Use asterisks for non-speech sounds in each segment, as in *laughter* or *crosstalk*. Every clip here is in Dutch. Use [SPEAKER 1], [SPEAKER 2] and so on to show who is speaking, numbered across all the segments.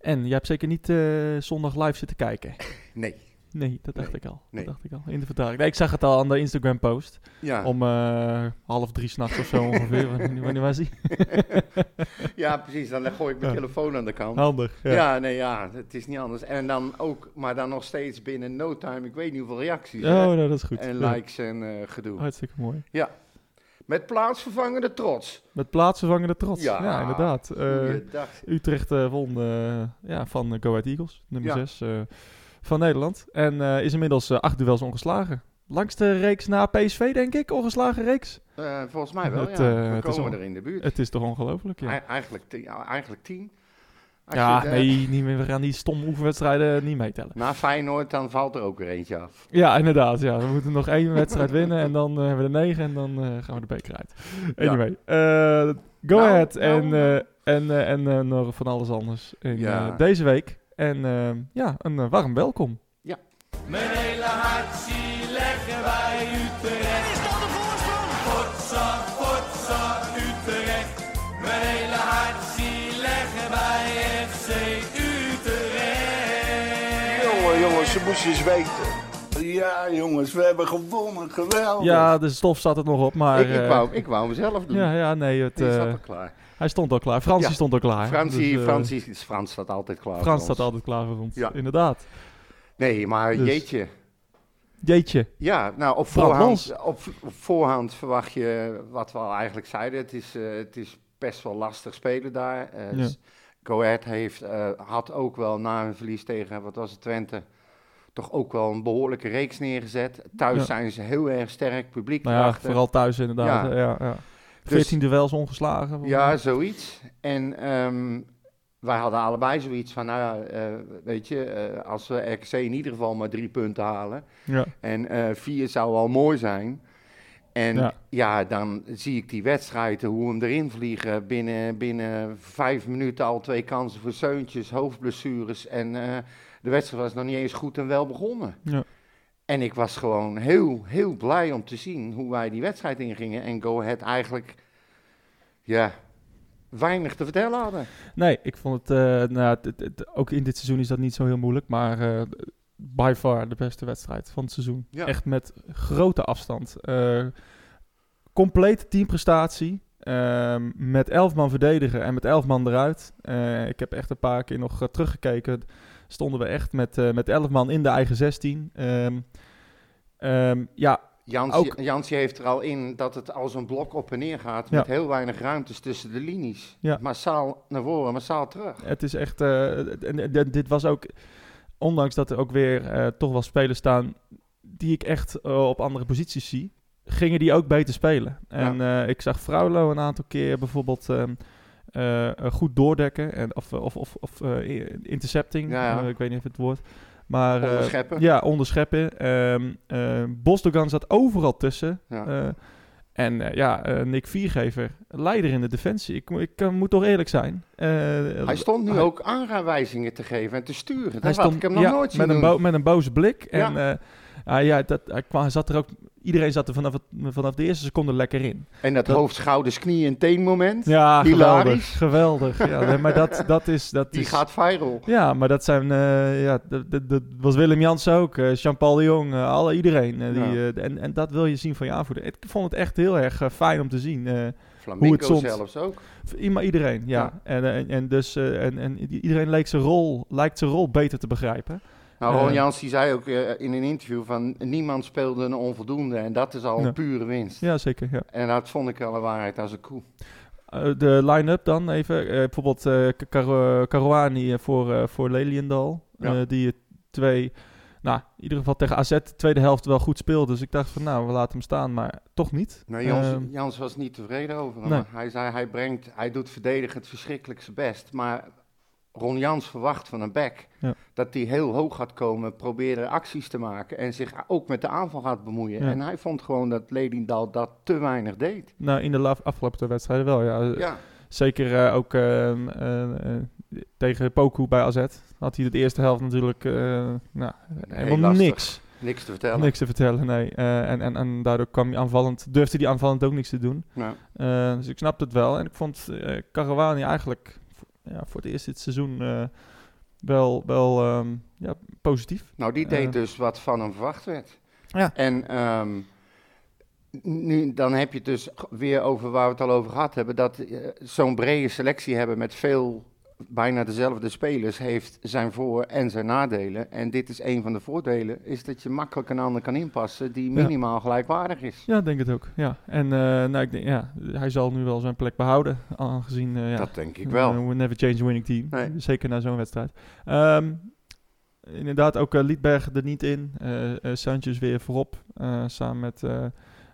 [SPEAKER 1] En jij hebt zeker niet eh, zondag live zitten kijken. *laughs*
[SPEAKER 2] Nee.
[SPEAKER 1] Nee, dat dacht
[SPEAKER 2] Nee,
[SPEAKER 1] ik al.
[SPEAKER 2] nee.
[SPEAKER 1] Dat dacht ik al. In de vertaling. Nee, ik zag het al aan de Instagram post.
[SPEAKER 2] Ja.
[SPEAKER 1] Om eh, half drie s'nachts
[SPEAKER 2] *laughs*
[SPEAKER 1] of zo ongeveer. Wanneer, wanneer was die?
[SPEAKER 2] ja, precies. Dan gooi ik mijn
[SPEAKER 1] Ja.
[SPEAKER 2] telefoon aan de kant.
[SPEAKER 1] Handig.
[SPEAKER 2] Ja. nee, ja, het is niet anders. En dan ook, maar dan nog steeds binnen no time, ik weet niet hoeveel reacties. hè.
[SPEAKER 1] Oh, nou, dat is goed.
[SPEAKER 2] en
[SPEAKER 1] Ja. Oh.
[SPEAKER 2] likes en eh, gedoe.
[SPEAKER 1] Hartstikke mooi.
[SPEAKER 2] Met plaatsvervangende trots.
[SPEAKER 1] Met plaatsvervangende trots. Ja,
[SPEAKER 2] Ja.
[SPEAKER 1] inderdaad. Eh,
[SPEAKER 2] Goeiedag.
[SPEAKER 1] Utrecht eh, won eh, ja, van eh, Go Ahead Eagles, nummer
[SPEAKER 2] Ja.
[SPEAKER 1] 6 van Nederland. En eh, is inmiddels eh, acht duels ongeslagen. Langste reeks na PSV, denk ik. Ongeslagen reeks.
[SPEAKER 2] Eh, volgens mij wel,
[SPEAKER 1] Het,
[SPEAKER 2] ja.
[SPEAKER 1] eh,
[SPEAKER 2] We
[SPEAKER 1] het is
[SPEAKER 2] komen
[SPEAKER 1] al-
[SPEAKER 2] er in de buurt.
[SPEAKER 1] Het is toch ongelooflijk, ja.
[SPEAKER 2] Ei- Eigenlijk, ti- ja, eigenlijk tien. Als
[SPEAKER 1] Ja,
[SPEAKER 2] je de-
[SPEAKER 1] nee, niet meer, we gaan die stomme oefenwedstrijden niet meetellen.
[SPEAKER 2] Na Feyenoord, dan valt er ook weer eentje
[SPEAKER 1] *laughs*
[SPEAKER 2] af.
[SPEAKER 1] Ja, inderdaad. Ja. We moeten nog één wedstrijd winnen en dan eh, hebben we de negen en dan eh, gaan we de beker uit.
[SPEAKER 2] Ja.
[SPEAKER 1] Anyway, eh, go
[SPEAKER 2] Nou,
[SPEAKER 1] ahead
[SPEAKER 2] nou,
[SPEAKER 1] en,
[SPEAKER 2] nou.
[SPEAKER 1] eh, en, eh, en eh, nog van alles anders in
[SPEAKER 2] Ja.
[SPEAKER 1] eh, deze week. En eh, ja, een eh, warm welkom.
[SPEAKER 3] Mijn hele hart zie leggen wij Utrecht.
[SPEAKER 4] Is dat de voorsprong?
[SPEAKER 3] Potsa, potsa, Utrecht. Mijn hele hart zie leggen wij FC Utrecht.
[SPEAKER 5] Jongen, jongens, ze moesten eens weten. Ja, jongens, we hebben gewonnen. Geweldig.
[SPEAKER 1] Ja, de stof zat er nog op, maar...
[SPEAKER 2] ik, ik,
[SPEAKER 1] eh,
[SPEAKER 2] wou, ik wou hem zelf doen.
[SPEAKER 1] ja, ja, nee, het,
[SPEAKER 2] Die
[SPEAKER 1] eh,
[SPEAKER 2] zat al klaar.
[SPEAKER 1] hij stond al klaar. Fransie
[SPEAKER 2] Ja.
[SPEAKER 1] stond al klaar.
[SPEAKER 2] Fransie,
[SPEAKER 1] Dus, eh,
[SPEAKER 2] Fransie, Frans staat altijd klaar. voor
[SPEAKER 1] Frans staat
[SPEAKER 2] ons.
[SPEAKER 1] altijd klaar voor ons,
[SPEAKER 2] Ja.
[SPEAKER 1] inderdaad.
[SPEAKER 2] Nee, maar
[SPEAKER 1] Dus-
[SPEAKER 2] jeetje.
[SPEAKER 1] Jeetje,
[SPEAKER 2] Ja, nou op
[SPEAKER 1] Frank
[SPEAKER 2] voorhand, op, op voorhand verwacht je wat we al eigenlijk zeiden. Het is, eh, het is best wel lastig spelen daar. Eh,
[SPEAKER 1] Ja.
[SPEAKER 2] s- Go Ahead heeft, eh, had ook wel na een verlies tegen, wat was het, Twente... toch ook wel een behoorlijke reeks neergezet. Thuis
[SPEAKER 1] Ja.
[SPEAKER 2] zijn ze heel erg sterk, publiek
[SPEAKER 1] nou ja,
[SPEAKER 2] erachter.
[SPEAKER 1] vooral thuis inderdaad.
[SPEAKER 2] Ja. Dus-
[SPEAKER 1] eh, Ja, ja. 14 duels ongeslagen. volgens mij.
[SPEAKER 2] Ja, zoiets. En ehm, wij hadden allebei zoiets van, nou ja, eh, weet je... eh, als we RKC in ieder geval maar drie punten halen...
[SPEAKER 1] ja.
[SPEAKER 2] En eh, vier zou al mooi zijn. En
[SPEAKER 1] Ja.
[SPEAKER 2] ja. dan zie ik die wedstrijden, hoe hem erin vliegen. Binnen, binnen vijf minuten al twee kansen voor zeuntjes, hoofdblessures. En eh, de wedstrijd was nog niet eens goed en wel begonnen.
[SPEAKER 1] Ja.
[SPEAKER 2] En ik was gewoon heel, heel blij om te zien hoe wij die wedstrijd ingingen. En Go Ahead eigenlijk, ja, weinig te vertellen hadden.
[SPEAKER 1] Nee, ik vond het, eh, nou, ja, het, het- het- ook in dit seizoen is dat niet zo heel moeilijk, maar eh, by far de beste wedstrijd van het seizoen.
[SPEAKER 2] Ja.
[SPEAKER 1] Echt met grote afstand. Eh, complete teamprestatie, ehm, met elf man verdedigen en met elf man eruit. Eh, ik heb echt een paar keer nog eh, teruggekeken, stonden we echt met, eh, met elf man in de eigen 16. Ehm, ehm, ja,
[SPEAKER 2] Jansie,
[SPEAKER 1] Ook-
[SPEAKER 2] Jansie heeft er al in dat het als een blok op en neer gaat.
[SPEAKER 1] Ja.
[SPEAKER 2] Met heel weinig ruimtes tussen de linies.
[SPEAKER 1] Ja.
[SPEAKER 2] Massaal naar voren, massaal terug.
[SPEAKER 1] Het is echt. eh, en, en- en dit was ook. Ondanks dat er ook weer eh, toch wel spelers staan. die ik echt eh, op andere posities zie. gingen die ook beter spelen. En eh, ik zag Fraulo een aantal keer bijvoorbeeld. ehm, eh, eh, goed doordekken. En, of of, of, of eh, intercepting.
[SPEAKER 2] Ja, ja.
[SPEAKER 1] eh, ik weet niet of het woord. Maar, eh,
[SPEAKER 2] Onderscheppen.
[SPEAKER 1] ja, onderscheppen. Ehm eh, Bosdogan zat overal tussen.
[SPEAKER 2] Ja.
[SPEAKER 1] Eh, en eh, ja, eh, Nick Viergever, leider in de defensie. Ik, mo- ik kan- moet toch eerlijk zijn. Eh,
[SPEAKER 2] hij stond nu
[SPEAKER 1] hij-
[SPEAKER 2] ook aanwijzingen te geven en te sturen. Dat
[SPEAKER 1] hij
[SPEAKER 2] had
[SPEAKER 1] stond
[SPEAKER 2] ik hem nog
[SPEAKER 1] ja,
[SPEAKER 2] nooit zien
[SPEAKER 1] met een,
[SPEAKER 2] doen.
[SPEAKER 1] bo- met een boze blik. En
[SPEAKER 2] Ja.
[SPEAKER 1] eh, hij- ja, dat, hij kwam, hij zat er ook, iedereen zat er vanaf, het, vanaf de eerste seconde lekker in.
[SPEAKER 2] En dat,
[SPEAKER 1] dat-
[SPEAKER 2] hoofd, schouders, knie en teen moment.
[SPEAKER 1] Ja, geweldig.
[SPEAKER 2] Hilarisch.
[SPEAKER 1] Geweldig. Ja, nee, maar dat, dat is... Dat
[SPEAKER 2] die
[SPEAKER 1] is,
[SPEAKER 2] gaat viral.
[SPEAKER 1] Ja, maar dat zijn... eh, ja, dat, dat, dat was Willem Jansen ook. eh, Jean-Paul de Jong. eh, alle, iedereen. eh, die,
[SPEAKER 2] Ja.
[SPEAKER 1] eh, en, en dat wil je zien van je aanvoerder. Ik vond het echt heel erg eh, fijn om te zien. eh, het
[SPEAKER 2] Flamingo
[SPEAKER 1] stond.
[SPEAKER 2] zelfs ook.
[SPEAKER 1] Voor i- maar iedereen, ja.
[SPEAKER 2] Ja.
[SPEAKER 1] En, eh, en, en dus eh, en, en i- iedereen leek zijn rol, lijkt zijn rol beter te begrijpen.
[SPEAKER 2] Nou, Ron
[SPEAKER 1] Eh.
[SPEAKER 2] Jans die zei ook eh, in een interview van niemand speelde een onvoldoende. En dat is al
[SPEAKER 1] Ja.
[SPEAKER 2] een pure winst.
[SPEAKER 1] Ja, zeker. Ja.
[SPEAKER 2] En dat vond ik wel een waarheid als een koe.
[SPEAKER 1] Eh, de line-up dan even. Eh, bijvoorbeeld eh, K- Kar- eh, Karouani eh, voor, eh, voor Leliendal.
[SPEAKER 2] Ja.
[SPEAKER 1] Eh, die het twee, nou, in ieder geval tegen AZ de tweede helft wel goed speelde. Dus ik dacht van nou, we laten hem staan, maar toch niet.
[SPEAKER 2] Nou, Jans,
[SPEAKER 1] Ehm,
[SPEAKER 2] Jans was niet tevreden over hem.
[SPEAKER 1] Nee.
[SPEAKER 2] Hij zei, hij, brengt, hij doet verdedigend verschrikkelijk zijn best. Maar Ron Jans verwacht van een back
[SPEAKER 1] Ja.
[SPEAKER 2] dat hij heel hoog gaat komen, probeerde acties te maken en zich ook met de aanval gaat bemoeien.
[SPEAKER 1] Ja.
[SPEAKER 2] En hij vond gewoon dat Ledindal dat te weinig deed.
[SPEAKER 1] nou, in de la- afgelopen wedstrijden wel, ja.
[SPEAKER 2] Ja,
[SPEAKER 1] Zeker eh, ook ehm, eh, eh, tegen Poku bij AZ. Had hij de eerste helft natuurlijk eh, nou, helemaal
[SPEAKER 2] lastig.
[SPEAKER 1] niks.
[SPEAKER 2] niks te vertellen.
[SPEAKER 1] Niks te vertellen, nee. Eh, en, en, en daardoor kwam hij aanvallend, durfde hij aanvallend ook niks te doen.
[SPEAKER 2] Nou,
[SPEAKER 1] Eh, dus ik snapte het wel. En ik vond eh Karawani eigenlijk v- ja, voor het eerst dit seizoen eh, wel, wel ehm, ja, positief.
[SPEAKER 2] Nou, die
[SPEAKER 1] Eh.
[SPEAKER 2] deed dus wat van hem verwacht werd.
[SPEAKER 1] Ja.
[SPEAKER 2] En ehm, nu, dan heb je het dus weer over waar we het al over gehad hebben. Dat eh, zo'n brede selectie hebben met veel, bijna dezelfde spelers, heeft zijn voor- en zijn nadelen. En dit is een van de voordelen, is dat je makkelijk een ander kan inpassen die
[SPEAKER 1] Ja.
[SPEAKER 2] minimaal gelijkwaardig is.
[SPEAKER 1] Ja, ik denk het ook. Ja. En eh, nou, ik denk, ja, hij zal nu wel zijn plek behouden, aangezien eh, ja,
[SPEAKER 2] Dat denk ik wel.
[SPEAKER 1] Eh, we never change a winning team.
[SPEAKER 2] Nee.
[SPEAKER 1] Zeker na zo'n wedstrijd. Ehm, inderdaad, ook eh, Liedberg er niet in. Eh eh, Sanchez weer voorop. eh, samen met, eh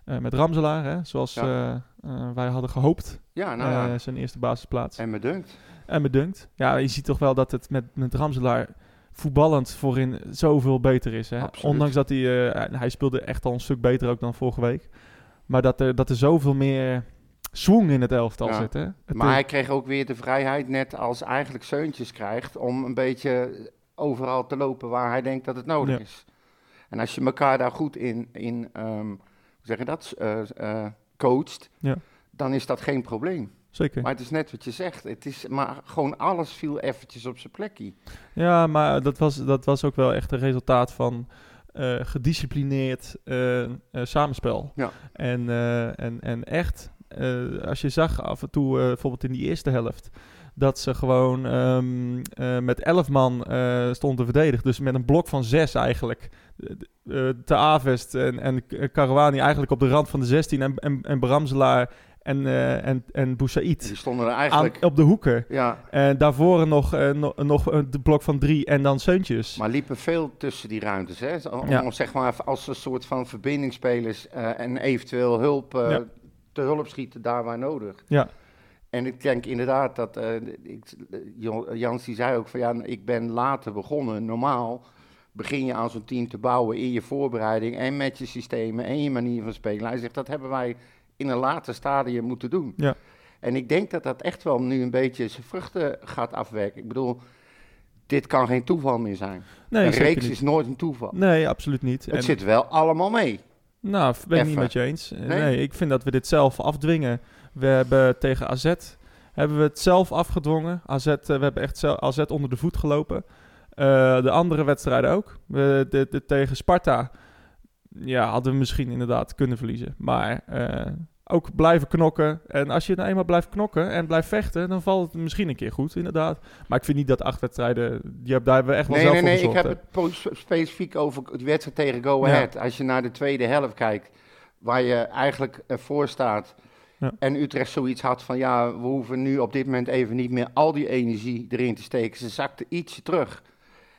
[SPEAKER 1] eh, met Ramselaar, hè, zoals
[SPEAKER 2] Ja.
[SPEAKER 1] eh, eh, wij hadden gehoopt.
[SPEAKER 2] Ja, nou ja.
[SPEAKER 1] Eh, zijn eerste basisplaats. En,
[SPEAKER 2] En me dunkt.
[SPEAKER 1] me dunkt. Ja, je ziet toch wel dat het met, met Ramselaar voetballend voorin zoveel beter is. Hè?
[SPEAKER 2] Absoluut.
[SPEAKER 1] Ondanks dat hij... eh, hij speelde echt al een stuk beter ook dan vorige week. Maar dat er, dat er zoveel meer swing in het elftal
[SPEAKER 2] Ja.
[SPEAKER 1] zit. Hè? Het eh,
[SPEAKER 2] Maar
[SPEAKER 1] is-
[SPEAKER 2] hij kreeg ook weer de vrijheid, net als eigenlijk Seuntjes krijgt, om een beetje overal te lopen waar hij denkt dat het nodig
[SPEAKER 1] Ja.
[SPEAKER 2] is. En als je elkaar daar goed in, in ehm, hoe zeg je dat, eh, eh, coacht,
[SPEAKER 1] Ja.
[SPEAKER 2] dan is dat geen probleem.
[SPEAKER 1] Zeker.
[SPEAKER 2] Maar het is net wat je zegt, het is, maar gewoon alles viel eventjes op zijn plekje.
[SPEAKER 1] Ja, maar dat was, dat was ook wel echt een resultaat van eh, gedisciplineerd eh, eh, samenspel.
[SPEAKER 2] Ja.
[SPEAKER 1] En, eh, en, en echt, eh, als je zag af en toe, eh, bijvoorbeeld in die eerste helft, dat ze gewoon ehm, eh, met elf man eh stonden te verdedigen. Dus met een blok van zes eigenlijk. Eh, eh, Te Avest en, en Karouani eigenlijk op de rand van de 16 en, en, en Bramselaar en, eh, en, en
[SPEAKER 2] Die
[SPEAKER 1] Boussaïd
[SPEAKER 2] stonden er
[SPEAKER 1] aan,
[SPEAKER 2] eigenlijk,
[SPEAKER 1] op de hoeken.
[SPEAKER 2] ja,
[SPEAKER 1] En daarvoor nog, eh, no- nog een d- blok van drie en dan Seuntjes.
[SPEAKER 2] maar liepen veel tussen die ruimtes. Hè? Zo- Om,
[SPEAKER 1] Ja.
[SPEAKER 2] om zeg maar even als een soort van verbindingsspelers eh, en eventueel hulp eh,
[SPEAKER 1] Ja.
[SPEAKER 2] te hulp schieten daar waar nodig.
[SPEAKER 1] Ja,
[SPEAKER 2] En ik denk inderdaad dat, eh, ik, Jo- Jans die zei ook van ja, ik ben later begonnen. Normaal begin je aan zo'n team te bouwen in je voorbereiding en met je systemen en je manier van spelen. Hij zegt dat hebben wij in een later stadium moeten doen.
[SPEAKER 1] Ja.
[SPEAKER 2] En ik denk dat dat echt wel nu een beetje zijn vruchten gaat afwerken. Ik bedoel, dit kan geen toeval meer zijn.
[SPEAKER 1] nee,
[SPEAKER 2] een
[SPEAKER 1] zeker
[SPEAKER 2] reeks
[SPEAKER 1] niet.
[SPEAKER 2] is nooit een toeval.
[SPEAKER 1] Nee, absoluut niet. En,
[SPEAKER 2] Het zit wel allemaal mee.
[SPEAKER 1] nou, ben ik niet
[SPEAKER 2] Effe.
[SPEAKER 1] met je eens. Eh,
[SPEAKER 2] Nee?
[SPEAKER 1] Nee? ik vind dat we dit zelf afdwingen. We hebben tegen AZ hebben we het zelf afgedwongen. AZ, eh, we hebben echt zelf, AZ onder de voet gelopen. Eh, de andere wedstrijden ook. We, de, de- tegen Sparta ja, hadden we misschien inderdaad kunnen verliezen. Maar eh, ook blijven knokken. En als je nou eenmaal blijft knokken en blijft vechten, dan valt het misschien een keer goed, inderdaad. Maar ik vind niet dat acht wedstrijden, die heb, daar hebben we echt wel
[SPEAKER 2] Nee,
[SPEAKER 1] zelf
[SPEAKER 2] nee,
[SPEAKER 1] voor
[SPEAKER 2] nee. Ik
[SPEAKER 1] gezorgd,
[SPEAKER 2] heb
[SPEAKER 1] hè.
[SPEAKER 2] het po- specifiek over die wedstrijd tegen Go
[SPEAKER 1] Ja.
[SPEAKER 2] Ahead. Als je naar de tweede helft kijkt, waar je eigenlijk eh, voor staat.
[SPEAKER 1] Ja.
[SPEAKER 2] En Utrecht zoiets had van ja, we hoeven nu op dit moment even niet meer al die energie erin te steken. Ze zakte ietsje terug.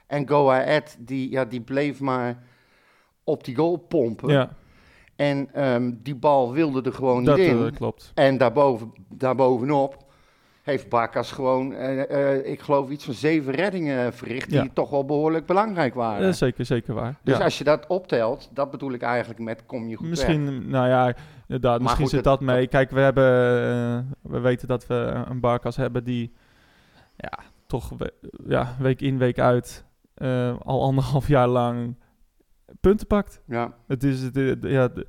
[SPEAKER 2] En Go Ahead, die, ja, die bleef maar op die goal pompen.
[SPEAKER 1] Ja,
[SPEAKER 2] En ehm, die bal wilde er gewoon
[SPEAKER 1] dat
[SPEAKER 2] niet in.
[SPEAKER 1] eh, klopt.
[SPEAKER 2] En daarboven, daarbovenop heeft Barkas gewoon, eh, eh, ik geloof, iets van zeven reddingen verricht.
[SPEAKER 1] Ja.
[SPEAKER 2] Die toch wel behoorlijk belangrijk
[SPEAKER 1] Dat
[SPEAKER 2] waren.
[SPEAKER 1] is zeker, zeker waar.
[SPEAKER 2] eh, dus
[SPEAKER 1] Ja.
[SPEAKER 2] als je dat optelt, dat bedoel ik eigenlijk met kom je goed weg.
[SPEAKER 1] Misschien, nou ja, inderdaad, misschien
[SPEAKER 2] goed,
[SPEAKER 1] zit
[SPEAKER 2] het-
[SPEAKER 1] dat mee. Kijk, we, hebben, eh, we weten dat we een barkas hebben die ja, toch we- ja, week in, week uit eh, al anderhalf jaar lang punten pakt.
[SPEAKER 2] Ja.
[SPEAKER 1] Het is, het, het- ja, de-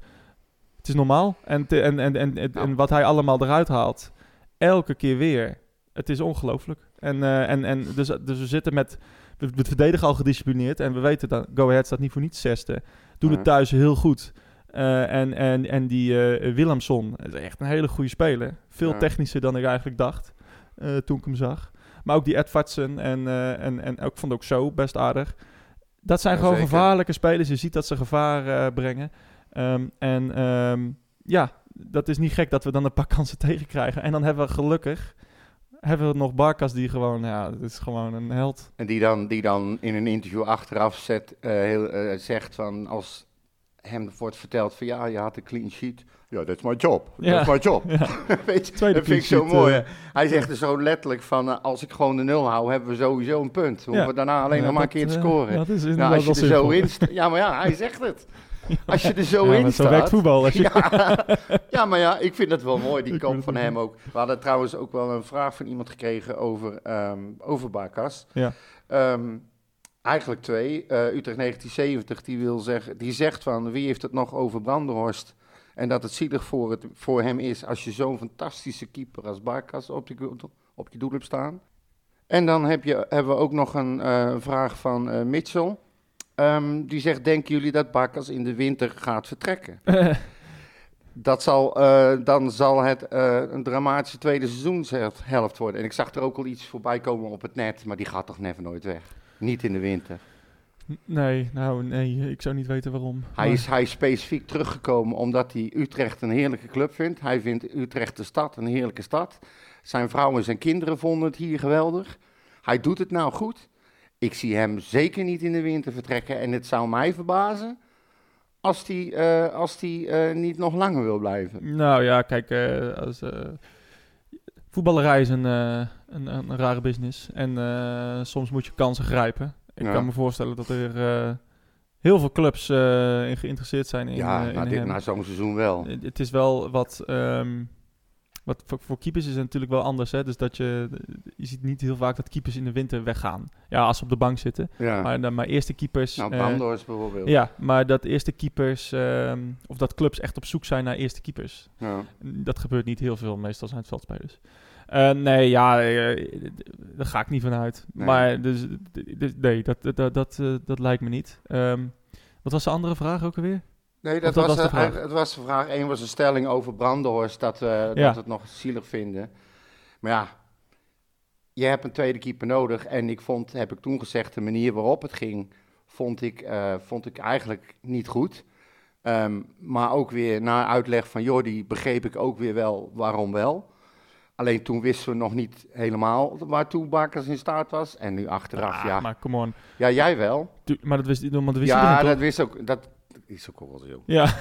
[SPEAKER 1] het is normaal. En, te- en, en, en, en,
[SPEAKER 2] Nou.
[SPEAKER 1] en wat hij allemaal eruit haalt, elke keer weer. Het is ongelooflijk. En, eh, en, en dus, dus we zitten met... We, we verdedigen al gedisciplineerd. En we weten dat Go Ahead staat niet voor niets zesde. Doen
[SPEAKER 2] Nee.
[SPEAKER 1] het thuis heel goed. Eh, en, en, en die eh Willemson is echt een hele goede speler. Veel
[SPEAKER 2] Ja.
[SPEAKER 1] technischer dan ik eigenlijk dacht eh, toen ik hem zag. Maar ook die Edvardsen en, eh, en, en ook vond ik ook zo best aardig. Dat zijn
[SPEAKER 2] Ja,
[SPEAKER 1] gewoon
[SPEAKER 2] zeker.
[SPEAKER 1] gevaarlijke spelers. Je ziet dat ze gevaar eh, brengen. Ehm, en ehm, ja, dat is niet gek dat we dan een paar *laughs* kansen tegenkrijgen. En dan hebben we gelukkig hebben we nog Barkas die gewoon, ja, dat is gewoon een held. *laughs*
[SPEAKER 2] En die dan, die dan in een interview achteraf zet, eh, heel, eh, zegt van als hem wordt verteld van ja, je had een clean sheet. Ja, dat is mijn job. Dat
[SPEAKER 1] Ja.
[SPEAKER 2] is mijn job.
[SPEAKER 1] Ja.
[SPEAKER 2] *laughs* Weet je,
[SPEAKER 1] Tweede
[SPEAKER 2] dat vind ik
[SPEAKER 1] clean
[SPEAKER 2] zo
[SPEAKER 1] sheet,
[SPEAKER 2] mooi.
[SPEAKER 1] eh.
[SPEAKER 2] hè. Hij zegt er zo letterlijk van eh, als ik gewoon de nul hou, hebben we sowieso een punt. Hoeven we daarna alleen
[SPEAKER 1] Ja,
[SPEAKER 2] nog maar een
[SPEAKER 1] dat,
[SPEAKER 2] keer
[SPEAKER 1] eh,
[SPEAKER 2] te scoren.
[SPEAKER 1] dat is inderdaad
[SPEAKER 2] Nou, als je
[SPEAKER 1] wel
[SPEAKER 2] er zo
[SPEAKER 1] zinvol.
[SPEAKER 2] in sta- Ja, maar ja, hij zegt het. Als je er zo
[SPEAKER 1] *laughs* Ja, maar
[SPEAKER 2] in
[SPEAKER 1] zo werkt
[SPEAKER 2] staat...
[SPEAKER 1] voetbal. *laughs* Als je,
[SPEAKER 2] Ja, *laughs* ja, maar ja, ik vind het wel mooi, die
[SPEAKER 1] Ik
[SPEAKER 2] kop
[SPEAKER 1] vind
[SPEAKER 2] van
[SPEAKER 1] het
[SPEAKER 2] hem ook. We hadden trouwens ook wel een vraag van iemand gekregen over, ehm over Barkas.
[SPEAKER 1] Ja.
[SPEAKER 2] Ehm, eigenlijk twee. Eh, Utrecht 1970, die, wil zeggen, die zegt van wie heeft het nog over Brandenhorst? En dat het zielig voor, het, voor hem is als je zo'n fantastische keeper als Barkas op je, go- op je doel hebt staan. En dan heb je, hebben we ook nog een eh, vraag van eh Mitchell. Ehm, die zegt, denken jullie dat Barkas in de winter gaat vertrekken? Dat zal, eh, dan zal het eh, een dramatische tweede seizoenshelft worden. En ik zag er ook al iets voorbij komen op het net, maar die gaat toch never nooit weg. Niet in de winter.
[SPEAKER 1] N- Nee, nou nee, ik zou niet weten waarom.
[SPEAKER 2] Hij
[SPEAKER 1] Maar-
[SPEAKER 2] is, hij is specifiek teruggekomen omdat hij Utrecht een heerlijke club vindt. Hij vindt Utrecht de stad een heerlijke stad. Zijn vrouw en zijn kinderen vonden het hier geweldig. Hij doet het nou goed. Ik zie hem zeker niet in de winter vertrekken. En het zou mij verbazen als hij eh, als die, eh, niet nog langer wil blijven.
[SPEAKER 1] Nou ja, kijk, eh, als, eh, voetballerij is een, eh, een, een, een rare business. En eh, soms moet je kansen grijpen. Ik
[SPEAKER 2] Ja.
[SPEAKER 1] kan me voorstellen dat er eh, heel veel clubs eh, in geïnteresseerd zijn in,
[SPEAKER 2] ja,
[SPEAKER 1] eh, in
[SPEAKER 2] na, dit, nou,
[SPEAKER 1] hem. Eh,
[SPEAKER 2] na zo'n seizoen wel.
[SPEAKER 1] Het- Het is wel wat... ehm, wat voor, voor keepers is het natuurlijk wel anders. Hè? Dus dat je, je ziet niet heel vaak dat keepers in de winter weggaan. Ja, als ze op de bank zitten.
[SPEAKER 2] Ja.
[SPEAKER 1] Maar, dan, maar eerste keepers...
[SPEAKER 2] Nou,
[SPEAKER 1] eh,
[SPEAKER 2] Bandors bijvoorbeeld.
[SPEAKER 1] ja, maar dat eerste keepers... ehm, of dat clubs echt op zoek zijn naar eerste keepers.
[SPEAKER 2] Ja.
[SPEAKER 1] Dat gebeurt niet heel veel, meestal zijn het veldspelers. Eh, nee, ja, eh, d- daar ga ik niet van uit.
[SPEAKER 2] Nee.
[SPEAKER 1] Maar dus, d- dus nee, dat, dat, dat, eh, dat lijkt me niet. Ehm, wat was de andere vraag ook alweer?
[SPEAKER 2] Nee,
[SPEAKER 1] Of
[SPEAKER 2] dat, was, de vraag. Het was de vraag. Eén was een stelling over Brandenhorst, dat, eh,
[SPEAKER 1] Ja.
[SPEAKER 2] dat we het nog zielig vinden. Maar ja, je hebt een tweede keeper nodig. En ik vond, heb ik toen gezegd, de manier waarop het ging, vond ik, eh, vond ik eigenlijk niet goed. Ehm, maar ook weer na uitleg van Jordi begreep ik ook weer wel waarom wel. Alleen toen wisten we nog niet helemaal waartoe Bakers in staat was. En nu achteraf,
[SPEAKER 1] Ah,
[SPEAKER 2] ja.
[SPEAKER 1] Maar come on.
[SPEAKER 2] Ja, jij wel.
[SPEAKER 1] Tu- maar dat wist, maar dat wist
[SPEAKER 2] ja,
[SPEAKER 1] iedereen
[SPEAKER 2] dat
[SPEAKER 1] toch?
[SPEAKER 2] wist ook. Dat is ook wel
[SPEAKER 1] *laughs*
[SPEAKER 2] zo.
[SPEAKER 1] Ja,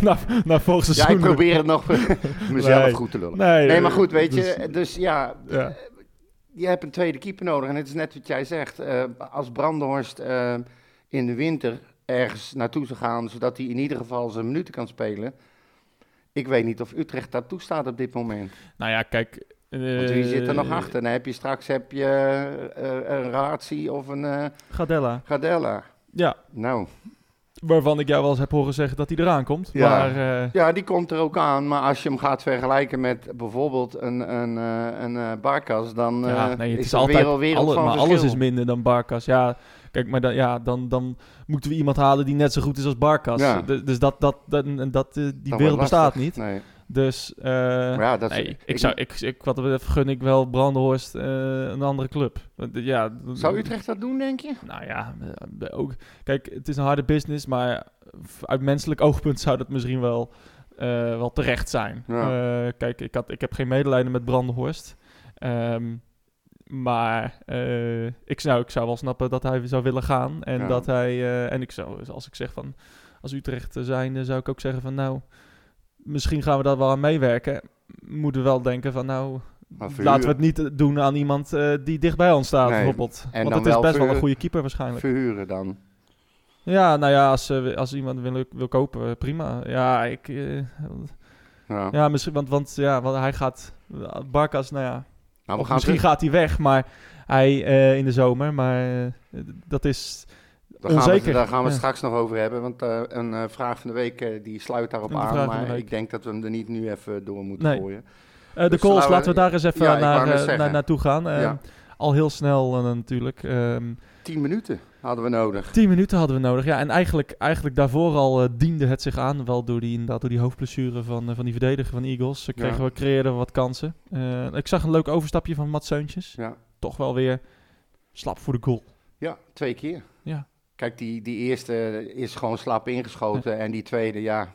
[SPEAKER 1] nou, nou volgens
[SPEAKER 2] Ja, ik
[SPEAKER 1] seizoen.
[SPEAKER 2] probeer het
[SPEAKER 1] *laughs*
[SPEAKER 2] nog *laughs* mezelf
[SPEAKER 1] Nee.
[SPEAKER 2] goed te lullen.
[SPEAKER 1] Nee,
[SPEAKER 2] Nee, maar goed, weet
[SPEAKER 1] dus-
[SPEAKER 2] je, dus ja,
[SPEAKER 1] Ja.
[SPEAKER 2] je hebt een tweede keeper nodig. En het is net wat jij zegt, eh, als Brandenhorst eh, in de winter ergens naartoe zou gaan, zodat hij in ieder geval zijn minuten kan spelen. Ik weet niet of Utrecht dat toestaat op dit moment.
[SPEAKER 1] Nou ja, kijk. eh,
[SPEAKER 2] Want wie zit er nog achter? Dan heb je straks heb je, eh, een Razi of een eh
[SPEAKER 1] Gadella.
[SPEAKER 2] Gardella.
[SPEAKER 1] Ja,
[SPEAKER 2] Nou,
[SPEAKER 1] waarvan ik jou wel eens heb horen zeggen dat hij eraan komt.
[SPEAKER 2] Ja.
[SPEAKER 1] Maar eh,
[SPEAKER 2] ja, die komt er ook aan. Maar als je hem gaat vergelijken met bijvoorbeeld een, een, eh, een eh, Barkas, dan eh,
[SPEAKER 1] Ja, nee, het is,
[SPEAKER 2] er
[SPEAKER 1] altijd
[SPEAKER 2] weer een wereld
[SPEAKER 1] alle-
[SPEAKER 2] van
[SPEAKER 1] maar
[SPEAKER 2] verschil.
[SPEAKER 1] alles is minder dan Barkas. Ja, kijk, maar dan, ja, dan, dan moeten we iemand halen die net zo goed is als Barkas.
[SPEAKER 2] Ja.
[SPEAKER 1] Dus, dus dat, dat, dat, en dat, eh, die
[SPEAKER 2] Dat
[SPEAKER 1] wereld
[SPEAKER 2] wordt lastig.
[SPEAKER 1] bestaat niet.
[SPEAKER 2] Nee.
[SPEAKER 1] Dus eh,
[SPEAKER 2] Maar ja, dat
[SPEAKER 1] nee,
[SPEAKER 2] ik,
[SPEAKER 1] ik zou, ik, ik, wat dat betreft gun ik wel Brandenhorst eh, een andere club. Want, eh, ja, d-
[SPEAKER 2] zou Utrecht dat doen, denk je?
[SPEAKER 1] Nou ja, eh, ook, kijk, het is een harde business, maar uit menselijk *laughs* oogpunt zou dat misschien wel, eh, wel terecht zijn.
[SPEAKER 2] Ja.
[SPEAKER 1] Eh, kijk, ik, had, ik heb geen medelijden met Brandenhorst. Ehm, maar eh, ik, zou, ik zou wel snappen dat hij zou willen gaan. En
[SPEAKER 2] Ja.
[SPEAKER 1] dat hij. eh, en ik zou, als ik zeg van als Utrecht zijn, zou ik ook zeggen van nou, misschien gaan we daar wel aan meewerken. Moeten we wel denken van nou.
[SPEAKER 2] Maar verhuren.
[SPEAKER 1] Laten we het niet eh, doen aan iemand eh, die dicht bij ons staat,
[SPEAKER 2] Nee.
[SPEAKER 1] bijvoorbeeld.
[SPEAKER 2] En
[SPEAKER 1] Want
[SPEAKER 2] dan
[SPEAKER 1] het is
[SPEAKER 2] wel
[SPEAKER 1] best wel een
[SPEAKER 2] verhuur-
[SPEAKER 1] goede keeper waarschijnlijk.
[SPEAKER 2] Verhuren dan.
[SPEAKER 1] Ja, nou ja, als, eh, als iemand wil, wil kopen, eh, prima. Ja, ik, eh,
[SPEAKER 2] Ja. Nou,
[SPEAKER 1] ja misschien, want, want, ja, want hij gaat, Barkas, nou ja,
[SPEAKER 2] Nou, we
[SPEAKER 1] of
[SPEAKER 2] gaan
[SPEAKER 1] misschien
[SPEAKER 2] terug,
[SPEAKER 1] gaat hij weg, maar hij eh, in de zomer, maar eh, dat is
[SPEAKER 2] daar, gaan we,
[SPEAKER 1] onzeker.
[SPEAKER 2] daar gaan we het
[SPEAKER 1] Ja.
[SPEAKER 2] straks nog over hebben, want eh, een eh, vraag van de week eh, die sluit daarop
[SPEAKER 1] Een vraag van
[SPEAKER 2] aan.
[SPEAKER 1] de
[SPEAKER 2] Maar
[SPEAKER 1] week.
[SPEAKER 2] ik denk dat we hem er niet nu even door moeten
[SPEAKER 1] Nee.
[SPEAKER 2] gooien.
[SPEAKER 1] eh, de
[SPEAKER 2] Dus
[SPEAKER 1] calls.
[SPEAKER 2] laten we-
[SPEAKER 1] Laten we daar eens even
[SPEAKER 2] Ja, ik wou
[SPEAKER 1] naar,
[SPEAKER 2] net
[SPEAKER 1] eh,
[SPEAKER 2] zeggen.
[SPEAKER 1] naar, naartoe gaan. Eh,
[SPEAKER 2] Ja.
[SPEAKER 1] Al heel snel eh, natuurlijk. Ehm,
[SPEAKER 2] 10 minuten hadden we nodig.
[SPEAKER 1] Tien minuten hadden we nodig. Ja, en eigenlijk, eigenlijk daarvoor al eh, diende het zich aan. Wel door die, inderdaad, door die hoofdblessure van, eh, van die verdediger van de Eagles. Ze kregen
[SPEAKER 2] Ja.
[SPEAKER 1] we, creëerden we wat kansen. Eh, ik zag een leuk overstapje van Mats Seuntjes.
[SPEAKER 2] Ja.
[SPEAKER 1] Toch wel weer slap voor de goal.
[SPEAKER 2] Ja, twee keer.
[SPEAKER 1] Ja.
[SPEAKER 2] Kijk, die, die eerste is gewoon slap ingeschoten en die tweede, ja,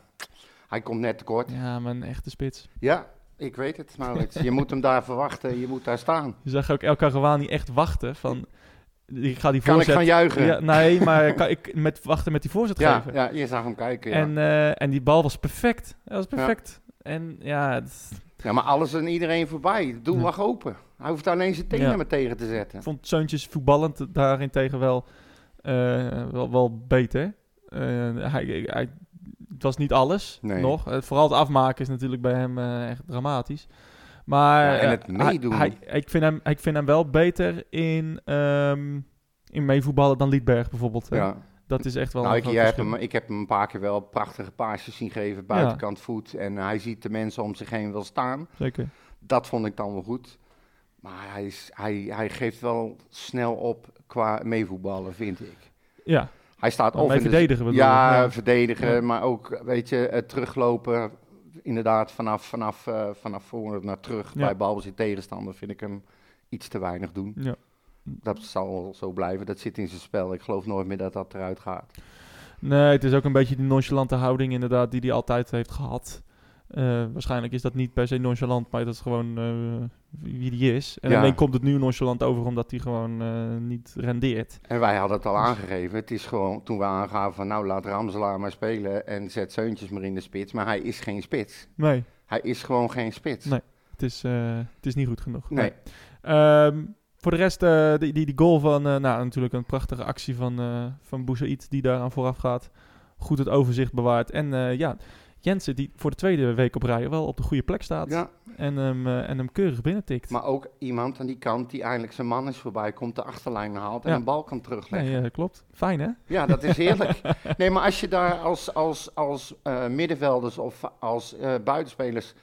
[SPEAKER 2] hij komt net tekort.
[SPEAKER 1] Ja, maar een echte spits.
[SPEAKER 2] Ja, ik weet het, Maurits. je moet hem daar *laughs* verwachten, je moet daar staan.
[SPEAKER 1] Je zag ook El Karawani echt wachten van... Ik ga die
[SPEAKER 2] Kan ik
[SPEAKER 1] voorzet...
[SPEAKER 2] gaan juichen?
[SPEAKER 1] ja,
[SPEAKER 2] Ja,
[SPEAKER 1] nee,
[SPEAKER 2] *laughs*
[SPEAKER 1] maar kan ik met, wachten met die voorzet
[SPEAKER 2] ja,
[SPEAKER 1] geven.
[SPEAKER 2] je zag hem kijken. Ja.
[SPEAKER 1] En, eh, en die bal was perfect. Dat was perfect. En ja, het-
[SPEAKER 2] Ja, maar alles en iedereen voorbij. Het doel
[SPEAKER 1] Ja.
[SPEAKER 2] lag open. Hij hoeft alleen zijn tenen
[SPEAKER 1] Ja.
[SPEAKER 2] maar tegen te zetten.
[SPEAKER 1] Ik vond Zeuntjes voetballend daarentegen wel, eh, wel, wel beter. Eh, hij, hij, het was niet alles
[SPEAKER 2] Nee.
[SPEAKER 1] nog. Eh, vooral het afmaken is natuurlijk bij hem eh, echt dramatisch. Maar
[SPEAKER 2] Ja, en
[SPEAKER 1] eh,
[SPEAKER 2] het
[SPEAKER 1] hij-
[SPEAKER 2] meedoen.
[SPEAKER 1] hij- ik, vind hem, ik vind hem wel beter in, ehm, in meevoetballen dan Liedberg bijvoorbeeld. hè.
[SPEAKER 2] Ja.
[SPEAKER 1] Dat is echt wel
[SPEAKER 2] Nou,
[SPEAKER 1] een
[SPEAKER 2] ik,
[SPEAKER 1] groot
[SPEAKER 2] jij hebt
[SPEAKER 1] verschil.
[SPEAKER 2] hem, ik heb hem een paar keer wel prachtige paasjes zien geven, buitenkant voet. En hij ziet de mensen om zich heen wel staan.
[SPEAKER 1] Zeker.
[SPEAKER 2] Dat vond ik dan wel goed. Maar hij, is, hij, hij geeft wel snel op qua meevoetballen, vind ik.
[SPEAKER 1] Ja,
[SPEAKER 2] Hij staat
[SPEAKER 1] Maar
[SPEAKER 2] of
[SPEAKER 1] mee
[SPEAKER 2] in de-
[SPEAKER 1] verdedigen bedoel
[SPEAKER 2] ja,
[SPEAKER 1] je? Ja.
[SPEAKER 2] verdedigen,
[SPEAKER 1] Ja.
[SPEAKER 2] maar ook weet je, het teruglopen. Inderdaad, vanaf, vanaf, eh, vanaf voor naar terug
[SPEAKER 1] Ja.
[SPEAKER 2] bij balbezit tegenstander vind ik hem iets te weinig doen.
[SPEAKER 1] Ja.
[SPEAKER 2] Dat zal zo blijven. Dat zit in zijn spel. Ik geloof nooit meer dat dat eruit gaat.
[SPEAKER 1] nee, het is ook een beetje die nonchalante houding inderdaad die hij altijd heeft gehad. Eh, waarschijnlijk is dat niet per se nonchalant, maar dat is gewoon eh, wie die is. En
[SPEAKER 2] Ja.
[SPEAKER 1] alleen komt het nu nonchalant over omdat hij gewoon eh, niet rendeert.
[SPEAKER 2] En wij hadden het al aangegeven. Het is gewoon toen we aangaven van nou laat Ramselaar maar spelen en zet Zeuntjes maar in de spits. Maar hij is geen spits.
[SPEAKER 1] Nee,
[SPEAKER 2] Hij is gewoon geen spits.
[SPEAKER 1] Nee. het is, eh, het is niet goed genoeg.
[SPEAKER 2] Nee.
[SPEAKER 1] Ehm, voor de rest, eh, die, die, die goal van, eh, nou natuurlijk een prachtige actie van, eh van Boussaïd die daaraan vooraf gaat. Goed het overzicht bewaart. En eh, ja, Jensen die voor de tweede week op rij wel op de goede plek staat.
[SPEAKER 2] Ja,
[SPEAKER 1] En, hem, eh, en hem keurig binnentikt.
[SPEAKER 2] maar ook iemand aan die kant die eindelijk zijn man is voorbij, komt de achterlijn haalt en
[SPEAKER 1] Ja.
[SPEAKER 2] een bal kan terugleggen.
[SPEAKER 1] nee, eh, klopt. Fijn hè?
[SPEAKER 2] Ja, dat
[SPEAKER 1] *laughs*
[SPEAKER 2] is heerlijk. Nee, maar als je daar als, als, als eh, middenvelders of als eh, buitenspelers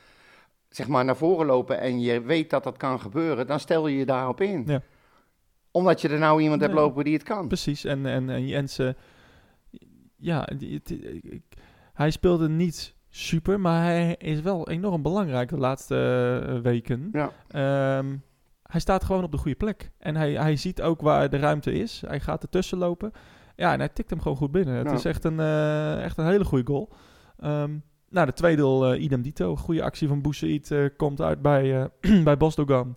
[SPEAKER 2] zeg maar naar voren lopen en je weet dat dat kan gebeuren, dan stel je je daarop in.
[SPEAKER 1] Ja.
[SPEAKER 2] Omdat je er nou iemand hebt
[SPEAKER 1] Ja.
[SPEAKER 2] lopen die het kan.
[SPEAKER 1] Precies. En, en, en Jensen, ja, die- die- ik- ik- hij speelde niet super, maar hij is wel enorm belangrijk de laatste eh, weken.
[SPEAKER 2] Ja.
[SPEAKER 1] Ehm, hij staat gewoon op de goede plek. En hij, hij ziet ook waar de ruimte is. Hij gaat ertussen lopen. Ja, en hij tikt hem gewoon goed binnen. Het
[SPEAKER 2] Ja.
[SPEAKER 1] is echt een, eh, echt een hele goede goal. Ehm nou, de tweede goal, eh, idem dito. Goede actie van Boussaïd eh, komt uit bij, eh *clears throat* bij Bosdogan.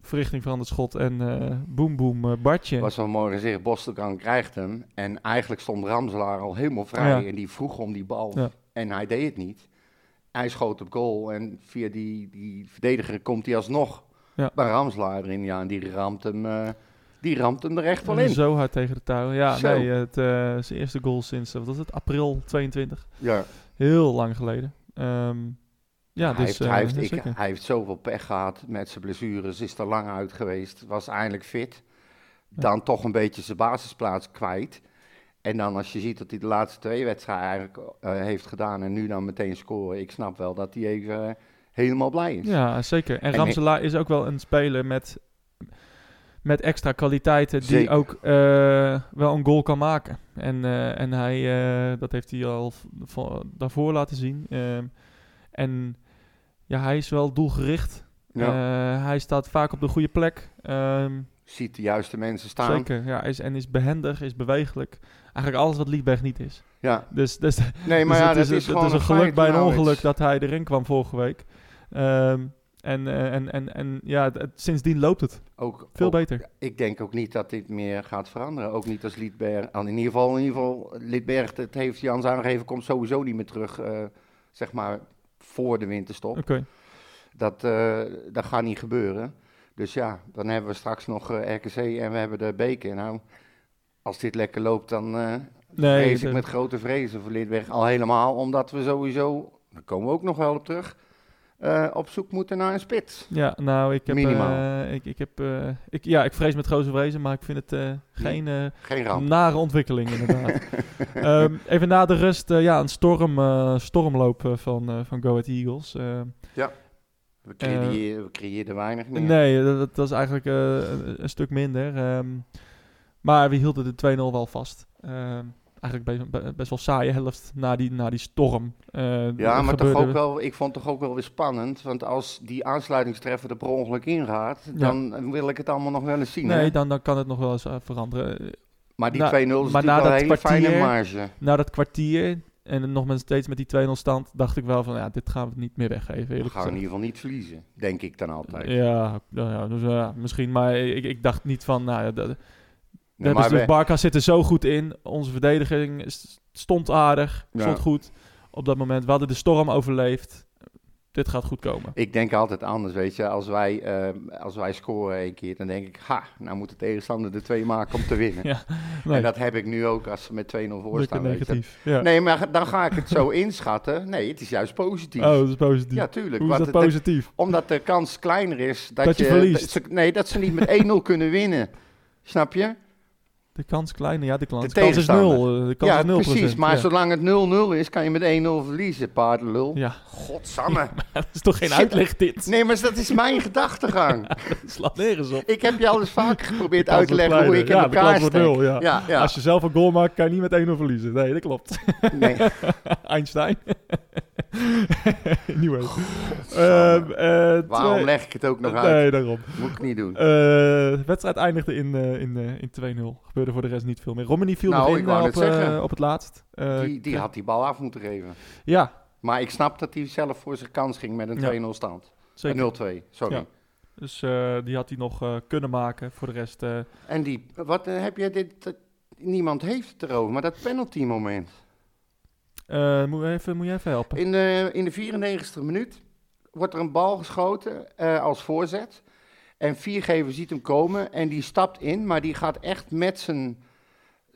[SPEAKER 1] Verrichting van het schot en eh boem boem eh, Bartje.
[SPEAKER 2] Was wel mooi gezegd, Bostelkamp krijgt hem. En eigenlijk stond Ramselaar al helemaal vrij
[SPEAKER 1] Ja.
[SPEAKER 2] en die vroeg om die bal.
[SPEAKER 1] Ja.
[SPEAKER 2] En hij deed het niet. Hij schoot op goal en via die, die verdediger komt hij alsnog
[SPEAKER 1] Ja.
[SPEAKER 2] bij Ramselaar erin. Ja, en die ramt hem, eh, die ramt hem er echt wel
[SPEAKER 1] Eh,
[SPEAKER 2] in.
[SPEAKER 1] Zo hard tegen de touw. Ja,
[SPEAKER 2] Zo.
[SPEAKER 1] nee, het eh, zijn eerste goal sinds, eh, wat was het, april 22.
[SPEAKER 2] Ja.
[SPEAKER 1] Heel lang geleden. Ehm, ja,
[SPEAKER 2] hij,
[SPEAKER 1] dus...
[SPEAKER 2] heeft,
[SPEAKER 1] eh,
[SPEAKER 2] hij, heeft,
[SPEAKER 1] ja,
[SPEAKER 2] ik-
[SPEAKER 1] zeker.
[SPEAKER 2] hij heeft zoveel pech gehad met zijn blessures, is er lang uit geweest, was eindelijk fit. Dan toch een beetje zijn basisplaats kwijt. En dan als je ziet dat hij de laatste twee wedstrijden eigenlijk eh, heeft gedaan en nu dan meteen scoren. Ik snap wel dat hij even eh, helemaal blij is.
[SPEAKER 1] Ja, zeker. En,
[SPEAKER 2] En
[SPEAKER 1] Ramselaar is ook wel een speler met, met extra kwaliteiten die
[SPEAKER 2] Zeker.
[SPEAKER 1] ook eh, wel een goal kan maken. En, eh, en hij, eh, dat heeft hij al v- vo- daarvoor laten zien. Ehm, en ja, hij is wel doelgericht.
[SPEAKER 2] Nou,
[SPEAKER 1] Eh, hij staat vaak op de goede plek. Ehm,
[SPEAKER 2] Ziet de juiste mensen staan.
[SPEAKER 1] Zeker, ja. Is, en is behendig, is bewegelijk. Eigenlijk alles wat Liedberg niet is.
[SPEAKER 2] Ja.
[SPEAKER 1] Dus, dus,
[SPEAKER 2] Nee, maar
[SPEAKER 1] dus
[SPEAKER 2] ja,
[SPEAKER 1] het
[SPEAKER 2] dat
[SPEAKER 1] is,
[SPEAKER 2] is,
[SPEAKER 1] het
[SPEAKER 2] gewoon
[SPEAKER 1] is een
[SPEAKER 2] feit,
[SPEAKER 1] geluk bij een
[SPEAKER 2] nou,
[SPEAKER 1] ongeluk
[SPEAKER 2] het is-
[SPEAKER 1] dat hij erin kwam vorige week. Ehm, en, eh, en, en, en ja, het- het- sindsdien loopt het.
[SPEAKER 2] ook,
[SPEAKER 1] Veel
[SPEAKER 2] ook-
[SPEAKER 1] beter.
[SPEAKER 2] Ik denk ook niet dat dit meer gaat veranderen. Ook niet als Liedberg. al In ieder geval, in ieder geval Liedberg, het heeft Jans aangegeven, komt sowieso niet meer terug. eh, zeg maar voor de winterstop.
[SPEAKER 1] Oké.
[SPEAKER 2] Dat, eh, dat gaat niet gebeuren. Dus ja, dan hebben we straks nog eh, RKC en we hebben de beker. Nou, als dit lekker loopt, dan eh
[SPEAKER 1] Nee,
[SPEAKER 2] vrees
[SPEAKER 1] het-
[SPEAKER 2] ik met grote vrezen voor Lidweg. Al helemaal omdat we sowieso, daar komen we ook nog wel op terug, eh, op zoek moeten naar een spits.
[SPEAKER 1] Ja, nou, ik heb...
[SPEAKER 2] Minimaal.
[SPEAKER 1] eh, ik, ik heb eh, ik, ja, ik vrees met grote vrezen, maar ik vind het eh, geen... eh,
[SPEAKER 2] Geen ramp.
[SPEAKER 1] Nare ontwikkeling, inderdaad.
[SPEAKER 2] *laughs*
[SPEAKER 1] Ehm, even na de rust, eh, ja, een storm, eh, stormloop eh, van, eh, van Go Ahead Eagles. Eh,
[SPEAKER 2] We creëerden, we creëerden weinig meer.
[SPEAKER 1] Nee, dat, dat was eigenlijk eh, een, een stuk minder. ehm. maar we hielden de 2-0 wel vast. Ehm, eigenlijk best, be- best wel saaie helft na die, na die storm. Eh,
[SPEAKER 2] Ja,
[SPEAKER 1] er
[SPEAKER 2] maar toch
[SPEAKER 1] gebeurde-
[SPEAKER 2] ook wel, ik vond het toch ook wel weer spannend. Want als die aansluitingstreffer er per ongeluk ingaat, dan wil ik het allemaal nog wel eens zien.
[SPEAKER 1] Nee,
[SPEAKER 2] hè?
[SPEAKER 1] dan, dan kan het nog wel eens eh, veranderen. Eh,
[SPEAKER 2] Maar die
[SPEAKER 1] Nou,
[SPEAKER 2] 2-0 is
[SPEAKER 1] maar
[SPEAKER 2] natuurlijk
[SPEAKER 1] na
[SPEAKER 2] wel een
[SPEAKER 1] dat
[SPEAKER 2] hele fijne
[SPEAKER 1] kwartier-
[SPEAKER 2] marge.
[SPEAKER 1] Na dat kwartier en dan nog maar steeds met die 2-0 stand, dacht ik wel van, ja, dit gaan we niet meer weggeven.
[SPEAKER 2] We
[SPEAKER 1] Eerlijk
[SPEAKER 2] gaan we
[SPEAKER 1] gezegd.
[SPEAKER 2] in ieder geval niet verliezen, denk ik dan altijd.
[SPEAKER 1] Ja, nou ja, dus, ja, misschien, maar ik, ik dacht niet van, nou, ja, dat,
[SPEAKER 2] Nee,
[SPEAKER 1] maar
[SPEAKER 2] maar
[SPEAKER 1] dus
[SPEAKER 2] we-
[SPEAKER 1] Barca zit er zo goed in. Onze verdediging s- stond aardig,
[SPEAKER 2] Ja.
[SPEAKER 1] stond goed op dat moment. We hadden de storm overleefd. Dit gaat goed komen.
[SPEAKER 2] Ik denk altijd anders, weet je. Als wij, ehm, als wij scoren één keer, dan denk ik... Ha, nou moet de tegenstander de twee maken om te winnen.
[SPEAKER 1] Ja, Nee,
[SPEAKER 2] En dat heb ik nu ook als ze met 2-0 voor
[SPEAKER 1] lekker
[SPEAKER 2] staan, weet je.
[SPEAKER 1] negatief. Ja.
[SPEAKER 2] Nee, maar dan ga ik het zo inschatten. Nee, het is juist positief.
[SPEAKER 1] oh, dat is positief.
[SPEAKER 2] ja, tuurlijk.
[SPEAKER 1] Hoe is
[SPEAKER 2] want
[SPEAKER 1] dat
[SPEAKER 2] het- het-
[SPEAKER 1] positief?
[SPEAKER 2] Omdat de kans kleiner is dat,
[SPEAKER 1] Dat je verliest. *laughs*
[SPEAKER 2] dat ze- nee, dat ze niet met 1-0 kunnen winnen. Snap je?
[SPEAKER 1] De kans kleiner, ja, de kans, de
[SPEAKER 2] De
[SPEAKER 1] kans is
[SPEAKER 2] tegenstander.
[SPEAKER 1] nul. eh, De kans
[SPEAKER 2] Ja,
[SPEAKER 1] is nul
[SPEAKER 2] precies.
[SPEAKER 1] procent,
[SPEAKER 2] Maar
[SPEAKER 1] ja.
[SPEAKER 2] zolang het 0-0 is, kan je met 1-0 verliezen, paardenlul.
[SPEAKER 1] Ja, *laughs*
[SPEAKER 2] Godsamme.
[SPEAKER 1] dat is toch geen
[SPEAKER 2] Shit.
[SPEAKER 1] uitleg dit?
[SPEAKER 2] Nee, maar dat is mijn gedachtegang.
[SPEAKER 1] Het slaat nergens op.
[SPEAKER 2] Ik heb je al eens vaker geprobeerd
[SPEAKER 1] De
[SPEAKER 2] uit
[SPEAKER 1] kans
[SPEAKER 2] te
[SPEAKER 1] wordt
[SPEAKER 2] leggen hoe ik in
[SPEAKER 1] kleiner. Ja, de
[SPEAKER 2] elkaar
[SPEAKER 1] kans wordt
[SPEAKER 2] steek.
[SPEAKER 1] nul, ja.
[SPEAKER 2] ja, ja.
[SPEAKER 1] Als je zelf een goal maakt, kan je niet met 1-0 verliezen. Nee, dat klopt. *laughs*
[SPEAKER 2] Nee.
[SPEAKER 1] Eh, Einstein. *laughs* anyway. Ehm, eh,
[SPEAKER 2] Waarom
[SPEAKER 1] twee-
[SPEAKER 2] leg ik het ook nog uit?
[SPEAKER 1] Nee, daarom.
[SPEAKER 2] Moet ik niet doen.
[SPEAKER 1] Eh, de wedstrijd eindigde in, eh, in, eh, in 2-0. Gebeurde voor de rest niet veel meer. Romney viel
[SPEAKER 2] Nou,
[SPEAKER 1] nog
[SPEAKER 2] ik
[SPEAKER 1] in
[SPEAKER 2] wou
[SPEAKER 1] eh, op,
[SPEAKER 2] net zeggen.
[SPEAKER 1] eh, op het laatst. Eh,
[SPEAKER 2] Die, die had die bal af moeten geven.
[SPEAKER 1] Ja,
[SPEAKER 2] Maar ik snap dat hij zelf voor zijn kans ging met
[SPEAKER 1] Ja.
[SPEAKER 2] een 2-0 stand.
[SPEAKER 1] zeker.
[SPEAKER 2] Een 0-2, sorry.
[SPEAKER 1] Ja. Dus eh, die had hij nog eh, kunnen maken. Voor de rest... eh,
[SPEAKER 2] En die, wat eh, heb je dit, dat- niemand heeft het erover, maar dat penalty moment.
[SPEAKER 1] eh, moet, je even, moet je even helpen?
[SPEAKER 2] In de, in de 94 minuut wordt er een bal geschoten eh, als voorzet. En viergever ziet hem komen en die stapt in, maar die gaat echt met zijn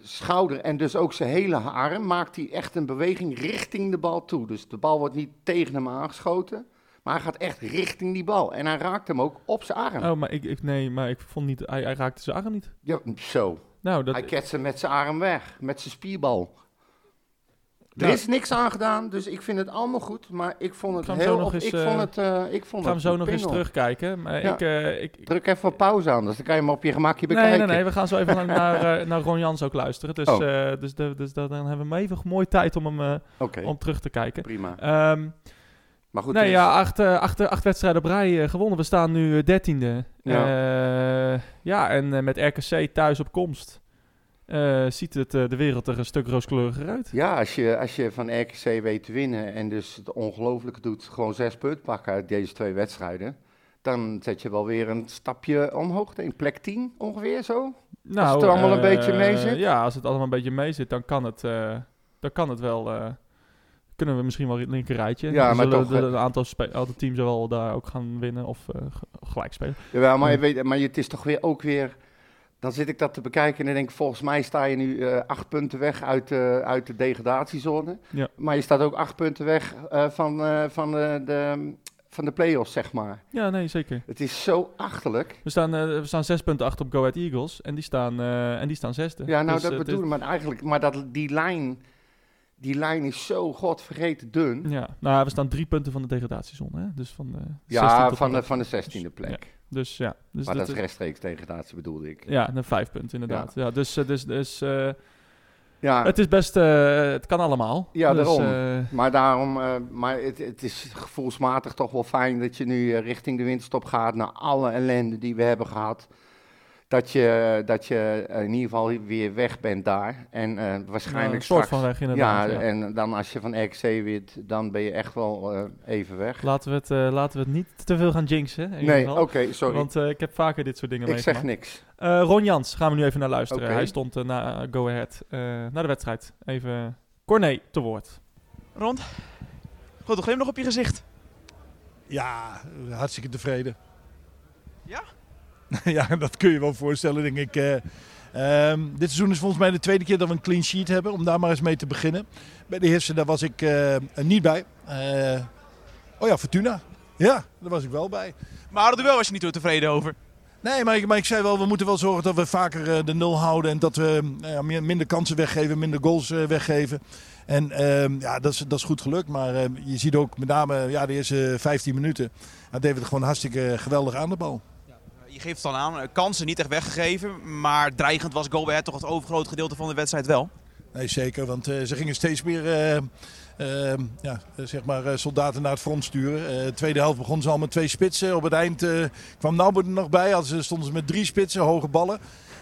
[SPEAKER 2] schouder en dus ook zijn hele arm, maakt hij echt een beweging richting de bal toe. Dus de bal wordt niet tegen hem aangeschoten, maar hij gaat echt richting die bal. En hij raakt hem ook op zijn arm.
[SPEAKER 1] Oh, maar ik, ik, nee, maar ik vond niet... Hij, hij raakte zijn arm niet.
[SPEAKER 2] Ja, zo.
[SPEAKER 1] Nou, dat...
[SPEAKER 2] Hij ketst hem met zijn arm weg, met zijn spierbal. Er
[SPEAKER 1] Nou,
[SPEAKER 2] is niks aan gedaan, dus ik vind het allemaal goed. Maar ik vond het
[SPEAKER 1] Gaan we zo
[SPEAKER 2] heel...
[SPEAKER 1] nog
[SPEAKER 2] op-
[SPEAKER 1] eens,
[SPEAKER 2] ik,
[SPEAKER 1] eh,
[SPEAKER 2] vond het, eh,
[SPEAKER 1] Ik
[SPEAKER 2] ik vond
[SPEAKER 1] ga hem
[SPEAKER 2] het
[SPEAKER 1] zo
[SPEAKER 2] een
[SPEAKER 1] nog eens
[SPEAKER 2] pingel.
[SPEAKER 1] terugkijken. Maar
[SPEAKER 2] Ja.
[SPEAKER 1] ik, eh, ik, ik-
[SPEAKER 2] Druk even op pauze anders, dan kan je hem op je gemakje
[SPEAKER 1] nee,
[SPEAKER 2] bekijken.
[SPEAKER 1] nee, nee, we gaan zo
[SPEAKER 2] *laughs*
[SPEAKER 1] even naar, naar, eh, naar Ron Jans ook luisteren. Dus,
[SPEAKER 2] Oh.
[SPEAKER 1] eh, dus, de, dus dan hebben we hem even mooi tijd om hem eh,
[SPEAKER 2] Oké,
[SPEAKER 1] om terug te kijken.
[SPEAKER 2] prima.
[SPEAKER 1] Ehm,
[SPEAKER 2] Maar goed,
[SPEAKER 1] nee,
[SPEAKER 2] dus-
[SPEAKER 1] ja, acht, eh, acht, acht wedstrijden op rij eh, gewonnen. We staan nu dertiende. Ja, ja en eh, met RKC thuis op komst eh, ziet het, eh, de wereld er een stuk rooskleuriger uit.
[SPEAKER 2] ja als, je, als je van RKC weet te winnen en dus het ongelooflijke doet, gewoon zes punten pakken uit deze twee wedstrijden, dan zet je wel weer een stapje omhoog, denk ik. plek 10 ongeveer zo.
[SPEAKER 1] Nou,
[SPEAKER 2] het er allemaal een
[SPEAKER 1] eh,
[SPEAKER 2] beetje mee zit?
[SPEAKER 1] Ja, als het allemaal een beetje mee zit, dan kan het, eh, dan kan het wel... eh, kunnen we misschien wel het linker rijtje.
[SPEAKER 2] Ja,
[SPEAKER 1] Dan
[SPEAKER 2] maar
[SPEAKER 1] zullen
[SPEAKER 2] toch,
[SPEAKER 1] de-
[SPEAKER 2] eh,
[SPEAKER 1] Een aantal, spe- aantal teams wel daar ook gaan winnen of eh, g- gelijk spelen.
[SPEAKER 2] Jawel, maar,
[SPEAKER 1] Ja.
[SPEAKER 2] je weet, maar je- het is toch weer ook weer. Dan zit ik dat te bekijken en dan denk ik, volgens mij sta je nu eh, acht punten weg uit, de uit de degradatiezone.
[SPEAKER 1] Ja.
[SPEAKER 2] Maar je staat ook acht punten weg eh, van, eh, van, de, de, van de play-offs, zeg maar.
[SPEAKER 1] Ja, nee, zeker.
[SPEAKER 2] Het is zo achterlijk.
[SPEAKER 1] We staan, eh, we staan zes punten achter op Go Ahead Eagles. En die staan, eh, en die staan zesde.
[SPEAKER 2] Ja, nou
[SPEAKER 1] Dus,
[SPEAKER 2] dat
[SPEAKER 1] eh, het is-
[SPEAKER 2] bedoel ik. Maar eigenlijk, maar dat, die lijn die lijn is zo godvergeten dun.
[SPEAKER 1] Ja, nou ja, we staan drie punten van de degradatiezone. Hè? Dus van de 16
[SPEAKER 2] Ja,
[SPEAKER 1] tot
[SPEAKER 2] van de,
[SPEAKER 1] 11.
[SPEAKER 2] van de zestiende plek.
[SPEAKER 1] Dus ja, dus
[SPEAKER 2] maar dat,
[SPEAKER 1] dat-
[SPEAKER 2] is rechtstreeks degradatie bedoelde ik.
[SPEAKER 1] ja, een vijf punten inderdaad. Ja. dus eh, dus, dus eh,
[SPEAKER 2] Ja.
[SPEAKER 1] het is best, eh, het kan allemaal.
[SPEAKER 2] Ja,
[SPEAKER 1] dus,
[SPEAKER 2] daarom.
[SPEAKER 1] eh,
[SPEAKER 2] Maar daarom, eh, maar het, het is gevoelsmatig toch wel fijn dat je nu eh, richting de winterstop gaat. Na alle ellende die we hebben gehad. Dat je, dat je eh, in ieder geval weer weg bent daar. En eh, waarschijnlijk
[SPEAKER 1] nou, een soort
[SPEAKER 2] straks...
[SPEAKER 1] van weg
[SPEAKER 2] ja,
[SPEAKER 1] inderdaad. Ja,
[SPEAKER 2] en dan als je van RxC wint, dan ben je echt wel eh, even weg.
[SPEAKER 1] Laten, we het, eh, laten we het niet te veel gaan jinxen. in ieder
[SPEAKER 2] Nee,
[SPEAKER 1] geval.
[SPEAKER 2] oké, sorry.
[SPEAKER 1] Want eh, ik heb vaker dit soort dingen
[SPEAKER 2] ik
[SPEAKER 1] meegemaakt.
[SPEAKER 2] zeg niks.
[SPEAKER 1] Eh, Ron Jans, gaan we nu even naar luisteren.
[SPEAKER 2] Oké.
[SPEAKER 1] Hij stond eh, na Go Ahead, eh, na de wedstrijd. Even Corné te woord.
[SPEAKER 4] Rond. Grote glimlach op je gezicht.
[SPEAKER 6] Ja, hartstikke tevreden.
[SPEAKER 4] Ja?
[SPEAKER 6] *laughs* ja, dat kun je wel voorstellen, denk ik. Eh, ehm, dit seizoen is volgens mij de tweede keer dat we een clean sheet hebben, om daar maar eens mee te beginnen. Bij de Heersen, daar was ik eh, er niet bij. Eh, oh ja, Fortuna. Ja, daar was ik wel bij.
[SPEAKER 4] Maar het duel was je niet zo tevreden over.
[SPEAKER 6] Nee, maar ik, maar ik zei wel, we moeten wel zorgen dat we vaker eh, de nul houden. En dat we eh, ja, meer- minder kansen weggeven, minder goals eh, weggeven. En ehm, ja, dat is, dat is goed gelukt. Maar eh, je ziet ook met name ja, de eerste 15 minuten. Ja, David gewoon hartstikke eh, geweldig aan de bal.
[SPEAKER 4] Je geeft het al aan, eh, kansen niet echt weggegeven. Maar dreigend was Go Ahead toch het overgrote gedeelte van de wedstrijd wel.
[SPEAKER 6] Nee, zeker. Want eh, ze gingen steeds meer eh, ehm, ja, eh, zeg maar, eh, soldaten naar het front sturen. Eh, de tweede helft begon ze al met twee spitsen. Op het eind eh, kwam Nauber er nog bij. Hadden ze, stonden ze met drie spitsen, hoge ballen.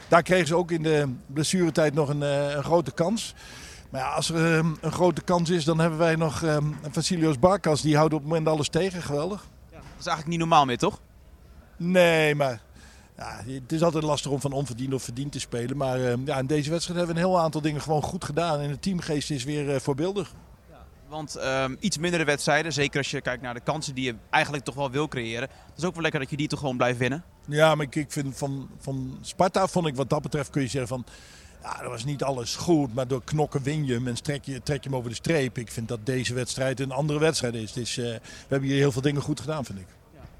[SPEAKER 6] Daar kregen ze ook in de blessuretijd nog een, eh, een grote kans. Maar ja, als er ehm, een grote kans is, dan hebben wij nog ehm Vasilios Barkas. Die houdt op het moment alles tegen. Geweldig.
[SPEAKER 4] Dat is eigenlijk niet normaal meer, toch?
[SPEAKER 6] Nee, maar ja, het is altijd lastig om van onverdiend of verdiend te spelen. Maar eh, ja, in deze wedstrijd hebben we een heel aantal dingen gewoon goed gedaan. En de teamgeest is weer eh, voorbeeldig.
[SPEAKER 4] Want ehm, iets mindere wedstrijden, zeker als je kijkt naar de kansen die je eigenlijk toch wel wil creëren. Het is ook wel lekker dat je die toch gewoon blijft winnen.
[SPEAKER 6] Ja, maar ik, ik vind van, van Sparta vond ik wat dat betreft kun je zeggen van... Ja, dat was niet alles goed, maar door knokken win je hem en trek je, trek je hem over de streep. Ik vind dat deze wedstrijd een andere wedstrijd is. Dus, eh, we hebben hier heel veel dingen goed gedaan, vind ik.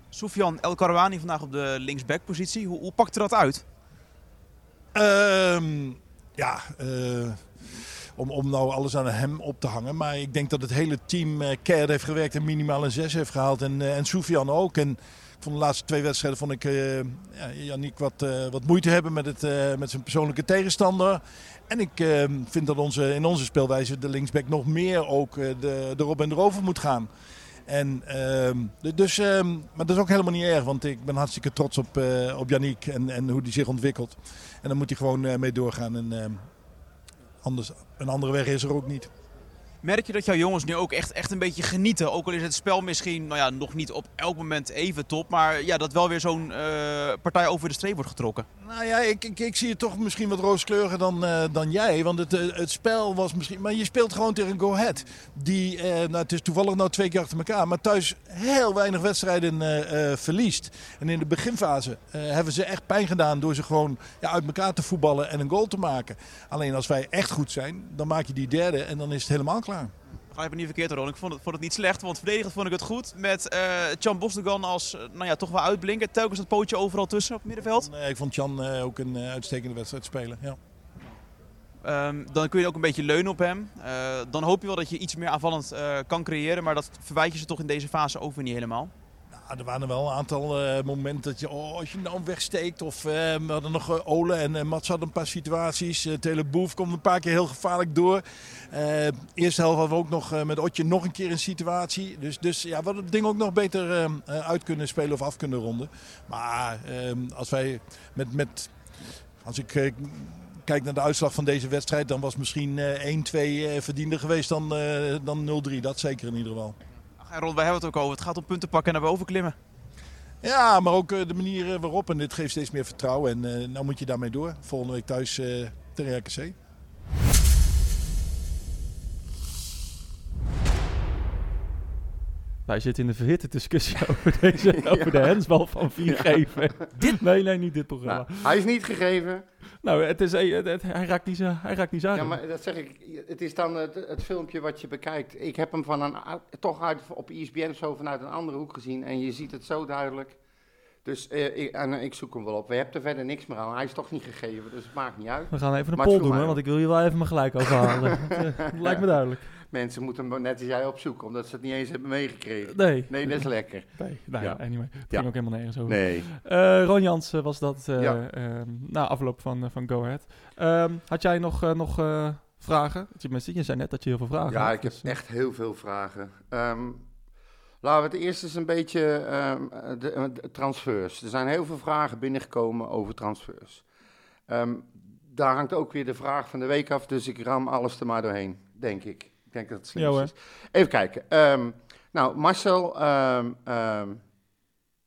[SPEAKER 4] Soufian El Karouani vandaag op de linksbackpositie. Hoe, hoe pakte dat uit?
[SPEAKER 6] Ehm, ja, eh, om, om nou alles aan hem op te hangen. Maar ik denk dat het hele team eh keihard heeft gewerkt en minimaal een 6 heeft gehaald. En, eh, en Soufian ook. En ik vond de laatste twee wedstrijden vond ik eh, ja, Yannick wat, eh, wat moeite hebben met, het, eh, met zijn persoonlijke tegenstander. En ik eh, vind dat onze, in onze speelwijze de linksback nog meer ook eh, de, erop en erover moet gaan. En, ehm, d- dus, ehm, maar dat is ook helemaal niet erg, want ik ben hartstikke trots op, eh op Yannick en, en hoe die zich ontwikkelt. En daar moet hij gewoon eh, mee doorgaan. En, ehm, anders, een andere weg is er ook niet.
[SPEAKER 4] Merk je dat jouw jongens nu ook echt, echt een beetje genieten? Ook al is het spel misschien nou ja, nog niet op elk moment even top. Maar ja, dat wel weer zo'n eh, partij over de streep wordt getrokken.
[SPEAKER 6] Nou ja, ik, ik, ik zie het toch misschien wat rooskleuriger dan, eh, dan jij. Want het, eh, het spel was misschien... Maar je speelt gewoon tegen Go Ahead. Die, eh, nou, het is toevallig nou twee keer achter elkaar. Maar thuis heel weinig wedstrijden eh, eh, verliest. En in de beginfase eh, hebben ze echt pijn gedaan... door ze gewoon ja, uit elkaar te voetballen en een goal te maken. Alleen als wij echt goed zijn, dan maak je die derde en dan is het helemaal klaar.
[SPEAKER 4] Begrijp me niet verkeerd, Ron. Ik vond het, vond het niet slecht, want verdedigend vond ik het goed. Met eh Chan Bosdogan als eh, nou ja, toch wel uitblinken. Telkens dat pootje overal tussen op het middenveld.
[SPEAKER 6] Nee, ik vond Jan eh, ook een eh, uitstekende wedstrijd spelen. Ja.
[SPEAKER 4] Ehm, dan kun je ook een beetje leunen op hem. Eh, dan hoop je wel dat je iets meer aanvallend eh, kan creëren. Maar dat verwijt je ze toch in deze fase ook weer niet helemaal.
[SPEAKER 6] Ja, Nou, er waren wel een aantal eh, momenten dat je, oh, als je nou wegsteekt. Of eh, we hadden nog eh, Ole en eh, Mats hadden een paar situaties. Eh Teleboef komt een paar keer heel gevaarlijk door. Eh eerste helft hadden we ook nog eh, met Otje nog een keer een situatie. Dus, dus ja, we hadden het ding ook nog beter eh, eh, uit kunnen spelen of af kunnen ronden. Maar eh, als wij met, met als ik eh, kijk naar de uitslag van deze wedstrijd, dan was misschien eh 1-2 eh, verdiender geweest dan, eh, dan 0-3. Dat zeker in ieder geval.
[SPEAKER 4] Ach, en Ron, wij hebben het ook over. Het gaat om punten pakken en naar boven klimmen.
[SPEAKER 6] Ja, maar ook eh, de manier eh, waarop. En dit geeft steeds meer vertrouwen. En eh, nou moet je daarmee door. Volgende week thuis eh tegen RKC.
[SPEAKER 1] Wij zitten in de verhitte discussie *laughs* over, deze,
[SPEAKER 2] *laughs*
[SPEAKER 1] over de hensbal van 4G. Dit? Nee, nee, niet dit programma.
[SPEAKER 2] Nou, hij is niet gegeven.
[SPEAKER 1] Nou, het is, eh, het- het- hij raakt niet zijn hij raakt niet zijn
[SPEAKER 2] Ja,
[SPEAKER 1] arm.
[SPEAKER 2] maar dat zeg ik. Het is dan het, het filmpje wat je bekijkt. Ik heb hem van een, ou- toch uit, op E ESPN zo vanuit een andere hoek gezien. En je ziet het zo duidelijk. Dus eh, ik, en, eh, ik zoek hem wel op. We hebben er verder niks meer aan. Hij is toch niet gegeven, dus het maakt niet uit.
[SPEAKER 1] We gaan even een
[SPEAKER 2] Maar
[SPEAKER 1] poll
[SPEAKER 2] het
[SPEAKER 1] doen,
[SPEAKER 2] viel mij
[SPEAKER 1] hè,
[SPEAKER 2] op.
[SPEAKER 1] want ik wil hier wel even mijn gelijk
[SPEAKER 2] *laughs*
[SPEAKER 1] overhalen. Dat lijkt me duidelijk.
[SPEAKER 2] Mensen moeten hem net als jij opzoeken, omdat ze het niet eens hebben meegekregen.
[SPEAKER 1] Nee.
[SPEAKER 2] Nee, dat is lekker.
[SPEAKER 1] Nee, nou ja,
[SPEAKER 2] Ja.
[SPEAKER 1] anyway. Het
[SPEAKER 2] Ja.
[SPEAKER 1] ging ook helemaal nergens over.
[SPEAKER 2] Nee.
[SPEAKER 1] Eh, Ron Jans eh, was dat eh,
[SPEAKER 2] Ja.
[SPEAKER 1] ehm, na afloop van, eh, van Go Ahead. Ehm, had jij nog, eh, nog eh, vragen? Tenminste, je zei net dat je heel veel vragen
[SPEAKER 2] Ja,
[SPEAKER 1] had,
[SPEAKER 2] ik heb
[SPEAKER 1] dus, eh,
[SPEAKER 2] echt heel veel vragen. Ehm, laten we het eerst eens een beetje ehm, de, eh, de transfers. Er zijn heel veel vragen binnengekomen over transfers. Ehm, daar hangt ook weer de vraag van de week af, dus ik ram alles er maar doorheen, denk ik. Ik denk dat het slim
[SPEAKER 1] Ja,
[SPEAKER 2] is. Even kijken. Ehm, nou, Marcel ehm, ehm,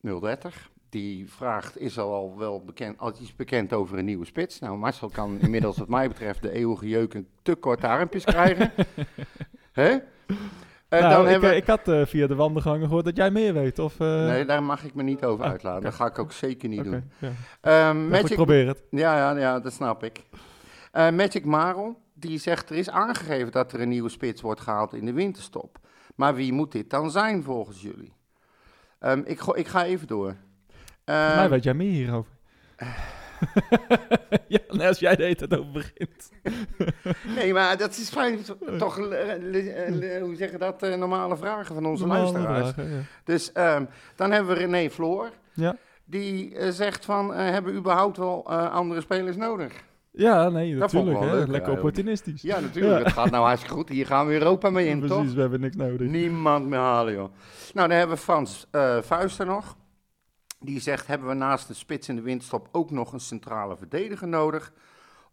[SPEAKER 2] 030, die vraagt, is al, al wel bekend, al iets bekend over een nieuwe spits? Nou, Marcel kan inmiddels wat mij betreft de eeuwige jeuk een te korte armpjes
[SPEAKER 1] *laughs*
[SPEAKER 2] krijgen. Hè? En
[SPEAKER 1] nou,
[SPEAKER 2] dan
[SPEAKER 1] ik,
[SPEAKER 2] hebben
[SPEAKER 1] eh,
[SPEAKER 2] we-
[SPEAKER 1] ik had eh, via de wandelgangen gehoord dat jij meer weet. Of, eh,
[SPEAKER 2] Nee, daar mag ik me niet over
[SPEAKER 1] Ah,
[SPEAKER 2] uitlaten.
[SPEAKER 1] oké.
[SPEAKER 2] Dat ga ik ook zeker niet
[SPEAKER 1] oké,
[SPEAKER 2] doen.
[SPEAKER 1] ja.
[SPEAKER 2] Ehm,
[SPEAKER 1] Maar goed,
[SPEAKER 2] Magic
[SPEAKER 1] probeer het.
[SPEAKER 2] Ja, ja, ja, dat snap ik. Eh, Magic Marel, die zegt er is aangegeven dat er een nieuwe spits wordt gehaald in de winterstop. Maar wie moet dit dan zijn volgens jullie? Ehm, ik, go- ik ga even door.
[SPEAKER 1] Volgens mij
[SPEAKER 2] Ehm,
[SPEAKER 1] weet jij meer hierover. *laughs* ja, nee, als jij de hele tijd over begint.
[SPEAKER 2] nee, maar dat is fijn. Toch, eh, le- eh, le- hoe zeggen dat, eh, normale vragen van onze
[SPEAKER 1] Normale
[SPEAKER 2] luisteraars.
[SPEAKER 1] vragen, ja.
[SPEAKER 2] Dus ehm, dan hebben we René Floor.
[SPEAKER 1] Ja.
[SPEAKER 2] Die eh, zegt van, eh, hebben we überhaupt wel eh, andere spelers nodig?
[SPEAKER 1] Ja, nee,
[SPEAKER 2] Dat vond ik
[SPEAKER 1] natuurlijk.
[SPEAKER 2] wel
[SPEAKER 1] hè.
[SPEAKER 2] leuk,
[SPEAKER 1] Lekker
[SPEAKER 2] ja,
[SPEAKER 1] opportunistisch.
[SPEAKER 2] Ja, natuurlijk. Het gaat nou hartstikke goed. Hier gaan we Europa mee in,
[SPEAKER 1] Precies,
[SPEAKER 2] toch?
[SPEAKER 1] we hebben niks nodig.
[SPEAKER 2] Niemand meer halen, joh. Nou, dan hebben we Frans eh Vuister nog. Die zegt, hebben we naast de spits in de windstop ook nog een centrale verdediger nodig?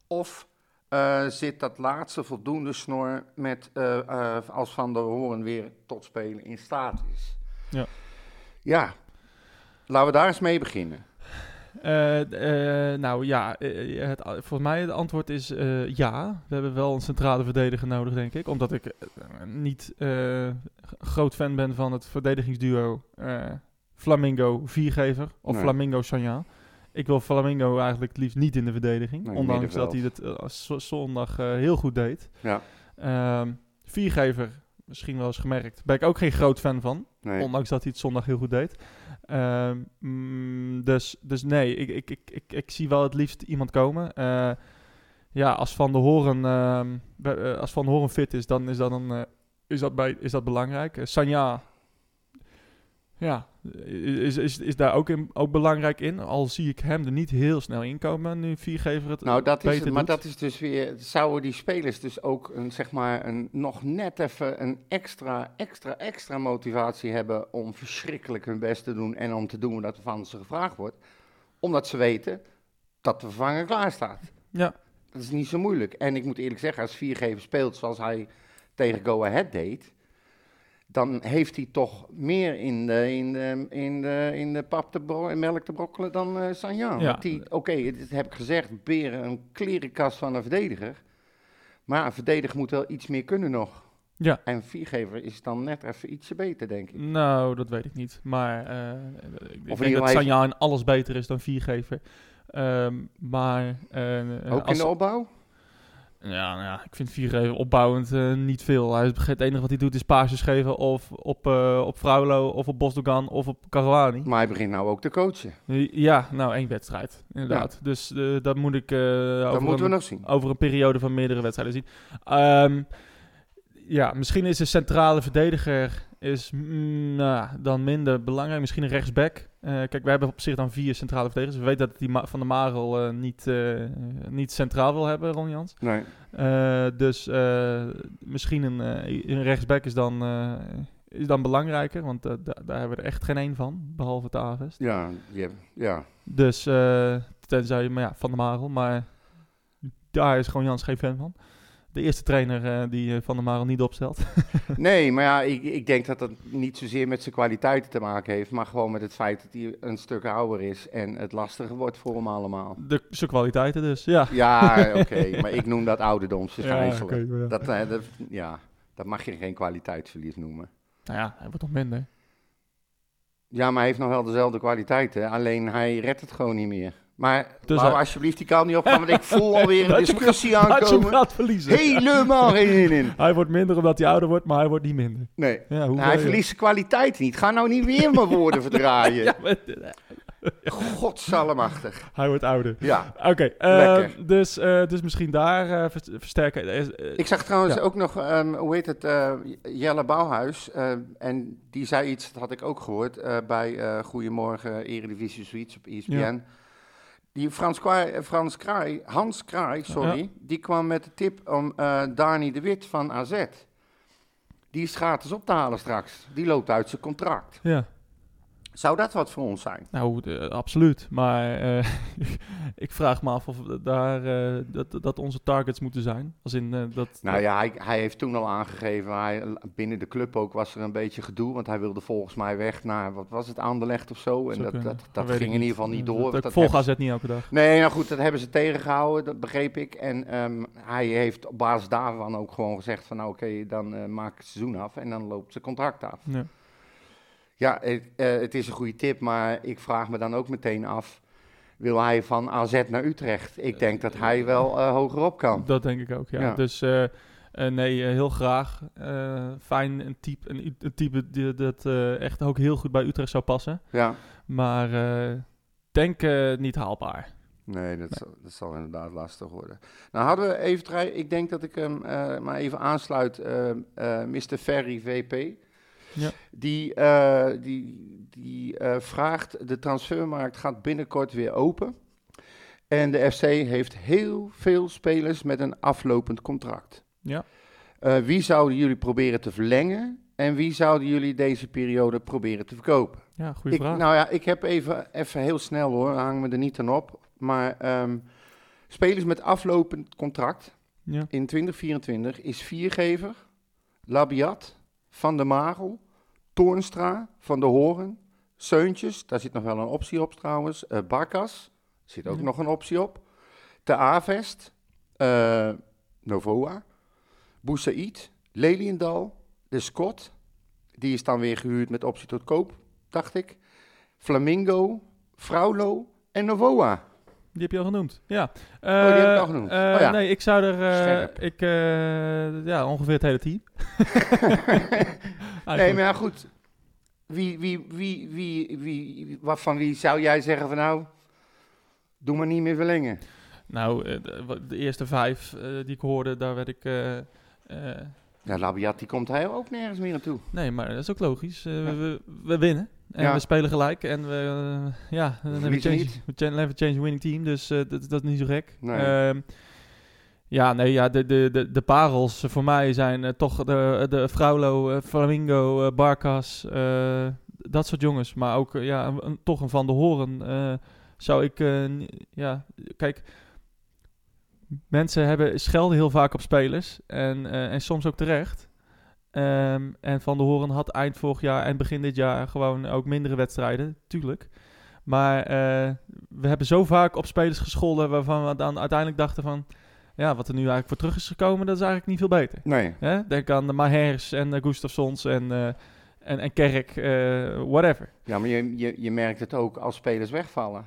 [SPEAKER 2] Of eh, zit dat laatste voldoende snor met, eh, eh, als Van der Hoorn weer tot spelen in staat is?
[SPEAKER 1] Ja.
[SPEAKER 2] Ja. Laten we daar eens mee beginnen.
[SPEAKER 1] Eh, d- eh, nou ja, eh, het, a- volgens mij het antwoord is eh, ja. We hebben wel een centrale verdediger nodig, denk ik. Omdat ik eh, niet eh, g- groot fan ben van het verdedigingsduo eh, Flamingo Viergever of
[SPEAKER 2] Nee.
[SPEAKER 1] Flamingo Sanja. Ik wil Flamingo eigenlijk het liefst niet in de verdediging.
[SPEAKER 2] Nee,
[SPEAKER 1] ondanks dat
[SPEAKER 2] middenveld.
[SPEAKER 1] hij dat eh, z- zondag eh, heel goed deed.
[SPEAKER 2] Ja.
[SPEAKER 1] Ehm, viergever, misschien wel eens gemerkt. Ben ik ook geen groot fan van.
[SPEAKER 2] Nee.
[SPEAKER 1] Ondanks dat hij het zondag heel goed deed. Ehm, mm, dus, dus nee, ik, ik, ik, ik, ik zie wel het liefst iemand komen. Eh, ja, als Van de Horen, ehm, we- eh, als van de Horen fit is, dan is dat, een, eh, is dat, bij, is dat belangrijk. Eh, Sanja, ja, is, is, is daar ook, in, ook belangrijk in. Al zie ik hem er niet heel snel in komen nu Viergever het
[SPEAKER 2] Nou, dat is
[SPEAKER 1] beter
[SPEAKER 2] het, maar
[SPEAKER 1] doet.
[SPEAKER 2] dat is dus weer. Zouden die spelers dus ook een, zeg maar, een, nog net even een extra, extra, extra motivatie hebben om verschrikkelijk hun best te doen en om te doen wat er van ze gevraagd wordt? Omdat ze weten dat de vervanger klaar staat.
[SPEAKER 1] Ja.
[SPEAKER 2] Dat is niet zo moeilijk. En ik moet eerlijk zeggen, als viergever speelt zoals hij tegen Go Ahead deed, dan heeft hij toch meer in de, in de, in de, in de pap te bro- en melk te brokkelen dan eh Sanjan.
[SPEAKER 1] Ja.
[SPEAKER 2] Want die- Oké, het- dat heb ik gezegd, Beren een klerenkast van een verdediger. Maar een verdediger moet wel iets meer kunnen nog.
[SPEAKER 1] Ja.
[SPEAKER 2] En viergever is dan net even ietsje beter, denk ik.
[SPEAKER 1] Nou, dat weet ik niet. Maar eh, ik
[SPEAKER 2] ieder
[SPEAKER 1] denk
[SPEAKER 2] geval
[SPEAKER 1] dat
[SPEAKER 2] heeft-
[SPEAKER 1] Sanja in alles beter is dan Viergever. Ehm, maar eh,
[SPEAKER 2] Ook in
[SPEAKER 1] als,
[SPEAKER 2] de opbouw?
[SPEAKER 1] Ja, nou ja, ik vind Viergever opbouwend eh, niet veel. Hij, is- het enige wat hij doet is paasjes geven of op, eh op Fraulo of op Bosdogan of op Caruani.
[SPEAKER 2] Maar hij begint nou ook te coachen.
[SPEAKER 1] Ja, nou één wedstrijd, inderdaad. Dus eh, dat moet ik eh,
[SPEAKER 2] Dat
[SPEAKER 1] over,
[SPEAKER 2] moeten we
[SPEAKER 1] een,
[SPEAKER 2] nog zien.
[SPEAKER 1] over een periode van meerdere wedstrijden zien. Ehm, ja, misschien is een centrale verdediger is, mm, nou, dan minder belangrijk. Misschien een rechtsback. Eh, kijk, we hebben op zich dan vier centrale verdedigers. We weten dat die Ma- Van der Marel eh, niet, eh, niet centraal wil hebben, Ron Jans.
[SPEAKER 2] Nee.
[SPEAKER 1] Eh, dus eh, misschien een, eh, een rechtsback is dan, eh, is dan belangrijker, want eh, da- daar hebben we er echt geen één van, behalve Taves.
[SPEAKER 2] Ja, die hebben- ja.
[SPEAKER 1] Dus eh, tenzij je maar ja, Van der Marel, maar daar is gewoon Jans geen fan van. De eerste trainer eh, die eh, Van der Marel niet opstelt. *laughs*
[SPEAKER 2] Nee, maar ja, ik, ik denk dat dat niet zozeer met zijn kwaliteiten te maken heeft, maar gewoon met het feit dat hij een stuk ouder is en het lastiger wordt voor hem allemaal.
[SPEAKER 1] De, zijn kwaliteiten dus, ja.
[SPEAKER 2] Ja, oké,
[SPEAKER 1] *laughs*
[SPEAKER 2] maar ik noem dat ouderdomsverschijnselen.
[SPEAKER 1] oké, maar ja.
[SPEAKER 2] dat, eh, dat, ja, dat mag je geen kwaliteitsverlies noemen.
[SPEAKER 1] Nou ja, hij wordt nog minder.
[SPEAKER 2] Ja, maar hij heeft nog wel dezelfde kwaliteiten, alleen hij redt het gewoon niet meer. Maar
[SPEAKER 1] Dus
[SPEAKER 2] wou
[SPEAKER 1] hij-
[SPEAKER 2] alsjeblieft die kan niet opgaan,
[SPEAKER 1] *laughs*
[SPEAKER 2] want ik voel alweer een
[SPEAKER 1] Laat je hem-
[SPEAKER 2] discussie
[SPEAKER 1] Had je hem
[SPEAKER 2] aankomen.
[SPEAKER 1] gaat verliezen.
[SPEAKER 2] Helemaal geen zin in.
[SPEAKER 1] Hij wordt minder omdat hij ouder wordt, maar hij wordt niet minder.
[SPEAKER 2] Nee.
[SPEAKER 1] Ja, hoe
[SPEAKER 2] Nou, hij
[SPEAKER 1] wil je? *laughs*
[SPEAKER 2] verliest zijn kwaliteit niet. Ga nou niet weer mijn woorden verdraaien.
[SPEAKER 1] Ja, maar-
[SPEAKER 2] Godsallemachtig.
[SPEAKER 1] hij wordt ouder.
[SPEAKER 2] Ja.
[SPEAKER 1] Oké, eh,
[SPEAKER 2] Lekker.
[SPEAKER 1] dus, eh, dus misschien daar eh, vers- versterken. Eh, eh,
[SPEAKER 2] Ik zag trouwens
[SPEAKER 1] Ja.
[SPEAKER 2] ook nog, ehm, hoe heet het, eh, Jelle Bouwhuis. eh, en die zei iets, dat had ik ook gehoord, eh, bij eh, Goedemorgen Eredivisie Suites op E ESPN.
[SPEAKER 1] Ja.
[SPEAKER 2] Die Frans, Kwaai, eh, Frans Kraai, Hans Kraai, sorry, die kwam met de tip om eh Dani de Wit van AZ. Die is gratis op te halen straks. Die loopt uit zijn contract.
[SPEAKER 1] ja,
[SPEAKER 2] Zou dat wat voor ons zijn?
[SPEAKER 1] nou, eh, absoluut. Maar eh, *laughs* ik vraag me af of we daar, eh, dat, dat onze targets moeten zijn. Als in eh, dat...
[SPEAKER 2] Nou ja, hij, hij heeft toen al aangegeven, hij, binnen de club ook was er een beetje gedoe, want hij wilde volgens mij weg naar, wat was het, Anderlecht of zo. En
[SPEAKER 1] zou
[SPEAKER 2] dat, dat,
[SPEAKER 1] kunnen.
[SPEAKER 2] dat,
[SPEAKER 1] weet ik
[SPEAKER 2] ging in ieder geval niet
[SPEAKER 1] Eh,
[SPEAKER 2] door.
[SPEAKER 1] dat-
[SPEAKER 2] want
[SPEAKER 1] ik
[SPEAKER 2] dat
[SPEAKER 1] volg
[SPEAKER 2] hebben
[SPEAKER 1] AZ niet elke dag.
[SPEAKER 2] ze- Nee, nou goed, dat hebben ze tegengehouden, dat begreep ik. En ehm, hij heeft op basis daarvan ook gewoon gezegd van, nou oké, dan eh, maak ik het seizoen af en dan loopt zijn contract af.
[SPEAKER 1] Ja.
[SPEAKER 2] Ja, het, eh, het is een goede tip, maar ik vraag me dan ook meteen af, wil hij van AZ naar Utrecht? Ik denk dat hij wel eh, hogerop kan.
[SPEAKER 1] Eh, Dat denk ik ook, ja.
[SPEAKER 2] Ja.
[SPEAKER 1] Dus eh, eh, nee, eh, heel graag. Eh, fijn, een type, een, u- een type die, dat eh, echt ook heel goed bij Utrecht zou passen.
[SPEAKER 2] Ja.
[SPEAKER 1] Maar eh, denk eh, niet haalbaar.
[SPEAKER 2] Nee, dat, Zal, dat zal inderdaad lastig worden. Nou hadden we even, tra- ik denk dat ik hem eh, maar even aansluit, eh eh, Mr. Ferry VP.
[SPEAKER 1] Ja.
[SPEAKER 2] Die, eh, die, die eh, vraagt, de transfermarkt gaat binnenkort weer open. En de FC heeft heel veel spelers met een aflopend contract.
[SPEAKER 1] Ja.
[SPEAKER 2] Eh, wie zouden jullie proberen te verlengen? En wie zouden jullie deze periode proberen te verkopen?
[SPEAKER 1] Ja, goede
[SPEAKER 2] Ik-
[SPEAKER 1] vraag.
[SPEAKER 2] Nou ja, ik heb even, even heel snel hoor, hang me er niet aan op. Maar ehm, spelers met aflopend contract
[SPEAKER 1] ja.
[SPEAKER 2] in 2024 is Viergever, Labiat, Van der Marel, Toornstra, Van der Horen, Seuntjes, daar zit nog wel een optie op trouwens, eh Barkas, zit ook
[SPEAKER 1] Ja.
[SPEAKER 2] nog een optie op, Te Avest, eh, Novoa, Boussaïd, Leliendal, De Scott, die is dan weer gehuurd met optie tot koop, dacht ik, Flamingo, Fraulo en Novoa.
[SPEAKER 1] Die heb je al genoemd. Ja.
[SPEAKER 2] Oh, die heb ik
[SPEAKER 1] Eh,
[SPEAKER 2] al genoemd.
[SPEAKER 1] eh,
[SPEAKER 2] Oh ja.
[SPEAKER 1] Nee, ik zou er. eh,
[SPEAKER 2] Scherp.
[SPEAKER 1] ik, eh, ja, ongeveer het hele team.
[SPEAKER 2] Nee,
[SPEAKER 1] Eigenlijk.
[SPEAKER 2] maar ja, goed. Wie, wie, wie, wie, wie, wat, van wie zou jij zeggen van nou, doe maar niet meer verlengen?
[SPEAKER 1] Nou, eh, de, wa- de eerste vijf eh, die ik hoorde, daar werd ik... eh, eh,
[SPEAKER 2] Ja, Labiat die komt hij ook nergens meer naartoe.
[SPEAKER 1] nee, maar dat is ook logisch. Eh,
[SPEAKER 2] Ja.
[SPEAKER 1] we, we- we winnen. En
[SPEAKER 2] Ja.
[SPEAKER 1] we spelen gelijk. En we, eh, ja, dan hebben we
[SPEAKER 2] verliezen
[SPEAKER 1] change,
[SPEAKER 2] niet.
[SPEAKER 1] we chan- hebben change winning team. Dus eh, dat, dat is niet zo gek.
[SPEAKER 2] Nee.
[SPEAKER 1] Ehm, ja, nee, ja, de, de, de, de parels voor mij zijn eh, toch de, de Fraulo, eh, Flamingo, eh, Barkas, eh, dat soort jongens. Maar ook eh, ja, een- een- toch een Van de Horen eh, zou ik... eh, ni- ja, kijk, mensen hebben, schelden heel vaak op spelers en, eh, en soms ook terecht. Ehm, en Van de Horen had eind vorig jaar en begin dit jaar gewoon ook mindere wedstrijden, tuurlijk. Maar eh, we hebben zo vaak op spelers gescholden waarvan we dan uiteindelijk dachten van... Ja, wat er nu eigenlijk voor terug is gekomen, dat is eigenlijk niet veel beter.
[SPEAKER 2] Nee.
[SPEAKER 1] Hè? Denk aan de Mahers en eh, Gustafsons en, eh, en, en Kerk, eh, whatever.
[SPEAKER 2] Ja, maar je, je, je merkt het ook als spelers wegvallen.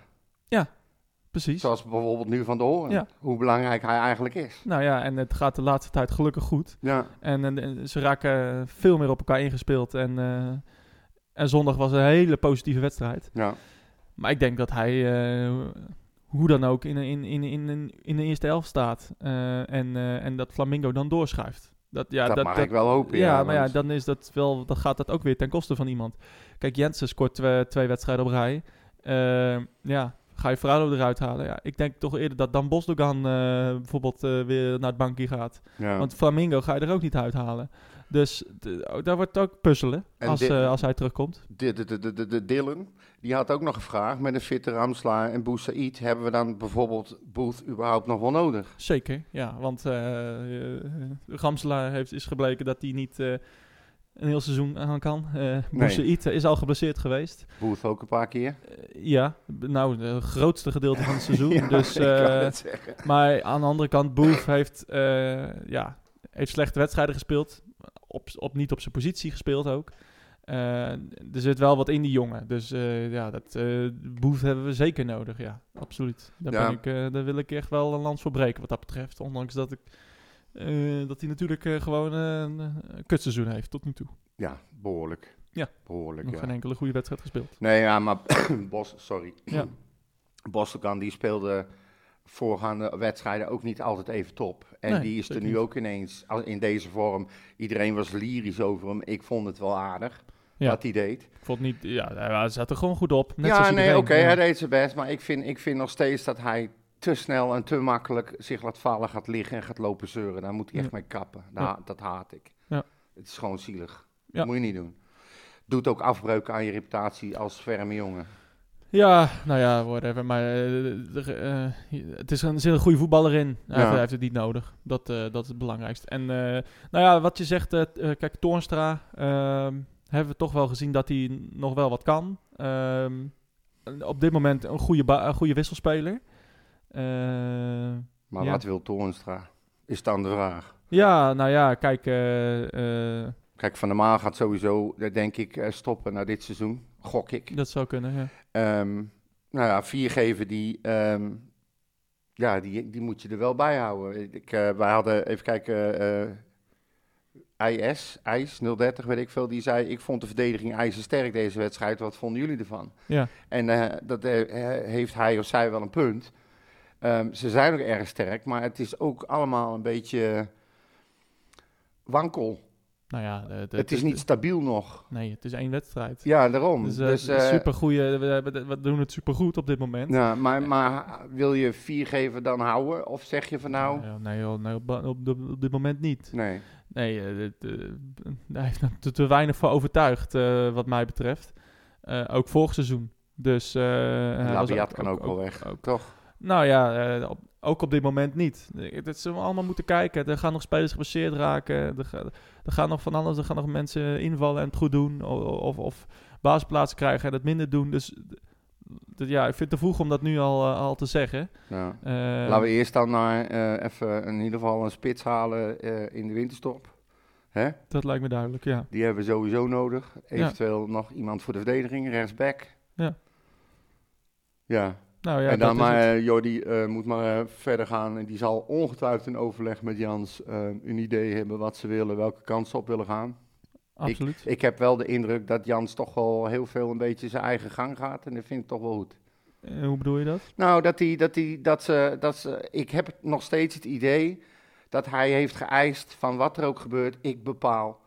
[SPEAKER 1] Precies.
[SPEAKER 2] Zoals bijvoorbeeld nu van de Horen.
[SPEAKER 1] Ja.
[SPEAKER 2] Hoe belangrijk hij eigenlijk is.
[SPEAKER 1] Nou ja, en het gaat de laatste tijd gelukkig goed.
[SPEAKER 2] Ja.
[SPEAKER 1] En, en- en ze raken veel meer op elkaar ingespeeld. En, eh, en zondag was een hele positieve wedstrijd.
[SPEAKER 2] ja.
[SPEAKER 1] Maar ik denk dat hij, eh, hoe dan ook, in, in, in, in, in- in de eerste elf staat. Eh, en, eh, en dat Flamingo dan doorschuift. Dat, ja,
[SPEAKER 2] dat,
[SPEAKER 1] dat,
[SPEAKER 2] mag
[SPEAKER 1] dat-
[SPEAKER 2] ik wel hopen.
[SPEAKER 1] Ja, maar ja,
[SPEAKER 2] want-
[SPEAKER 1] dan, is dat wel, dan gaat dat ook weer ten koste van iemand. Kijk, Jensen scoort twee, twee wedstrijden op rij. Eh, ja, ga je Fraulo eruit halen? Ja, ik denk toch eerder dat Dan Bosdogan eh, bijvoorbeeld eh, weer naar het bankje gaat.
[SPEAKER 2] ja.
[SPEAKER 1] Want Flamingo ga je er ook niet uithalen. Dus d- oh, daar wordt ook puzzelen
[SPEAKER 2] En
[SPEAKER 1] als,
[SPEAKER 2] dit-
[SPEAKER 1] eh, als hij terugkomt.
[SPEAKER 2] de, de, de, de, de, de Dylan, die had ook nog gevraagd met een fitte Ramslaar en Boussaïd. Hebben we dan bijvoorbeeld Booth überhaupt nog wel nodig?
[SPEAKER 1] Zeker, ja. Want eh eh, Ramselaar heeft, is gebleken dat hij niet eh, een heel seizoen aan kan. Eh Boussaïd is al geblesseerd geweest.
[SPEAKER 2] Booth ook een paar keer.
[SPEAKER 1] Eh, ja, b- nou, het grootste gedeelte
[SPEAKER 2] *laughs*
[SPEAKER 1] van het seizoen. dus,
[SPEAKER 2] ik kan
[SPEAKER 1] eh,
[SPEAKER 2] het zeggen.
[SPEAKER 1] maar aan de andere kant, Boef heeft, eh, ja, heeft slechte wedstrijden gespeeld. Op, op, niet op zijn positie gespeeld ook. Eh, er zit wel wat in die jongen. Dus eh, ja, dat eh Boef hebben we zeker nodig. Ja, absoluut. Daar,
[SPEAKER 2] Ja.
[SPEAKER 1] ben ik, eh, daar wil ik echt wel een lans voor breken wat dat betreft. Ondanks dat ik. eh, dat hij natuurlijk eh, gewoon eh, een, een kutseizoen heeft tot nu toe.
[SPEAKER 2] Ja, behoorlijk.
[SPEAKER 1] Ja.
[SPEAKER 2] Behoorlijk,
[SPEAKER 1] Nog
[SPEAKER 2] ja.
[SPEAKER 1] geen enkele goede wedstrijd gespeeld.
[SPEAKER 2] Nee, ja, maar *clears throat* Bos, sorry. *clears throat*
[SPEAKER 1] Ja.
[SPEAKER 2] Bostelkan, die speelde voorgaande wedstrijden ook niet altijd even top. En
[SPEAKER 1] Nee,
[SPEAKER 2] die is er
[SPEAKER 1] zeker
[SPEAKER 2] nu
[SPEAKER 1] niet.
[SPEAKER 2] ook ineens al- in deze vorm. Iedereen was lyrisch over hem. Ik vond het wel aardig
[SPEAKER 1] Ja.
[SPEAKER 2] wat hij deed.
[SPEAKER 1] Ik vond niet. Ja, hij zat er gewoon goed op. Net
[SPEAKER 2] ja,
[SPEAKER 1] zoals
[SPEAKER 2] nee, oké,
[SPEAKER 1] iedereen. Ja.
[SPEAKER 2] hij deed zijn best. Maar ik vind, ik vind nog steeds dat hij te snel en te makkelijk zich laat vallen, gaat liggen en gaat lopen zeuren. Daar moet hij echt
[SPEAKER 1] Ja.
[SPEAKER 2] mee kappen.
[SPEAKER 1] Ja.
[SPEAKER 2] Daar, Dat haat ik.
[SPEAKER 1] Ja.
[SPEAKER 2] Het is gewoon zielig.
[SPEAKER 1] Ja.
[SPEAKER 2] Moet je niet doen. Doet ook afbreuk aan je reputatie als ferme jongen.
[SPEAKER 1] Ja, nou ja, whatever. Maar eh, de- de- eh, het is een, er zit een goede voetballer in. Hij
[SPEAKER 2] Ja.
[SPEAKER 1] heeft het niet nodig. Dat, eh, dat is het belangrijkste. En eh, nou ja, wat je zegt, eh, t- eh, kijk, Toornstra ehm, hebben we toch wel gezien dat hij n- nog wel wat kan. Ehm, en op dit moment een goede, ba- een goede wisselspeler. Eh,
[SPEAKER 2] Maar
[SPEAKER 1] Ja.
[SPEAKER 2] wat wil Toornstra? Is dan de vraag.
[SPEAKER 1] ja, nou ja, kijk. eh, eh,
[SPEAKER 2] Kijk, Van der Maal gaat sowieso, eh, denk ik, eh, stoppen na dit seizoen. Gok ik.
[SPEAKER 1] dat zou kunnen. Ja.
[SPEAKER 2] Ehm, nou ja, viergever die, ehm, ja, die, die moet je er wel bij houden. Ik, eh, wij hadden, even kijken, eh IS, IJs 030 weet ik veel, die zei... ik vond de verdediging ijzersterk deze wedstrijd, wat vonden jullie ervan?
[SPEAKER 1] Ja.
[SPEAKER 2] En eh, dat eh, eh, heeft hij of zij wel een punt. Ehm, ze zijn ook erg sterk, maar het is ook allemaal een beetje wankel.
[SPEAKER 1] Nou ja, de- de-
[SPEAKER 2] het is
[SPEAKER 1] de-
[SPEAKER 2] niet stabiel nog.
[SPEAKER 1] Nee, het is één wedstrijd.
[SPEAKER 2] Ja, daarom.
[SPEAKER 1] Dus,
[SPEAKER 2] Dus,
[SPEAKER 1] eh,
[SPEAKER 2] eh,
[SPEAKER 1] supergoeie- we, hebben- we doen het supergoed op dit moment.
[SPEAKER 2] Ja, *laughs* maar, maar wil je viergever dan houden? Of zeg je van nou...
[SPEAKER 1] Nee, joh, nee, joh, nee, op, ba- op, de- op dit moment niet.
[SPEAKER 2] Nee.
[SPEAKER 1] Nee, eh, dit, eh, *laughs* hij heeft er te, te weinig voor overtuigd, eh, wat mij betreft. Eh, ook vorig seizoen. Dus, eh, hij was
[SPEAKER 2] Labiat kan ook wel weg. Toch?
[SPEAKER 1] nou ja, eh, op- ook op dit moment niet. Eh, Dat zullen we allemaal moeten kijken. Er gaan nog spelers geblesseerd raken. Er, ga- er gaan nog van alles. Er gaan nog mensen invallen en het goed doen. O- o- Of, of basisplaats krijgen en het minder doen. Dus d- ja, ik vind het te vroeg om dat nu al, eh, al te zeggen.
[SPEAKER 2] Ja.
[SPEAKER 1] Eh,
[SPEAKER 2] Laten we eerst dan maar eh, even in ieder geval een spits halen eh, in de winterstop. Hè?
[SPEAKER 1] Dat lijkt me duidelijk, ja.
[SPEAKER 2] Die hebben we sowieso nodig. Eventueel nog iemand voor de verdediging, rechtsback.
[SPEAKER 1] Ja.
[SPEAKER 2] Ja.
[SPEAKER 1] Nou ja,
[SPEAKER 2] en
[SPEAKER 1] dat
[SPEAKER 2] dan
[SPEAKER 1] is
[SPEAKER 2] maar,
[SPEAKER 1] het.
[SPEAKER 2] eh, Jordi eh, moet maar eh, verder gaan. En die zal ongetwijfeld in overleg met Jans eh, een idee hebben wat ze willen, welke kant ze op willen gaan.
[SPEAKER 1] absoluut.
[SPEAKER 2] Ik heb wel de indruk dat Jans toch wel heel veel een beetje zijn eigen gang gaat. En dat vind ik toch wel goed.
[SPEAKER 1] Eh, hoe bedoel je dat?
[SPEAKER 2] Nou, dat die, dat die, dat ze, dat ze, ik heb nog steeds het idee dat hij heeft geëist van wat er ook gebeurt, ik bepaal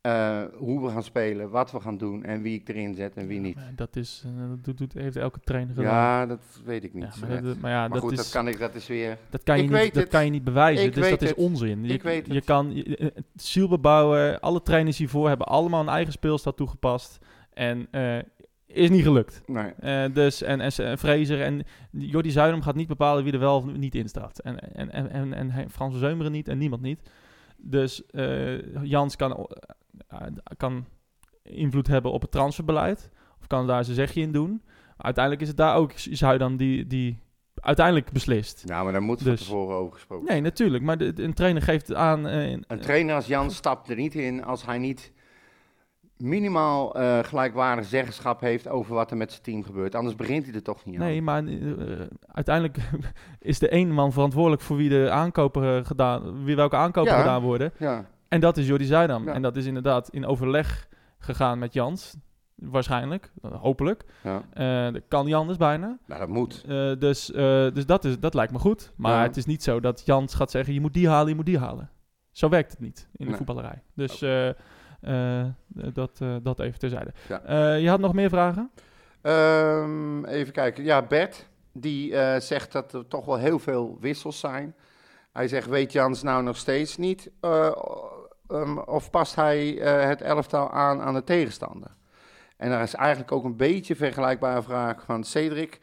[SPEAKER 2] eh, hoe we gaan spelen, wat we gaan doen en wie ik erin zet en wie niet.
[SPEAKER 1] Eh, Dat, is, eh, dat doet, doet, heeft elke trainer gedaan.
[SPEAKER 2] Ja, dat weet ik
[SPEAKER 1] Ja,
[SPEAKER 2] niet.
[SPEAKER 1] maar,
[SPEAKER 2] maar
[SPEAKER 1] dat, maar ja,
[SPEAKER 2] maar goed,
[SPEAKER 1] dat,
[SPEAKER 2] dat
[SPEAKER 1] is,
[SPEAKER 2] kan ik, dat is weer.
[SPEAKER 1] dat, kan, je
[SPEAKER 2] ik
[SPEAKER 1] niet,
[SPEAKER 2] weet
[SPEAKER 1] dat
[SPEAKER 2] het.
[SPEAKER 1] kan je niet bewijzen,
[SPEAKER 2] Ik
[SPEAKER 1] dus
[SPEAKER 2] weet
[SPEAKER 1] dat is
[SPEAKER 2] het.
[SPEAKER 1] onzin. Je,
[SPEAKER 2] Ik weet
[SPEAKER 1] je
[SPEAKER 2] het.
[SPEAKER 1] kan je- eh, het zielbebouwen, alle trainers hiervoor hebben allemaal een eigen speelstijl toegepast en eh, is niet gelukt.
[SPEAKER 2] Nee.
[SPEAKER 1] Eh, dus, en, en, en Fraser en Jordi Zuidam gaat niet bepalen wie er wel of niet in staat. En, en, en, en, en hij- Frans van Zeumeren niet en niemand niet. Dus eh, Jans kan, eh, kan invloed hebben op het transferbeleid. Of kan daar zijn zegje in doen. Maar uiteindelijk is het daar ook Zuidam die, die uiteindelijk beslist.
[SPEAKER 2] Nou, maar daar moet van
[SPEAKER 1] Dus-
[SPEAKER 2] tevoren over gesproken.
[SPEAKER 1] Nee, natuurlijk. Maar de, de- een trainer geeft aan... eh,
[SPEAKER 2] Een trainer als Jan stapt er niet in als hij niet minimaal eh, gelijkwaardig zeggenschap heeft over wat er met zijn team gebeurt. Anders begint hij er toch niet aan.
[SPEAKER 1] Nee, maar eh, uiteindelijk *laughs* is de één man verantwoordelijk voor wie de aankopen eh, gedaan, wie welke aankopen
[SPEAKER 2] Ja.
[SPEAKER 1] gedaan worden.
[SPEAKER 2] Ja.
[SPEAKER 1] En dat is Jordi Zuidam.
[SPEAKER 2] Ja.
[SPEAKER 1] En dat is inderdaad in overleg gegaan met Jans. Waarschijnlijk, hopelijk.
[SPEAKER 2] Ja.
[SPEAKER 1] Eh, dat kan niet anders bijna.
[SPEAKER 2] Nou, dat moet.
[SPEAKER 1] Eh, dus eh, dus dat, is, dat lijkt me goed. Maar
[SPEAKER 2] Ja.
[SPEAKER 1] het is niet zo dat Jans gaat zeggen: je moet die halen, je moet die halen. Zo werkt het niet in de
[SPEAKER 2] Nee.
[SPEAKER 1] voetballerij. Dus eh, eh, dat, eh, dat even terzijde.
[SPEAKER 2] Ja.
[SPEAKER 1] Eh, je had nog meer vragen?
[SPEAKER 2] Ehm, even kijken. Ja, Bert, die eh, zegt dat er toch wel heel veel wissels zijn. Hij zegt, weet Jans nou nog steeds niet? eh, ehm, of past hij eh, het elftal aan aan de tegenstander? En daar is eigenlijk ook een beetje een vergelijkbare vraag van Cedric.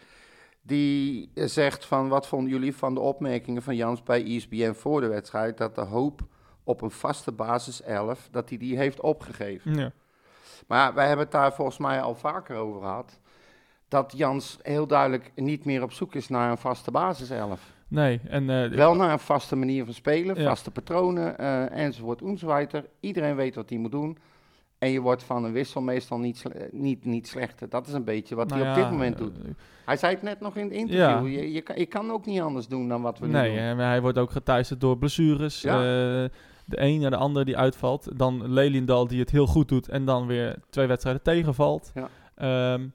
[SPEAKER 2] Die zegt van, wat vonden jullie van de opmerkingen van Jans bij E ESPN voor de wedstrijd? Dat de hoop op een vaste basis 11, dat hij die heeft opgegeven.
[SPEAKER 1] Ja.
[SPEAKER 2] Maar ja, wij hebben het daar volgens mij al vaker over gehad. Dat Jans heel duidelijk niet meer op zoek is naar een vaste basiself.
[SPEAKER 1] Nee. En, eh,
[SPEAKER 2] Wel naar een vaste manier van spelen,
[SPEAKER 1] Ja.
[SPEAKER 2] vaste patronen eh enzovoort. Oenswijter. Iedereen weet wat hij moet doen. En je wordt van een wissel meestal niet, sle- niet, niet slechter. Dat is een beetje wat
[SPEAKER 1] nou
[SPEAKER 2] hij op dit
[SPEAKER 1] ja,
[SPEAKER 2] moment doet.
[SPEAKER 1] eh,
[SPEAKER 2] Hij zei het net nog in het interview.
[SPEAKER 1] Ja.
[SPEAKER 2] Je, je, kan, je kan ook niet anders doen dan wat we nu
[SPEAKER 1] Nee,
[SPEAKER 2] doen.
[SPEAKER 1] en hij wordt ook geteisterd door blessures.
[SPEAKER 2] Ja.
[SPEAKER 1] Eh, de een naar de ander die uitvalt. Dan Leliendal die het heel goed doet en dan weer twee wedstrijden tegenvalt.
[SPEAKER 2] Ja.
[SPEAKER 1] Ehm,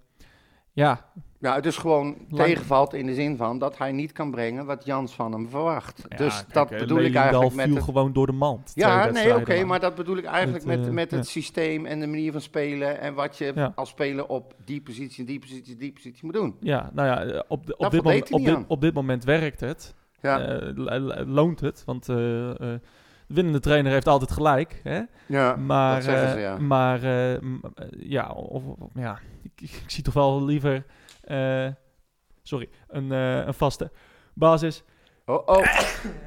[SPEAKER 1] ja,
[SPEAKER 2] Ja, Nou, het is gewoon
[SPEAKER 1] Lang-
[SPEAKER 2] tegenvalt in de zin van dat hij niet kan brengen wat Jans van hem verwacht.
[SPEAKER 1] Ja,
[SPEAKER 2] dus
[SPEAKER 1] kijk,
[SPEAKER 2] dat
[SPEAKER 1] eh,
[SPEAKER 2] bedoel ik
[SPEAKER 1] Leliendal
[SPEAKER 2] eigenlijk met
[SPEAKER 1] viel
[SPEAKER 2] het
[SPEAKER 1] gewoon door de mand. twee
[SPEAKER 2] Ja, nee,
[SPEAKER 1] wedstrijden
[SPEAKER 2] oké,
[SPEAKER 1] lang.
[SPEAKER 2] maar dat bedoel ik eigenlijk
[SPEAKER 1] Met,
[SPEAKER 2] met,
[SPEAKER 1] eh,
[SPEAKER 2] met het
[SPEAKER 1] ja.
[SPEAKER 2] systeem en de manier van spelen en wat je
[SPEAKER 1] Ja.
[SPEAKER 2] als speler op die positie, die positie, die positie moet doen.
[SPEAKER 1] Ja, nou ja, eh, op, de- op,
[SPEAKER 2] Daar
[SPEAKER 1] dit,
[SPEAKER 2] voldeed
[SPEAKER 1] moment,
[SPEAKER 2] hij
[SPEAKER 1] op,
[SPEAKER 2] niet
[SPEAKER 1] dit,
[SPEAKER 2] aan.
[SPEAKER 1] op dit moment werkt het.
[SPEAKER 2] Ja,
[SPEAKER 1] Eh, lo- lo- loont het, want eh, eh, de winnende trainer heeft altijd gelijk. Hè?
[SPEAKER 2] ja
[SPEAKER 1] maar,
[SPEAKER 2] dat zeggen ze,
[SPEAKER 1] eh,
[SPEAKER 2] ja.
[SPEAKER 1] Maar eh, m- eh, ja, of, of- ja ik, ik- ik zie toch wel liever... eh, sorry, een, eh, een vaste basis
[SPEAKER 2] Oh, oh.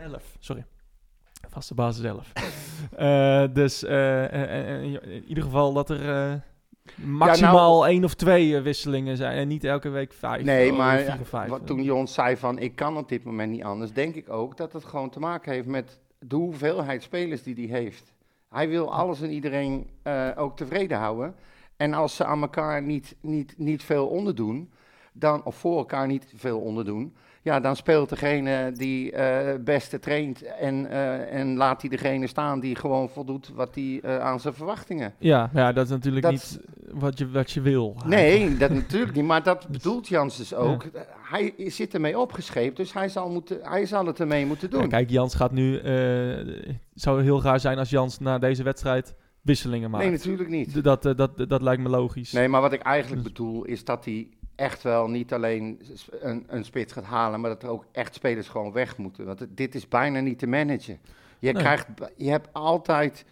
[SPEAKER 1] 11. Sorry. Vaste basis
[SPEAKER 2] *laughs*
[SPEAKER 1] 11. Eh, dus eh, eh, eh, in ieder geval dat er eh,
[SPEAKER 2] nou,
[SPEAKER 1] maximaal één of twee eh, wisselingen zijn. En niet elke week vijf.
[SPEAKER 2] Nee,
[SPEAKER 1] oh,
[SPEAKER 2] maar
[SPEAKER 1] vier of vijf.
[SPEAKER 2] wat, toen Jon zei van ik kan op dit moment niet anders, denk ik ook dat het gewoon te maken heeft met de hoeveelheid spelers die hij heeft. Hij wil alles en iedereen eh, ook tevreden houden. En als ze aan elkaar niet, niet, niet veel onderdoen, dan, of voor elkaar niet veel onderdoen, ja, dan speelt degene die eh, het beste traint en, eh, en laat hij degene staan die gewoon voldoet wat hij eh, aan zijn verwachtingen.
[SPEAKER 1] Ja, maar ja, dat is natuurlijk
[SPEAKER 2] Dat
[SPEAKER 1] niet wat je, wat je wil.
[SPEAKER 2] Nee, dat natuurlijk niet. Maar
[SPEAKER 1] *laughs*
[SPEAKER 2] dat bedoelt Jans dus ook. Hij zit ermee opgeschreven, dus hij zal, moeten, hij zal het ermee moeten
[SPEAKER 1] Ja,
[SPEAKER 2] doen.
[SPEAKER 1] kijk, Jans gaat nu... eh, het zou heel raar zijn als Jans na deze wedstrijd wisselingen maakt.
[SPEAKER 2] nee, natuurlijk niet.
[SPEAKER 1] D- dat, eh, dat, dat, lijkt me logisch.
[SPEAKER 2] Nee, maar wat ik
[SPEAKER 1] Dus-
[SPEAKER 2] eigenlijk bedoel is dat hij echt wel niet alleen s- een, een spits gaat halen, maar dat er ook echt spelers gewoon weg moeten. Want het- dit is bijna niet te managen. Je,
[SPEAKER 1] Nee.
[SPEAKER 2] krijgt, b- je hebt altijd,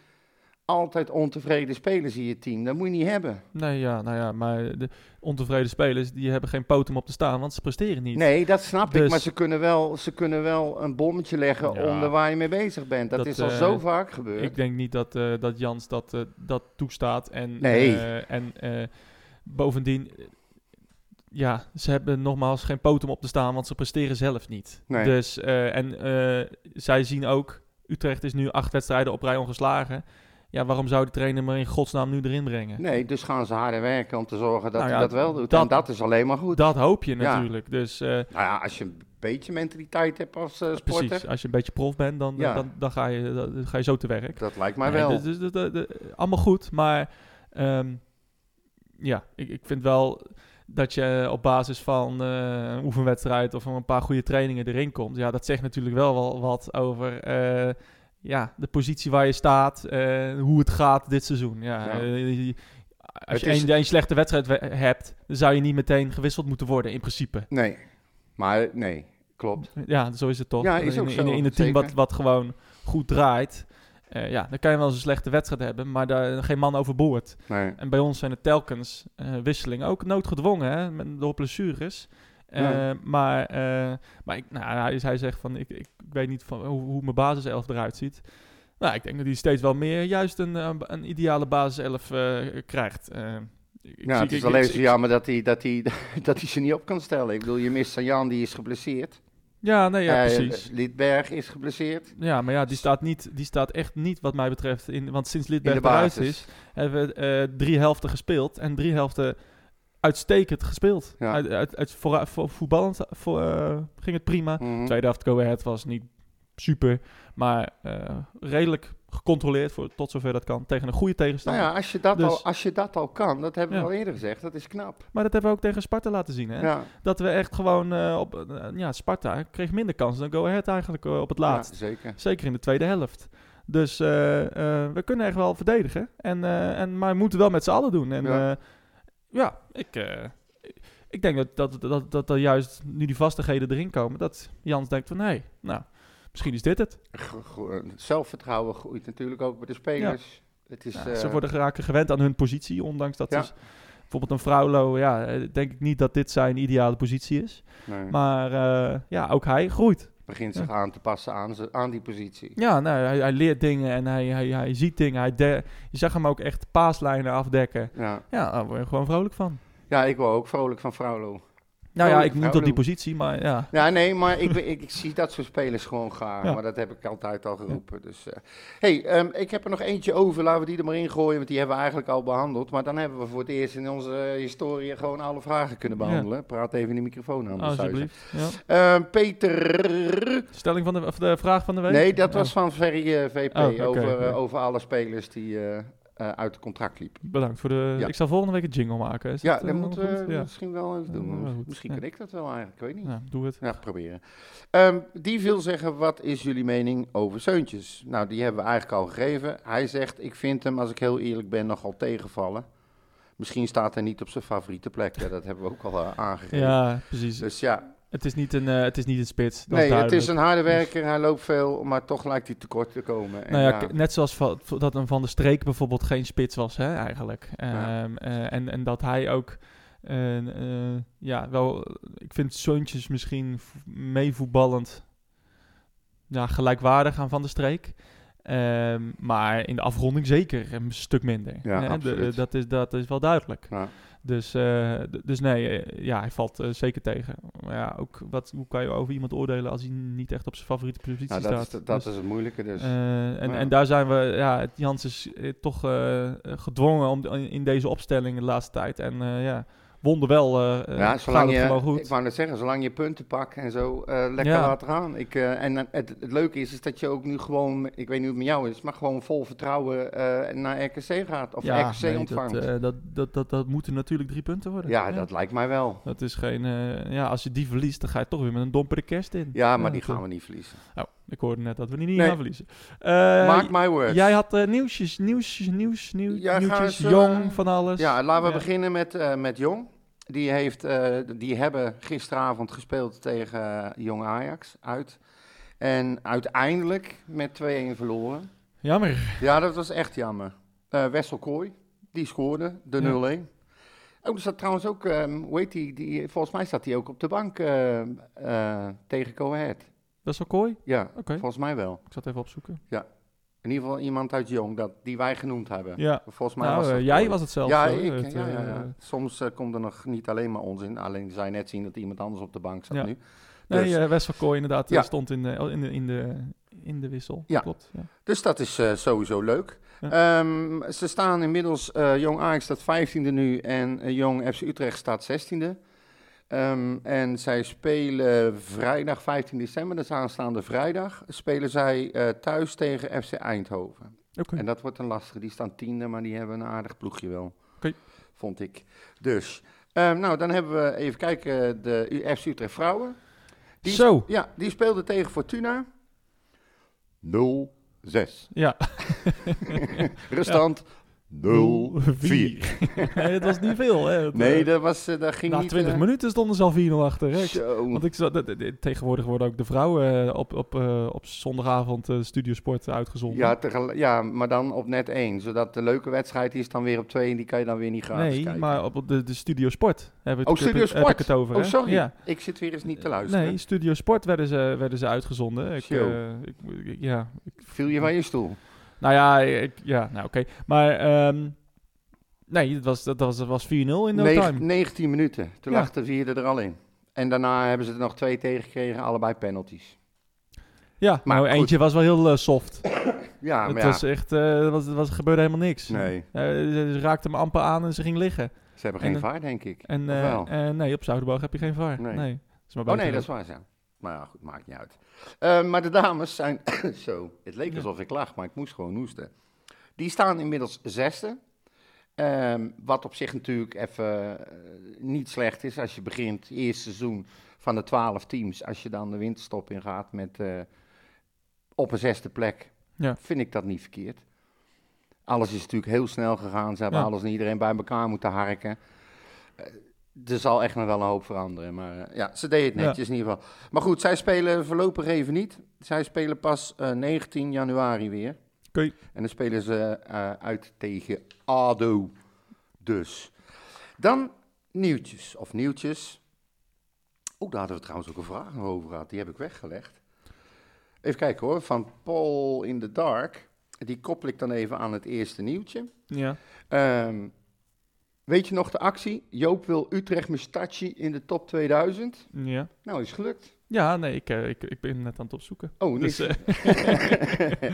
[SPEAKER 2] altijd ontevreden spelers in je team. Dat moet je niet hebben.
[SPEAKER 1] Nee, ja, nou ja, maar de ontevreden spelers... die hebben geen poot om op te staan, want ze presteren niet.
[SPEAKER 2] Nee, dat snap
[SPEAKER 1] Dus-
[SPEAKER 2] ik. Maar ze kunnen, wel, ze kunnen wel een bommetje leggen
[SPEAKER 1] Ja.
[SPEAKER 2] onder waar je mee bezig bent. Dat,
[SPEAKER 1] Dat,
[SPEAKER 2] is al
[SPEAKER 1] eh,
[SPEAKER 2] zo vaak gebeurd.
[SPEAKER 1] Ik denk niet dat, eh, dat Jans dat, eh, dat toestaat. En,
[SPEAKER 2] Nee.
[SPEAKER 1] eh, en eh, bovendien, eh, ja, ze hebben nogmaals geen poot om op te staan, want ze presteren zelf niet.
[SPEAKER 2] Nee.
[SPEAKER 1] Dus, eh, en eh, zij zien ook, Utrecht is nu acht wedstrijden op rij ongeslagen. Ja, waarom zou de trainer me in godsnaam nu erin brengen?
[SPEAKER 2] Nee, dus gaan ze harder werken om te zorgen dat
[SPEAKER 1] Nou
[SPEAKER 2] hij
[SPEAKER 1] ja,
[SPEAKER 2] dat wel doet.
[SPEAKER 1] dat-
[SPEAKER 2] en dat is alleen maar goed.
[SPEAKER 1] Dat hoop je
[SPEAKER 2] Ja.
[SPEAKER 1] natuurlijk. Dus eh,
[SPEAKER 2] nou ja, als je een beetje mentaliteit hebt als eh, sporter,
[SPEAKER 1] precies, als je een beetje prof bent, dan,
[SPEAKER 2] Ja.
[SPEAKER 1] dan, dan, ga, je, dan ga je zo te werk.
[SPEAKER 2] dat lijkt mij
[SPEAKER 1] Nee,
[SPEAKER 2] wel.
[SPEAKER 1] dus- dus- dus- dus- allemaal goed, maar ehm, ja, ik, ik vind wel. dat je op basis van eh, een oefenwedstrijd of van een paar goede trainingen erin komt. Ja, dat zegt natuurlijk wel wel wat over eh, ja, de positie waar je staat, eh, hoe het gaat dit seizoen. Ja,
[SPEAKER 2] Ja.
[SPEAKER 1] eh, je- als
[SPEAKER 2] Het
[SPEAKER 1] je
[SPEAKER 2] is-
[SPEAKER 1] één één slechte wedstrijd we- hebt, dan zou je niet meteen gewisseld moeten worden in principe.
[SPEAKER 2] Nee, maar nee, klopt.
[SPEAKER 1] Ja, zo is het toch.
[SPEAKER 2] Ja, is ook
[SPEAKER 1] in,
[SPEAKER 2] zo,
[SPEAKER 1] in, in een team wat,
[SPEAKER 2] zeker.
[SPEAKER 1] wat gewoon goed draait. eh, ja, dan kan je wel eens een slechte wedstrijd hebben, maar daar geen man overboord.
[SPEAKER 2] Nee.
[SPEAKER 1] En bij ons zijn het telkens eh, wisselingen. Ook noodgedwongen, hè, met, door blessures. Eh,
[SPEAKER 2] Ja.
[SPEAKER 1] Maar, eh, maar ik, nou, hij, hij zegt van, ik, ik weet niet van hoe, hoe mijn basiself eruit ziet. Nou, ik denk dat hij steeds wel meer juist een, eh, een ideale basiself eh, krijgt. Eh, ik- ik
[SPEAKER 2] Ja,
[SPEAKER 1] zie-
[SPEAKER 2] nou, het is
[SPEAKER 1] ik-
[SPEAKER 2] wel
[SPEAKER 1] ik-
[SPEAKER 2] even
[SPEAKER 1] ik-
[SPEAKER 2] jammer dat hij, dat, hij, *laughs* dat hij ze niet op kan stellen. Ik bedoel, je mist Sanjan, die is geblesseerd.
[SPEAKER 1] Ja, nee, ja,
[SPEAKER 2] Eh,
[SPEAKER 1] precies.
[SPEAKER 2] Lidberg is geblesseerd.
[SPEAKER 1] Ja, maar ja, die staat, niet, die staat echt niet, wat mij betreft, in. Want sinds
[SPEAKER 2] In
[SPEAKER 1] Lidberg
[SPEAKER 2] de
[SPEAKER 1] eruit
[SPEAKER 2] basis.
[SPEAKER 1] is, hebben we eh, drie helften gespeeld. En drie helften uitstekend gespeeld.
[SPEAKER 2] Ja.
[SPEAKER 1] Uit, uit, uit, voor, voor, voetballend voor, eh, ging het prima.
[SPEAKER 2] Mhm.
[SPEAKER 1] Tweede helft, go ahead, was niet super. Maar eh, redelijk gecontroleerd, voor, tot zover dat kan, tegen een goede
[SPEAKER 2] Nou
[SPEAKER 1] tegenstander.
[SPEAKER 2] ja, als je, dat
[SPEAKER 1] Dus-
[SPEAKER 2] al, als je dat al kan, dat hebben we
[SPEAKER 1] Ja.
[SPEAKER 2] al eerder gezegd, dat is knap.
[SPEAKER 1] Maar dat hebben we ook tegen Sparta laten zien. Hè?
[SPEAKER 2] Ja,
[SPEAKER 1] Dat we echt gewoon eh, op... eh, ja, Sparta kreeg minder kansen dan go ahead eigenlijk eh, op het
[SPEAKER 2] ja,
[SPEAKER 1] laatst.
[SPEAKER 2] zeker.
[SPEAKER 1] Zeker in de tweede helft. Dus eh, eh, we kunnen echt wel verdedigen. En, eh, en, maar we moeten wel met z'n allen doen. En
[SPEAKER 2] Ja.
[SPEAKER 1] ja, ja ik, eh, ik denk dat, dat, dat, dat er juist nu die vastigheden erin komen. Dat Jans denkt van, hé, hey, nou, misschien is dit het.
[SPEAKER 2] Go- go- eh, Zelfvertrouwen groeit natuurlijk ook bij de spelers. Het is,
[SPEAKER 1] Ja,
[SPEAKER 2] eh,
[SPEAKER 1] Nou, ze worden geraken gewend aan hun positie. Ondanks dat
[SPEAKER 2] Ja.
[SPEAKER 1] dus bijvoorbeeld een Fraulo, ja, eh, denk ik niet dat dit zijn ideale positie is.
[SPEAKER 2] nee,
[SPEAKER 1] Maar eh, ja, ook hij groeit.
[SPEAKER 2] begint zich aan te passen aan, ze- aan die positie.
[SPEAKER 1] Ja, nou, hij, hij leert dingen en hij, hij, hij ziet dingen. Hij de- je zag hem ook echt paaslijnen afdekken.
[SPEAKER 2] Ja,
[SPEAKER 1] Ja, daar word je gewoon vrolijk van.
[SPEAKER 2] ja ik word ook vrolijk van Fraulo.
[SPEAKER 1] Nou ja, ik
[SPEAKER 2] Vrolijk,
[SPEAKER 1] niet op die
[SPEAKER 2] vrolijk.
[SPEAKER 1] positie, maar ja.
[SPEAKER 2] Ja, nee, maar ik, ben- ik, ik zie dat soort spelers gewoon graag.
[SPEAKER 1] Ja.
[SPEAKER 2] Maar dat heb ik altijd al geroepen. Dus, eh, hey, ehm, ik heb er nog eentje over. Laten we die er maar in gooien, want die hebben we eigenlijk al behandeld. Maar dan hebben we voor het eerst in onze eh, historie gewoon alle vragen kunnen
[SPEAKER 1] Ja. Oh,
[SPEAKER 2] behandelen. Praat even in de microfoon aan. anders thuis.
[SPEAKER 1] Alsjeblieft. Ja.
[SPEAKER 2] Ehm, Peter...
[SPEAKER 1] Stelling van de, of de vraag van de week?
[SPEAKER 2] Nee, dat
[SPEAKER 1] Ja,
[SPEAKER 2] was van Ferry eh, VP
[SPEAKER 1] Oh, oké,
[SPEAKER 2] over, eh,
[SPEAKER 1] ja.
[SPEAKER 2] over alle spelers die eh, eh, uit het contract liepen.
[SPEAKER 1] Bedankt voor de...
[SPEAKER 2] Ja.
[SPEAKER 1] Ik zal volgende week een jingle maken. Is
[SPEAKER 2] Ja,
[SPEAKER 1] dat,
[SPEAKER 2] dat
[SPEAKER 1] eh,
[SPEAKER 2] moeten
[SPEAKER 1] goed?
[SPEAKER 2] we
[SPEAKER 1] Ja.
[SPEAKER 2] misschien wel even
[SPEAKER 1] Ja,
[SPEAKER 2] doen.
[SPEAKER 1] maar goed,
[SPEAKER 2] misschien
[SPEAKER 1] ja.
[SPEAKER 2] kan ik dat wel eigenlijk, ik weet niet.
[SPEAKER 1] Ja, doe het.
[SPEAKER 2] Ja, proberen. Ehm, die wil zeggen, wat is jullie mening over Seuntjes? Nou, die hebben we eigenlijk al gegeven. Hij zegt, ik vind hem, als ik heel eerlijk ben, nogal tegenvallen. Misschien staat hij niet op zijn favoriete plek. Ja, dat hebben we ook al eh, aangegeven.
[SPEAKER 1] Ja, precies.
[SPEAKER 2] Dus ja,
[SPEAKER 1] Het is niet een, eh, het is niet een spits. Dat
[SPEAKER 2] nee, het
[SPEAKER 1] duidelijk.
[SPEAKER 2] is een harde werker, hij loopt veel, maar toch lijkt hij tekort te komen. eh, En
[SPEAKER 1] Nou ja,
[SPEAKER 2] ja,
[SPEAKER 1] k- net zoals va- dat een Van der Streek bijvoorbeeld geen spits was, hè, eigenlijk.
[SPEAKER 2] Ja.
[SPEAKER 1] Ehm, eh, en, en dat hij ook, eh, eh, ja, wel, ik vind Zoontjes misschien v- meevoetballend ja, gelijkwaardig aan Van der Streek. Ehm, maar in de afronding zeker een stuk minder.
[SPEAKER 2] Ja,
[SPEAKER 1] hè. De-
[SPEAKER 2] absoluut.
[SPEAKER 1] dat, is, dat is wel duidelijk.
[SPEAKER 2] Ja.
[SPEAKER 1] Dus, eh, d- dus nee, eh, ja, hij valt eh, zeker tegen. Maar ja, ook wat, hoe kan je over iemand oordelen als hij niet echt op zijn favoriete positie
[SPEAKER 2] nou, dat,
[SPEAKER 1] staat?
[SPEAKER 2] is, dat
[SPEAKER 1] Dus-
[SPEAKER 2] is het moeilijke dus.
[SPEAKER 1] eh, en,
[SPEAKER 2] Ja.
[SPEAKER 1] en daar zijn we, ja, het- Jans is eh, toch eh, eh, gedwongen om de- in deze opstelling de laatste tijd. En eh, ja, wonder wel, eh
[SPEAKER 2] ja,
[SPEAKER 1] ja,
[SPEAKER 2] zolang
[SPEAKER 1] het
[SPEAKER 2] je,
[SPEAKER 1] gewoon goed.
[SPEAKER 2] ik wou net zeggen, zolang je punten pakt en zo, eh, lekker
[SPEAKER 1] Ja.
[SPEAKER 2] laten gaan. Ik, eh, en eh, het, het leuke is, is dat je ook nu gewoon, ik weet niet hoe het met jou is, maar gewoon vol vertrouwen eh, naar RKC gaat of
[SPEAKER 1] ja,
[SPEAKER 2] RKC
[SPEAKER 1] nee,
[SPEAKER 2] ontvangt.
[SPEAKER 1] Dat, eh, dat, dat, dat, dat moeten natuurlijk drie punten worden.
[SPEAKER 2] ja, dat lijkt mij wel.
[SPEAKER 1] Dat is geen, eh, ja, als je die verliest, dan ga je toch weer met een dompere kerst in.
[SPEAKER 2] Ja, maar die
[SPEAKER 1] dat,
[SPEAKER 2] gaan we niet verliezen.
[SPEAKER 1] eh, Oh, ik hoorde net dat we die niet
[SPEAKER 2] Nee.
[SPEAKER 1] gaan verliezen. Eh,
[SPEAKER 2] Mark my words.
[SPEAKER 1] jij had eh, nieuwsjes, nieuwsjes, nieuws, nieuw,
[SPEAKER 2] Ja, gaan
[SPEAKER 1] nieuwtjes,
[SPEAKER 2] we eens,
[SPEAKER 1] jong,
[SPEAKER 2] eh,
[SPEAKER 1] van alles.
[SPEAKER 2] Ja, laten we
[SPEAKER 1] dus. Ja.
[SPEAKER 2] beginnen met, eh, met Jong. Die, heeft, eh, die hebben gisteravond gespeeld tegen eh, Jong Ajax uit. En uiteindelijk met 2-1 verloren.
[SPEAKER 1] Jammer.
[SPEAKER 2] Ja, dat was echt jammer. Eh Wessel Kooi, die scoorde de
[SPEAKER 1] Ja.
[SPEAKER 2] 0-1. Oh, er zat trouwens ook, ehm, hoe heet die, die, volgens mij zat hij ook op de bank eh, eh, tegen Go Ahead.
[SPEAKER 1] Dat is wel kooi.
[SPEAKER 2] Ja,
[SPEAKER 1] Oké.
[SPEAKER 2] volgens mij wel.
[SPEAKER 1] Ik zat even opzoeken.
[SPEAKER 2] In ieder geval iemand uit Jong, dat, die wij genoemd hebben.
[SPEAKER 1] Ja.
[SPEAKER 2] Volgens mij
[SPEAKER 1] Nou,
[SPEAKER 2] was
[SPEAKER 1] eh,
[SPEAKER 2] dat
[SPEAKER 1] jij
[SPEAKER 2] Kooi.
[SPEAKER 1] was het zelf.
[SPEAKER 2] Ja,
[SPEAKER 1] hoor.
[SPEAKER 2] ik,
[SPEAKER 1] Het,
[SPEAKER 2] ja, ja,
[SPEAKER 1] eh,
[SPEAKER 2] ja. Soms eh, komt er nog niet alleen maar onzin. Alleen zij net zien dat iemand anders op de bank zat
[SPEAKER 1] Ja.
[SPEAKER 2] nu.
[SPEAKER 1] Nee,
[SPEAKER 2] Dus-
[SPEAKER 1] eh, Wes van Kooi inderdaad eh,
[SPEAKER 2] Ja.
[SPEAKER 1] stond in de, in, de, in, de, in de wissel.
[SPEAKER 2] Ja.
[SPEAKER 1] Klopt. Ja.
[SPEAKER 2] Dus dat is eh, sowieso leuk. Ehm, ze staan inmiddels, eh, Jong Ajax staat 15e nu en eh, Jong FC Utrecht staat 16e. Ehm, en zij spelen vrijdag 15 december, dat is aanstaande vrijdag, spelen zij eh, thuis tegen FC Eindhoven.
[SPEAKER 1] Oké.
[SPEAKER 2] En dat wordt een lastige, die staan tiende, maar die hebben een aardig ploegje wel,
[SPEAKER 1] Oké.
[SPEAKER 2] vond ik. Dus, Eh, nou, dan hebben we even kijken, de U- FC Utrecht Vrouwen. Die-
[SPEAKER 1] Zo.
[SPEAKER 2] Ja, die speelde tegen Fortuna. 0-6. *laughs*
[SPEAKER 1] Ja,
[SPEAKER 2] Ruststand 0-4.
[SPEAKER 1] *laughs* het was niet veel. Hè? Het,
[SPEAKER 2] Nee,
[SPEAKER 1] eh,
[SPEAKER 2] dat, was, eh, dat ging
[SPEAKER 1] na
[SPEAKER 2] niet...
[SPEAKER 1] 20
[SPEAKER 2] eh,
[SPEAKER 1] minuten stonden ze al 4-0 achter. Hè? Ik-
[SPEAKER 2] Zo.
[SPEAKER 1] Want ik, zat- dat- dat- tegenwoordig worden ook de vrouwen eh, op, op, eh, op zondagavond eh, Studiosport uitgezonden.
[SPEAKER 2] Ja, tegel- ja, maar dan op net 1. Zodat de leuke wedstrijd die is dan weer op 2 en die kan je dan weer niet gratis
[SPEAKER 1] nee,
[SPEAKER 2] kijken.
[SPEAKER 1] maar op de, de Studiosport heb ik,
[SPEAKER 2] Oh,
[SPEAKER 1] heb ik-
[SPEAKER 2] Studio Sport.
[SPEAKER 1] eh, heb ik het over.
[SPEAKER 2] oh,
[SPEAKER 1] hè?
[SPEAKER 2] sorry.
[SPEAKER 1] Ja. Eh,
[SPEAKER 2] Ik zit weer eens niet te luisteren.
[SPEAKER 1] Nee, Studiosport werden ze, werden ze uitgezonden. Ik,
[SPEAKER 2] Zo.
[SPEAKER 1] eh, ik- ik- ja,
[SPEAKER 2] Viel je van je stoel?
[SPEAKER 1] Nou ja, ik, ja nou oké. Maar ehm, nee, dat was, dat was, dat was 4-0 in no
[SPEAKER 2] Neg-
[SPEAKER 1] time.
[SPEAKER 2] 19 minuten. Toen
[SPEAKER 1] Ja.
[SPEAKER 2] lag de vierde er al in. En daarna hebben ze er nog twee tegengekregen, allebei penalties.
[SPEAKER 1] Ja,
[SPEAKER 2] Maar
[SPEAKER 1] maar
[SPEAKER 2] goed.
[SPEAKER 1] eentje was wel heel eh, soft.
[SPEAKER 2] Ja,
[SPEAKER 1] het
[SPEAKER 2] maar
[SPEAKER 1] was
[SPEAKER 2] ja,
[SPEAKER 1] echt, eh, het was, het was, er gebeurde helemaal niks.
[SPEAKER 2] Nee.
[SPEAKER 1] Eh, ze, ze raakte hem amper aan en ze ging liggen.
[SPEAKER 2] ze hebben
[SPEAKER 1] en
[SPEAKER 2] geen
[SPEAKER 1] de-
[SPEAKER 2] vaar, denk ik.
[SPEAKER 1] En
[SPEAKER 2] Of
[SPEAKER 1] eh,
[SPEAKER 2] wel?
[SPEAKER 1] eh, nee, op Zuiderboog heb je geen vaar.
[SPEAKER 2] Nee.
[SPEAKER 1] Nee. Is maar
[SPEAKER 2] oh
[SPEAKER 1] buiten-
[SPEAKER 2] nee, dat is waar, ja. Maar ja, goed, maakt niet uit. Eh, maar de dames zijn... *coughs* zo, het leek alsof ik lag, maar ik moest gewoon hoesten. Die staan inmiddels zesde. Ehm, wat op zich natuurlijk even eh, niet slecht is als je begint, eerste seizoen van de twaalf teams. Als je dan de winterstop ingaat met eh, op een zesde plek,
[SPEAKER 1] Ja.
[SPEAKER 2] vind ik dat niet verkeerd. Alles is natuurlijk heel snel gegaan. Ze hebben
[SPEAKER 1] Ja.
[SPEAKER 2] alles en iedereen bij elkaar moeten harken. Eh, er zal echt nog wel een hoop veranderen. Maar eh, ja, ze deden het
[SPEAKER 1] Ja.
[SPEAKER 2] netjes in ieder geval. Maar goed, zij spelen voorlopig even niet. Zij spelen pas eh, 19 januari weer.
[SPEAKER 1] Oké.
[SPEAKER 2] En dan spelen ze eh, uit tegen ADO. Dus. Dan nieuwtjes. Of nieuwtjes. Oh, daar hadden we trouwens ook een vraag nog over gehad. Die heb ik weggelegd. Even kijken hoor. Van Paul in the Dark. Die koppel ik dan even aan het eerste nieuwtje.
[SPEAKER 1] Ja.
[SPEAKER 2] Ehm, weet je nog de actie? Joop wil Utrecht Mustachi in de top 2000.
[SPEAKER 1] Ja.
[SPEAKER 2] Nou, is gelukt.
[SPEAKER 1] ja, nee, ik, eh, ik, ik ben net aan het opzoeken.
[SPEAKER 2] Oh, niks.
[SPEAKER 1] Dus,
[SPEAKER 2] *laughs*
[SPEAKER 1] eh,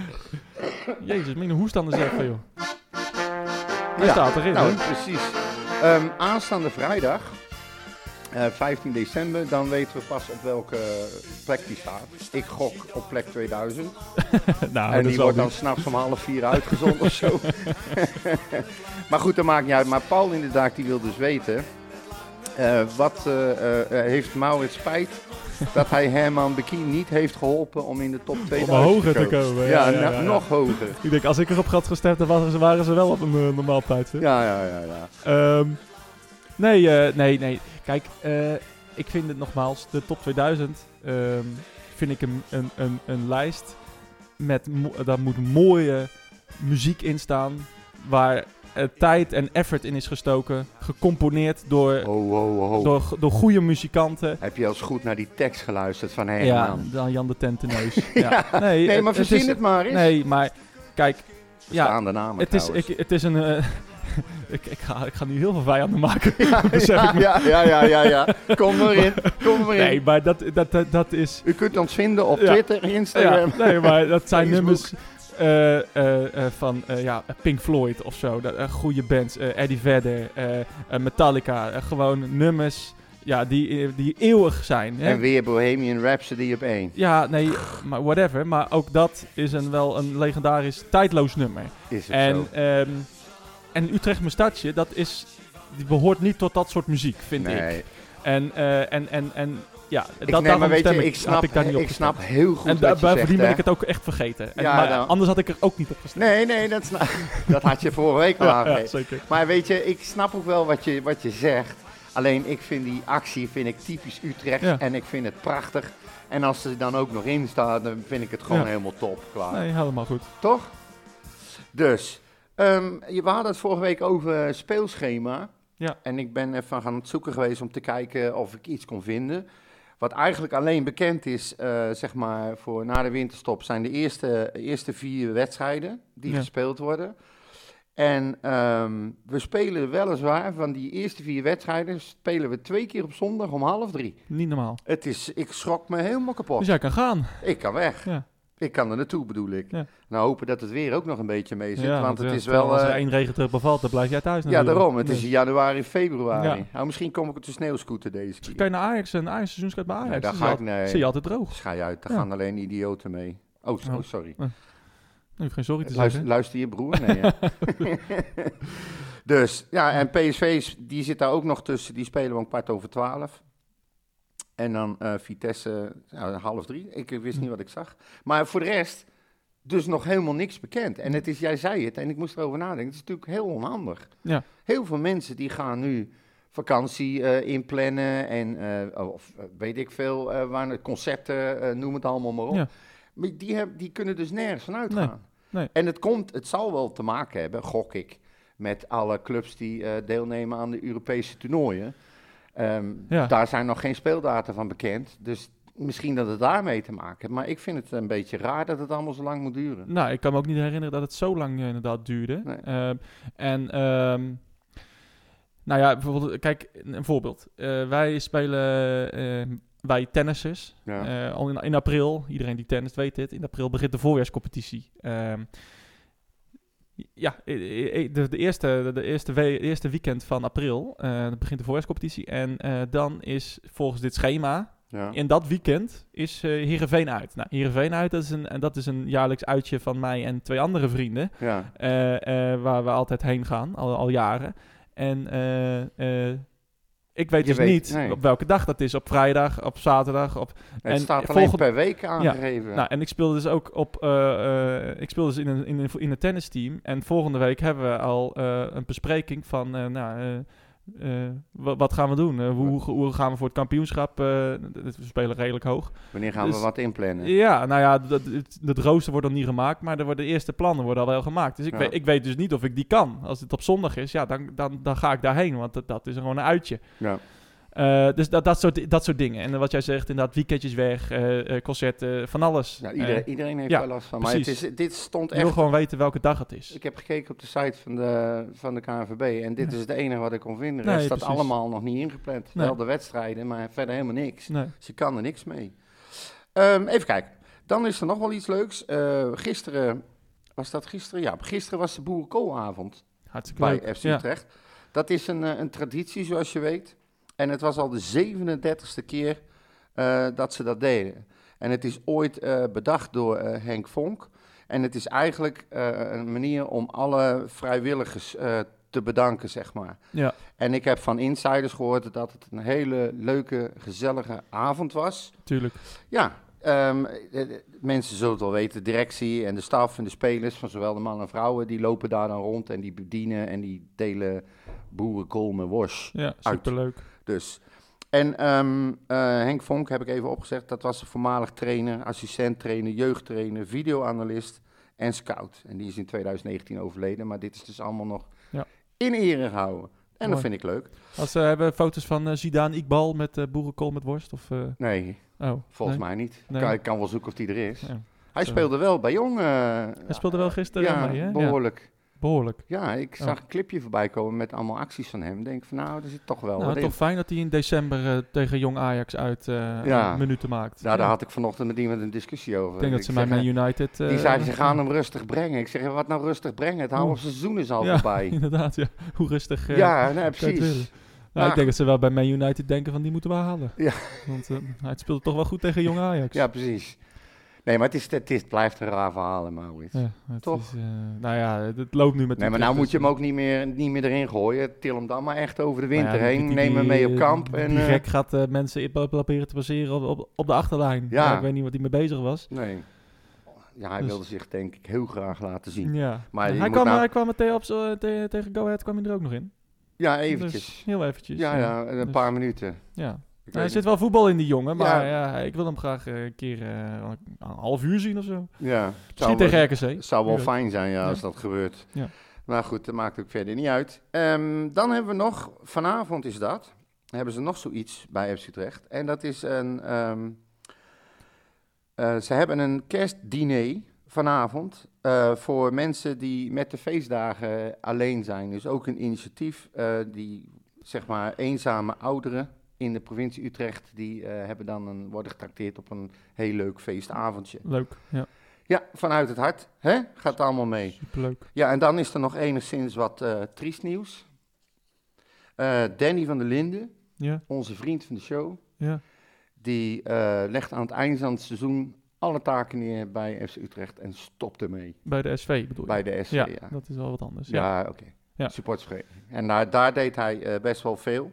[SPEAKER 1] Jezus, mijn hoest aan de zeven, joh. Hij
[SPEAKER 2] Ja,
[SPEAKER 1] staat erin,
[SPEAKER 2] nou,
[SPEAKER 1] hoor.
[SPEAKER 2] precies. Ehm, aanstaande vrijdag, eh, 15 december, dan weten we pas op welke plek die staat. Ik gok op plek 2000.
[SPEAKER 1] *laughs* nou,
[SPEAKER 2] en
[SPEAKER 1] dat
[SPEAKER 2] die
[SPEAKER 1] is wel
[SPEAKER 2] wordt dan s'nachts om half vier uitgezonden of
[SPEAKER 1] *laughs*
[SPEAKER 2] zo. maar goed, dat maakt niet uit. Maar Paul inderdaad, die wil dus weten... eh, wat eh, eh, eh, heeft Maurits spijt dat hij Herman Bekien niet heeft geholpen om in de top 2000
[SPEAKER 1] hoger te komen, ja,
[SPEAKER 2] Ja,
[SPEAKER 1] ja, ja,
[SPEAKER 2] na-
[SPEAKER 1] ja.
[SPEAKER 2] nog hoger.
[SPEAKER 1] Ik denk, als ik erop had gestemd, dan waren ze, waren ze wel op een eh, normaal tijdstip.
[SPEAKER 2] Ja, ja, ja. ja.
[SPEAKER 1] Ehm, nee, eh, nee, nee. Kijk, eh, ik vind het nogmaals, de top 2000 ehm, vind ik een, een, een, een lijst met, mo- daar moet mooie muziek in staan, waar eh, tijd en effort in is gestoken, gecomponeerd door,
[SPEAKER 2] Oh, oh, oh.
[SPEAKER 1] door, door goede muzikanten.
[SPEAKER 2] Heb je als goed naar die tekst geluisterd van Herman?
[SPEAKER 1] ja, dan Jan de
[SPEAKER 2] *laughs*
[SPEAKER 1] Tenteneus. ja. Nee,
[SPEAKER 2] Nee,
[SPEAKER 1] het-
[SPEAKER 2] maar
[SPEAKER 1] het
[SPEAKER 2] verzin
[SPEAKER 1] is-
[SPEAKER 2] het, maar eens.
[SPEAKER 1] Nee, maar kijk, ja,
[SPEAKER 2] Staande namen
[SPEAKER 1] Het is, ik, *laughs*
[SPEAKER 2] trouwens.
[SPEAKER 1] het is een. eh, ik, ik, ga, ik ga nu heel veel vijanden maken. besef
[SPEAKER 2] ja,
[SPEAKER 1] ik me.
[SPEAKER 2] *laughs* ja, ja, ja, ja, ja. Kom maar in, kom maar in.
[SPEAKER 1] Nee, maar dat, dat, dat, dat is.
[SPEAKER 2] U kunt ons vinden op
[SPEAKER 1] Ja.
[SPEAKER 2] Twitter, Instagram.
[SPEAKER 1] Ja, nee, maar dat zijn
[SPEAKER 2] *laughs* Facebook.
[SPEAKER 1] nummers eh, eh, eh, van eh, ja, Pink Floyd of zo. Dat, eh, goede bands. eh, Eddie Vedder, eh, eh, Metallica. eh, gewoon nummers ja, die, eh, die eeuwig zijn. Hè?
[SPEAKER 2] En weer Bohemian Rhapsody op één.
[SPEAKER 1] Ja, nee, maar whatever. Maar ook dat is een, wel een legendarisch tijdloos nummer.
[SPEAKER 2] Is het zo?
[SPEAKER 1] En, ehm, en Utrecht Mustache, dat is. Die behoort niet tot dat soort muziek, vind ik.
[SPEAKER 2] Nee, ik,
[SPEAKER 1] En, eh, en, en, en ja, dat
[SPEAKER 2] nee, maar
[SPEAKER 1] daarom
[SPEAKER 2] weet
[SPEAKER 1] stem
[SPEAKER 2] je,
[SPEAKER 1] ik,
[SPEAKER 2] ik snap,
[SPEAKER 1] had ik daar niet op
[SPEAKER 2] ik
[SPEAKER 1] gestemd.
[SPEAKER 2] snap heel goed
[SPEAKER 1] En da-
[SPEAKER 2] wat je zegt.
[SPEAKER 1] bovendien
[SPEAKER 2] hè.
[SPEAKER 1] ben ik het ook echt vergeten. En,
[SPEAKER 2] Ja,
[SPEAKER 1] maar
[SPEAKER 2] nou.
[SPEAKER 1] anders had ik er ook niet op gestemd.
[SPEAKER 2] Nee, nee,
[SPEAKER 1] *laughs*
[SPEAKER 2] dat, sna- dat had je vorige week al
[SPEAKER 1] ja,
[SPEAKER 2] aangegeven.
[SPEAKER 1] zeker.
[SPEAKER 2] Maar weet je, ik snap ook wel wat je, wat je zegt. Alleen ik vind die actie vind ik typisch Utrecht
[SPEAKER 1] Ja.
[SPEAKER 2] en ik vind het prachtig. En als ze dan ook nog in staat, dan vind ik het gewoon
[SPEAKER 1] Ja.
[SPEAKER 2] helemaal top. Klaar.
[SPEAKER 1] Nee, helemaal goed.
[SPEAKER 2] Toch? Dus, ehm, je- we hadden het vorige week over eh, speelschema.
[SPEAKER 1] Ja.
[SPEAKER 2] En ik ben even gaan zoeken geweest om te kijken of ik iets kon vinden. Wat eigenlijk alleen bekend is, eh, zeg maar, voor na de winterstop, zijn de eerste, eerste vier wedstrijden die
[SPEAKER 1] Ja.
[SPEAKER 2] gespeeld worden. En ehm, we spelen weliswaar van die eerste vier wedstrijden, spelen we twee keer op zondag om half drie.
[SPEAKER 1] Niet normaal.
[SPEAKER 2] Het is, ik schrok me helemaal kapot.
[SPEAKER 1] Dus jij kan gaan.
[SPEAKER 2] Ik kan weg.
[SPEAKER 1] Ja.
[SPEAKER 2] Ik kan er naartoe, bedoel ik.
[SPEAKER 1] Ja.
[SPEAKER 2] Nou, hopen dat het weer ook nog een beetje mee zit.
[SPEAKER 1] Ja,
[SPEAKER 2] want het
[SPEAKER 1] ja,
[SPEAKER 2] is wel.
[SPEAKER 1] Als er
[SPEAKER 2] eh,
[SPEAKER 1] één regentrug bevalt, dan blijf jij thuis
[SPEAKER 2] ja,
[SPEAKER 1] natuurlijk.
[SPEAKER 2] daarom. Het
[SPEAKER 1] Nee.
[SPEAKER 2] is in januari, februari.
[SPEAKER 1] Ja.
[SPEAKER 2] Nou, misschien kom ik op de sneeuwscooter deze keer.
[SPEAKER 1] Kan je naar Ajax een Ajax seizoenskaart bij Ajax?
[SPEAKER 2] Nee, daar
[SPEAKER 1] is
[SPEAKER 2] ga ik-
[SPEAKER 1] altijd-
[SPEAKER 2] nee.
[SPEAKER 1] Zie je altijd droog.
[SPEAKER 2] Schij uit, daar
[SPEAKER 1] Ja.
[SPEAKER 2] gaan alleen idioten mee. Oh, so-
[SPEAKER 1] Oh.
[SPEAKER 2] oh, sorry.
[SPEAKER 1] Nee, geen sorry te
[SPEAKER 2] Luister,
[SPEAKER 1] zeggen. *laughs*
[SPEAKER 2] luister je broer? Nee, hè? Dus ja, en PSV die zit daar ook nog tussen. Die spelen we om kwart over twaalf. En dan eh, Vitesse ja, half drie. Ik eh, wist
[SPEAKER 1] Hm.
[SPEAKER 2] niet wat ik zag. Maar voor de rest, dus nog helemaal niks bekend. En het is, jij zei het, en ik moest erover nadenken. Het is natuurlijk heel onhandig.
[SPEAKER 1] Ja.
[SPEAKER 2] Heel veel mensen die gaan nu vakantie eh, inplannen en eh, of eh, weet ik veel, eh, waar, concepten, eh, noem het allemaal maar op.
[SPEAKER 1] Ja.
[SPEAKER 2] Maar die, heb, die kunnen dus nergens van uitgaan.
[SPEAKER 1] nee.
[SPEAKER 2] En het, komt, het zal wel te maken hebben, gok ik, met alle clubs die eh, deelnemen aan de Europese toernooien. Ehm,
[SPEAKER 1] Ja.
[SPEAKER 2] Daar zijn nog geen speeldata van bekend, dus misschien dat het daarmee te maken heeft. Maar ik vind het een beetje raar dat het allemaal zo lang moet duren.
[SPEAKER 1] Nou, ik kan me ook niet herinneren dat het zo lang eh, inderdaad duurde.
[SPEAKER 2] Nee.
[SPEAKER 1] Ehm, en, ehm, nou ja, bijvoorbeeld, kijk, een een voorbeeld. Eh, wij spelen, eh, wij tennissers,
[SPEAKER 2] Ja.
[SPEAKER 1] eh, al in, in april, iedereen die tennist weet dit, in april begint de voorjaarscompetitie. Ehm, ja, i- i- i- de, de, eerste, de, eerste we- de eerste weekend van april eh, begint de voorjaarscompetitie. En eh, dan is volgens dit schema,
[SPEAKER 2] Ja.
[SPEAKER 1] in dat weekend is eh Heerenveen uit. Nou, Heerenveen uit, dat is, een, en dat is een jaarlijks uitje van mij en twee andere vrienden.
[SPEAKER 2] Ja.
[SPEAKER 1] eh, eh, waar we altijd heen gaan, al, al jaren. En eh, eh, ik weet
[SPEAKER 2] Je
[SPEAKER 1] dus
[SPEAKER 2] weet-
[SPEAKER 1] niet
[SPEAKER 2] nee.
[SPEAKER 1] op welke dag dat is. Op vrijdag, op zaterdag, op
[SPEAKER 2] Het
[SPEAKER 1] En
[SPEAKER 2] staat alleen
[SPEAKER 1] volgend-
[SPEAKER 2] per week aangegeven.
[SPEAKER 1] nou, en ik speelde dus ook op. eh, eh, ik speelde dus in een, in, een, in een tennisteam. En volgende week hebben we al eh, een bespreking van. eh, nou, eh, eh, wa- wat gaan we doen? Eh, hoe, hoe gaan we voor het kampioenschap? eh, we spelen redelijk hoog.
[SPEAKER 2] Wanneer gaan we
[SPEAKER 1] dus-
[SPEAKER 2] wat inplannen?
[SPEAKER 1] Ja, nou ja, dat, het, het rooster wordt dan niet gemaakt, maar er worden de eerste plannen worden al wel gemaakt. Dus ik,
[SPEAKER 2] Ja.
[SPEAKER 1] weet, ik weet dus niet of ik die kan. Als het op zondag is, ja, dan, dan, dan ga ik daarheen, want dat, dat is gewoon een uitje.
[SPEAKER 2] Ja.
[SPEAKER 1] Eh, dus dat, dat, soort, dat soort dingen. En dan wat jij zegt, inderdaad, weekendjes weg, eh, eh, concerten, van alles.
[SPEAKER 2] Nou,
[SPEAKER 1] Eh,
[SPEAKER 2] iedereen, iedereen heeft
[SPEAKER 1] ja,
[SPEAKER 2] wel last van. Maar het
[SPEAKER 1] precies.
[SPEAKER 2] is, dit stond
[SPEAKER 1] ik wil
[SPEAKER 2] echt
[SPEAKER 1] gewoon weten welke dag het is.
[SPEAKER 2] Ik heb gekeken op de site van de, van de KNVB en dit is het enige wat ik kon vinden.
[SPEAKER 1] Nee,
[SPEAKER 2] Het staat
[SPEAKER 1] precies.
[SPEAKER 2] allemaal nog niet ingepland.
[SPEAKER 1] Nee.
[SPEAKER 2] Wel de wedstrijden, maar verder helemaal niks.
[SPEAKER 1] Nee.
[SPEAKER 2] Ze kan er niks mee. Ehm, even kijken. Dan is er nog wel iets leuks. Eh, gisteren, was dat gisteren? Ja, gisteren was de boerenkoolavond
[SPEAKER 1] Hartstikke
[SPEAKER 2] bij
[SPEAKER 1] leuk.
[SPEAKER 2] FC
[SPEAKER 1] Ja.
[SPEAKER 2] Utrecht. Dat is een, eh, een traditie, zoals je weet. En het was al de 37e keer eh, dat ze dat deden. En het is ooit eh, bedacht door eh, Henk Vonk. En het is eigenlijk eh, een manier om alle vrijwilligers eh, te bedanken, zeg maar.
[SPEAKER 1] Ja.
[SPEAKER 2] En ik heb van insiders gehoord dat het een hele leuke, gezellige avond was.
[SPEAKER 1] tuurlijk.
[SPEAKER 2] Ja, ehm, eh, eh, mensen zullen het wel weten. De directie en de staf en de spelers van zowel de mannen en vrouwen... die lopen daar dan rond en die bedienen en die delen boerenkool met worst.
[SPEAKER 1] Ja,
[SPEAKER 2] Uit.
[SPEAKER 1] superleuk.
[SPEAKER 2] Dus. En ehm, eh, Henk Vonk heb ik even opgezegd. Dat was een voormalig trainer, assistent trainer, jeugdtrainer, videoanalist en scout. En die is in 2019 overleden, maar dit is dus allemaal nog
[SPEAKER 1] Ja.
[SPEAKER 2] in ere gehouden. En dat
[SPEAKER 1] Mooi.
[SPEAKER 2] vind ik leuk.
[SPEAKER 1] Als, eh, hebben we foto's van eh Zidane Iqbal met eh, boerenkool met worst? Of, eh,
[SPEAKER 2] Nee,
[SPEAKER 1] oh,
[SPEAKER 2] volgens
[SPEAKER 1] nee?
[SPEAKER 2] mij niet.
[SPEAKER 1] Nee.
[SPEAKER 2] Kan, ik kan wel zoeken of die er is.
[SPEAKER 1] Ja.
[SPEAKER 2] Hij
[SPEAKER 1] Zo.
[SPEAKER 2] speelde wel bij Jong. eh,
[SPEAKER 1] Hij speelde wel gisteren
[SPEAKER 2] ja,
[SPEAKER 1] mee, hè? Ja,
[SPEAKER 2] behoorlijk.
[SPEAKER 1] behoorlijk.
[SPEAKER 2] Ja, ik
[SPEAKER 1] Oh.
[SPEAKER 2] zag een clipje voorbij komen met allemaal acties van hem. Ik denk van nou, er zit toch wel
[SPEAKER 1] Nou,
[SPEAKER 2] wat in.
[SPEAKER 1] toch fijn dat hij in december eh, tegen Jong Ajax uit eh,
[SPEAKER 2] Ja.
[SPEAKER 1] minuten maakt.
[SPEAKER 2] Nou,
[SPEAKER 1] Ja.
[SPEAKER 2] daar had ik vanochtend met iemand een discussie over.
[SPEAKER 1] Ik denk dat ze mij
[SPEAKER 2] zeg,
[SPEAKER 1] Man United... eh,
[SPEAKER 2] Die
[SPEAKER 1] *laughs*
[SPEAKER 2] zeiden, ze gaan hem rustig brengen. Ik zeg, ja, wat nou rustig brengen? Het halve seizoen is al
[SPEAKER 1] Ja,
[SPEAKER 2] voorbij.
[SPEAKER 1] Inderdaad, *laughs* ja. Hoe rustig... eh,
[SPEAKER 2] Ja, nee,
[SPEAKER 1] kan je het willen?
[SPEAKER 2] precies.
[SPEAKER 1] Nou,
[SPEAKER 2] Nou,
[SPEAKER 1] ik denk dat ze wel bij Man United denken van die moeten we halen.
[SPEAKER 2] Ja.
[SPEAKER 1] Want eh, hij speelde toch wel goed tegen Jong Ajax.
[SPEAKER 2] Ja, precies. Nee, maar het, is, het, is, het blijft een raar verhaal, hè, Maurits.
[SPEAKER 1] Ja, het
[SPEAKER 2] Toch?
[SPEAKER 1] Is, eh, nou ja, het- het loopt nu met...
[SPEAKER 2] Nee, maar nou moet je hem ook niet meer, niet meer erin gooien. Til hem dan maar echt over de winter
[SPEAKER 1] Nou ja, die-
[SPEAKER 2] heen.
[SPEAKER 1] die-
[SPEAKER 2] Neem hem
[SPEAKER 1] die-
[SPEAKER 2] mee op kamp.
[SPEAKER 1] Die,
[SPEAKER 2] En,
[SPEAKER 1] die
[SPEAKER 2] eh,
[SPEAKER 1] gek gaat eh, mensen in- pro- proberen te passeren op, op, op de achterlijn.
[SPEAKER 2] Ja.
[SPEAKER 1] Ja. Ik weet niet wat hij mee bezig was.
[SPEAKER 2] nee. Ja, hij
[SPEAKER 1] Dus-
[SPEAKER 2] wilde zich denk ik heel graag laten zien.
[SPEAKER 1] Ja.
[SPEAKER 2] Maar je
[SPEAKER 1] hij,
[SPEAKER 2] moet
[SPEAKER 1] kwam,
[SPEAKER 2] nou-
[SPEAKER 1] hij kwam met Theops, eh, te- tegen Go Ahead kwam hij er ook nog in.
[SPEAKER 2] Ja,
[SPEAKER 1] Dus
[SPEAKER 2] eventjes.
[SPEAKER 1] heel eventjes.
[SPEAKER 2] Ja, ja, een
[SPEAKER 1] dus-
[SPEAKER 2] paar minuten.
[SPEAKER 1] ja.
[SPEAKER 2] Ik
[SPEAKER 1] Nou,
[SPEAKER 2] weet
[SPEAKER 1] er zit wel voetbal in die jongen, maar
[SPEAKER 2] Ja.
[SPEAKER 1] ja. ik wil hem graag eh, een keer eh, een half uur zien of zo.
[SPEAKER 2] niet. Ja, het zou
[SPEAKER 1] Misschien
[SPEAKER 2] wel,
[SPEAKER 1] tegen RKC.
[SPEAKER 2] het zou wel
[SPEAKER 1] Wie weet.
[SPEAKER 2] fijn zijn ja, als
[SPEAKER 1] Ja.
[SPEAKER 2] dat gebeurt.
[SPEAKER 1] Ja.
[SPEAKER 2] Maar goed, dat maakt ook verder niet uit. Ehm, dan hebben we nog, vanavond is dat, hebben ze nog zoiets bij FC Utrecht. En dat is een, ehm, eh, ze hebben een kerstdiner vanavond eh, voor mensen die met de feestdagen alleen zijn. Dus ook een initiatief eh, die, zeg maar, eenzame ouderen in de provincie Utrecht, die eh, hebben dan een, worden getrakteerd op een heel leuk feestavondje.
[SPEAKER 1] Leuk, ja.
[SPEAKER 2] Ja, vanuit het hart. Hè? Gaat allemaal mee.
[SPEAKER 1] Superleuk.
[SPEAKER 2] Ja, en dan is er nog enigszins wat eh triest nieuws. Eh, Danny van der Linden,
[SPEAKER 1] Ja,
[SPEAKER 2] onze vriend van de show,
[SPEAKER 1] ja.
[SPEAKER 2] die eh, legt aan het eind van het seizoen alle taken neer bij FC Utrecht en stopt ermee.
[SPEAKER 1] Bij de SV bedoel je?
[SPEAKER 2] Bij de SC, ja.
[SPEAKER 1] ja,
[SPEAKER 2] Ja,
[SPEAKER 1] dat is wel wat anders. Ja.
[SPEAKER 2] Dus oké.
[SPEAKER 1] Ja.
[SPEAKER 2] supportersvereniging. En daar, daar deed hij eh, best wel veel.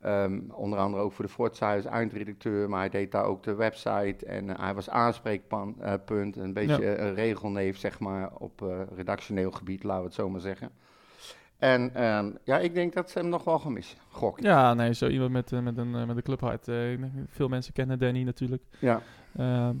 [SPEAKER 2] Ehm, onder andere ook voor de Forza, hij is eindredacteur, maar hij deed daar ook de website en eh, hij was aanspreekpunt, een beetje eh, een regelneef, zeg maar, op eh, redactioneel gebied, laten we het zo maar zeggen. En ehm, ja, ik denk dat ze hem nog wel gaan missen, gok ik.
[SPEAKER 1] Ja, nee, zo iemand met, eh, met, een, eh, met een clubhart. Eh, ik denk, veel mensen kennen Danny natuurlijk.
[SPEAKER 2] Ja.
[SPEAKER 1] Ehm,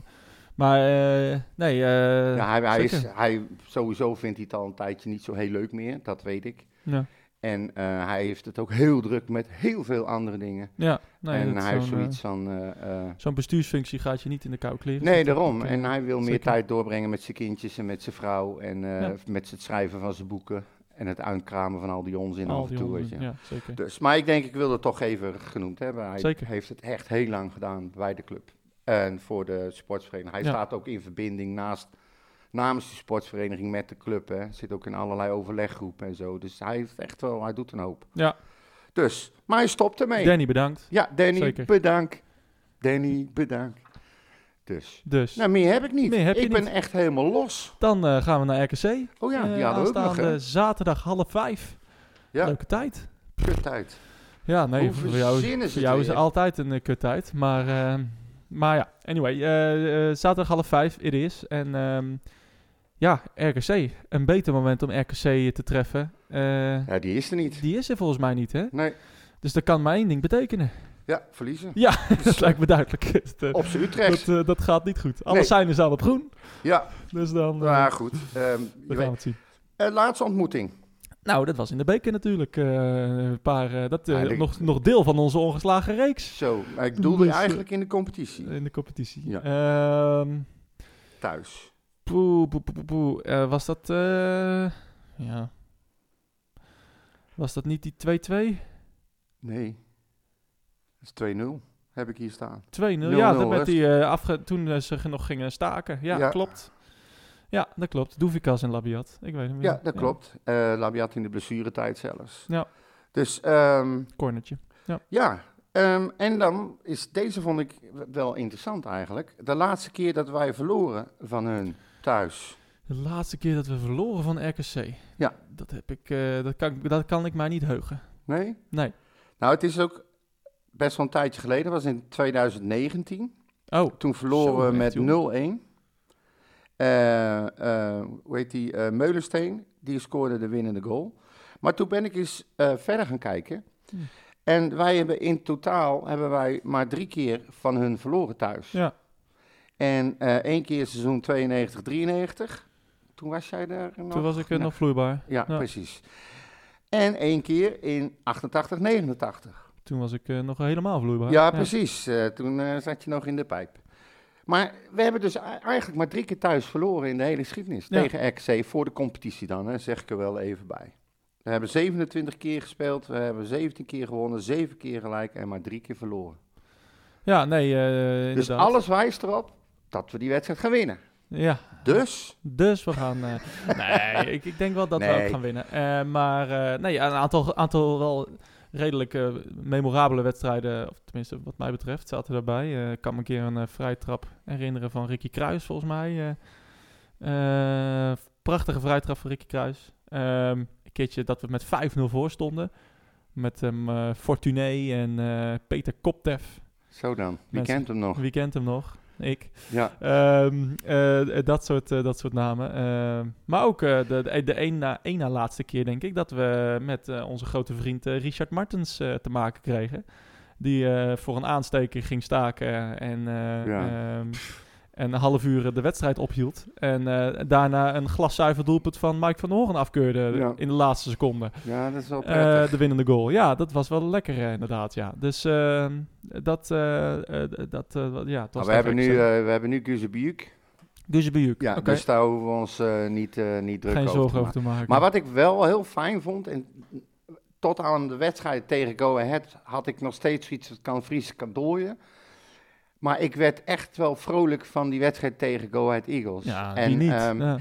[SPEAKER 1] maar eh, nee, eh,
[SPEAKER 2] Ja, hij, hij is,
[SPEAKER 1] zeker.
[SPEAKER 2] hij, sowieso vindt hij het al een tijdje niet zo heel leuk meer, dat weet ik.
[SPEAKER 1] Ja,
[SPEAKER 2] En eh, hij heeft het ook heel druk met heel veel andere dingen.
[SPEAKER 1] ja nee,
[SPEAKER 2] en
[SPEAKER 1] dat
[SPEAKER 2] hij heeft
[SPEAKER 1] zo'n, eh,
[SPEAKER 2] zoiets van... eh, eh,
[SPEAKER 1] zo'n bestuursfunctie gaat je niet in de kou kleren.
[SPEAKER 2] nee,
[SPEAKER 1] zitten.
[SPEAKER 2] daarom.
[SPEAKER 1] Dat, eh,
[SPEAKER 2] En hij wil meer
[SPEAKER 1] zeker.
[SPEAKER 2] tijd doorbrengen met zijn kindjes en met zijn vrouw. En eh,
[SPEAKER 1] Ja.
[SPEAKER 2] met het schrijven van zijn boeken. En het uitkramen van al die onzin
[SPEAKER 1] al
[SPEAKER 2] af en
[SPEAKER 1] die
[SPEAKER 2] toe. Weet
[SPEAKER 1] honden,
[SPEAKER 2] je.
[SPEAKER 1] Ja, zeker.
[SPEAKER 2] Dus, maar ik denk, ik wil het toch even genoemd hebben. Hij
[SPEAKER 1] Zeker.
[SPEAKER 2] heeft het echt heel lang gedaan bij de club. En voor de sportsvereniging. Hij
[SPEAKER 1] Ja.
[SPEAKER 2] staat ook in verbinding naast, namens de sportsvereniging met de club. Hè. Zit ook in allerlei overleggroepen en zo. Dus hij heeft echt wel, hij doet een hoop.
[SPEAKER 1] Ja.
[SPEAKER 2] Dus, maar hij stopt ermee.
[SPEAKER 1] Danny, bedankt.
[SPEAKER 2] ja, Danny,
[SPEAKER 1] Zeker.
[SPEAKER 2] bedankt. Danny, bedankt. Dus.
[SPEAKER 1] Dus
[SPEAKER 2] Nou, meer heb ik niet.
[SPEAKER 1] Meer heb je
[SPEAKER 2] ik ben
[SPEAKER 1] niet.
[SPEAKER 2] echt helemaal los.
[SPEAKER 1] dan eh, gaan we naar RKC.
[SPEAKER 2] Oh ja,
[SPEAKER 1] Eh,
[SPEAKER 2] die hadden we ook nog.
[SPEAKER 1] aanstaande
[SPEAKER 2] hè.
[SPEAKER 1] zaterdag half vijf.
[SPEAKER 2] Ja, Oh,
[SPEAKER 1] Leuke tijd.
[SPEAKER 2] kut uit.
[SPEAKER 1] Ja, nee,
[SPEAKER 2] Hoe
[SPEAKER 1] voor jou,
[SPEAKER 2] verzinnen ze
[SPEAKER 1] voor
[SPEAKER 2] het
[SPEAKER 1] jou is
[SPEAKER 2] weer?
[SPEAKER 1] altijd een eh, kuttijd. Maar, ehm, maar ja, anyway. eh, eh, zaterdag half vijf, it is. En ehm, ja, RKC. Een beter moment om RKC te treffen. eh,
[SPEAKER 2] Ja, die is er niet.
[SPEAKER 1] die is er volgens mij niet, hè?
[SPEAKER 2] Nee,
[SPEAKER 1] Dus dat kan maar één ding betekenen. *laughs*
[SPEAKER 2] ja, verliezen.
[SPEAKER 1] Ja, *laughs* dat lijkt me duidelijk. *laughs* Dat, eh,
[SPEAKER 2] Op z'n Utrecht.
[SPEAKER 1] dat, eh, dat gaat niet goed. Alle
[SPEAKER 2] Oh, Nee.
[SPEAKER 1] zijn is aan het groen.
[SPEAKER 2] Ja,
[SPEAKER 1] Dus dan eh,
[SPEAKER 2] Nou goed.
[SPEAKER 1] *laughs*
[SPEAKER 2] ehm, je
[SPEAKER 1] we
[SPEAKER 2] weet-
[SPEAKER 1] gaan het zien.
[SPEAKER 2] Eh, laatste ontmoeting.
[SPEAKER 1] Nou, dat was in de beker natuurlijk. eh, een paar, eh, dat, eh,
[SPEAKER 2] Ah, ik-
[SPEAKER 1] nog, nog deel van onze ongeslagen reeks
[SPEAKER 2] Zo, maar ik doelde
[SPEAKER 1] Dus, eh,
[SPEAKER 2] eigenlijk in de competitie.
[SPEAKER 1] in de competitie.
[SPEAKER 2] Ja.
[SPEAKER 1] Ehm,
[SPEAKER 2] Thuis.
[SPEAKER 1] Poeh, poeh, poeh, poeh, poeh. Eh, was dat... eh, ja. Was dat niet die 2-2? 2-0?
[SPEAKER 2] Nee. Dat is 2-0. Heb ik hier staan.
[SPEAKER 1] ja,
[SPEAKER 2] 0-0
[SPEAKER 1] dat met
[SPEAKER 2] rust.
[SPEAKER 1] die, eh, afge- toen eh, ze nog gingen staken. Ja,
[SPEAKER 2] Ja.
[SPEAKER 1] klopt. Ja, dat klopt. Doevikas en Labiat. Ik weet het niet.
[SPEAKER 2] Ja, dat klopt. Eh Labiat in de blessuretijd zelfs.
[SPEAKER 1] Ja.
[SPEAKER 2] Dus ehm,
[SPEAKER 1] Cornertje.
[SPEAKER 2] ja. Ehm, en dan is deze vond ik w- wel interessant eigenlijk. De laatste keer dat wij verloren van hun thuis.
[SPEAKER 1] De laatste keer dat we verloren van RKC.
[SPEAKER 2] Ja.
[SPEAKER 1] Dat, heb ik, eh, dat, kan, ik- dat kan ik mij niet heugen.
[SPEAKER 2] Nee?
[SPEAKER 1] Nee.
[SPEAKER 2] Nou, het is ook best wel een tijdje geleden. Dat was in 2019.
[SPEAKER 1] Oh,
[SPEAKER 2] Toen verloren
[SPEAKER 1] Zo,
[SPEAKER 2] we met
[SPEAKER 1] echt,
[SPEAKER 2] 0-1. Eh, eh, hoe heet die? eh, Meulensteen, die scoorde de winnende goal. Maar toen ben ik eens eh, verder gaan kijken.
[SPEAKER 1] Hm.
[SPEAKER 2] En wij hebben in totaal hebben wij maar drie keer van hun verloren thuis.
[SPEAKER 1] Ja.
[SPEAKER 2] En eh, één keer seizoen 92-93. Toen was jij daar nog?
[SPEAKER 1] toen was ik eh,
[SPEAKER 2] Nou, Nee.
[SPEAKER 1] nog vloeibaar.
[SPEAKER 2] Ja,
[SPEAKER 1] ja.
[SPEAKER 2] precies. En één keer in 88-89.
[SPEAKER 1] Toen was ik eh, nog helemaal vloeibaar.
[SPEAKER 2] Ja, precies. Eh, toen eh, zat je nog in de pijp. Maar we hebben dus ei- eigenlijk maar drie keer thuis verloren in de hele geschiedenis.
[SPEAKER 1] Ja.
[SPEAKER 2] Tegen RKC, voor de competitie dan, hè, zeg ik er wel even bij. We hebben 27 keer gespeeld, we hebben 17 keer gewonnen, 7 keer gelijk en maar drie keer verloren.
[SPEAKER 1] Ja, nee, eh inderdaad.
[SPEAKER 2] Dus alles wijst erop dat we die wedstrijd gaan winnen.
[SPEAKER 1] Ja,
[SPEAKER 2] Dus,
[SPEAKER 1] Dus we gaan. eh, *laughs* nee, ik, ik denk wel dat we
[SPEAKER 2] Nee.
[SPEAKER 1] ook gaan winnen. Eh, maar eh, nee, ja, een aantal, aantal wel redelijk eh, memorabele wedstrijden. Of tenminste, wat mij betreft, zaten daarbij. Eh, ik kan me een keer een eh, vrijtrap herinneren van Ricky Kruis, volgens mij. Eh, eh, prachtige vrijtrap van Ricky Kruis. Ehm, een keertje dat we met 5-0 voor stonden. Met ehm eh, Fortuné en eh, Peter Koptef.
[SPEAKER 2] zo dan. Wie
[SPEAKER 1] Mensen.
[SPEAKER 2] kent hem nog?
[SPEAKER 1] Wie kent hem nog? Ik.
[SPEAKER 2] Ja,
[SPEAKER 1] Ehm, eh, dat, soort, eh, dat soort namen. Ehm, maar ook eh, de, de, de één na, één na laatste keer, denk ik, dat we met eh, onze grote vriend eh, Richard Martens eh, te maken kregen. Die eh, voor een aansteker ging staken en, eh,
[SPEAKER 2] Ja.
[SPEAKER 1] ehm, en een half uur eh, de wedstrijd ophield. En eh, daarna een glaszuiver doelpunt van Mike van der Hoorn afkeurde
[SPEAKER 2] Ja.
[SPEAKER 1] in de laatste seconde.
[SPEAKER 2] ja dat is wel
[SPEAKER 1] Eh,
[SPEAKER 2] prettig.
[SPEAKER 1] de winnende goal. Ja, dat was wel lekker eh, inderdaad, ja. Dus ehm, dat... eh, eh, dat eh, wat- ja, het was
[SPEAKER 2] Maar we, hebben nu,
[SPEAKER 1] lekker zo.
[SPEAKER 2] eh, we hebben nu Guzebujuk.
[SPEAKER 1] Guzebujuk.
[SPEAKER 2] Ja,
[SPEAKER 1] Oké.
[SPEAKER 2] Dus daar hoeven we ons eh, niet, eh, niet druk
[SPEAKER 1] Geen
[SPEAKER 2] over te
[SPEAKER 1] zorgen
[SPEAKER 2] maken.
[SPEAKER 1] over te maken.
[SPEAKER 2] Maar wat ik wel heel fijn vond, en tot aan de wedstrijd tegen Go Ahead had ik nog steeds iets dat kan vriezen, kan dooien. Maar ik werd echt wel vrolijk van die wedstrijd tegen Go Ahead Eagles.
[SPEAKER 1] ja,
[SPEAKER 2] en
[SPEAKER 1] wie niet?
[SPEAKER 2] ehm,
[SPEAKER 1] ja.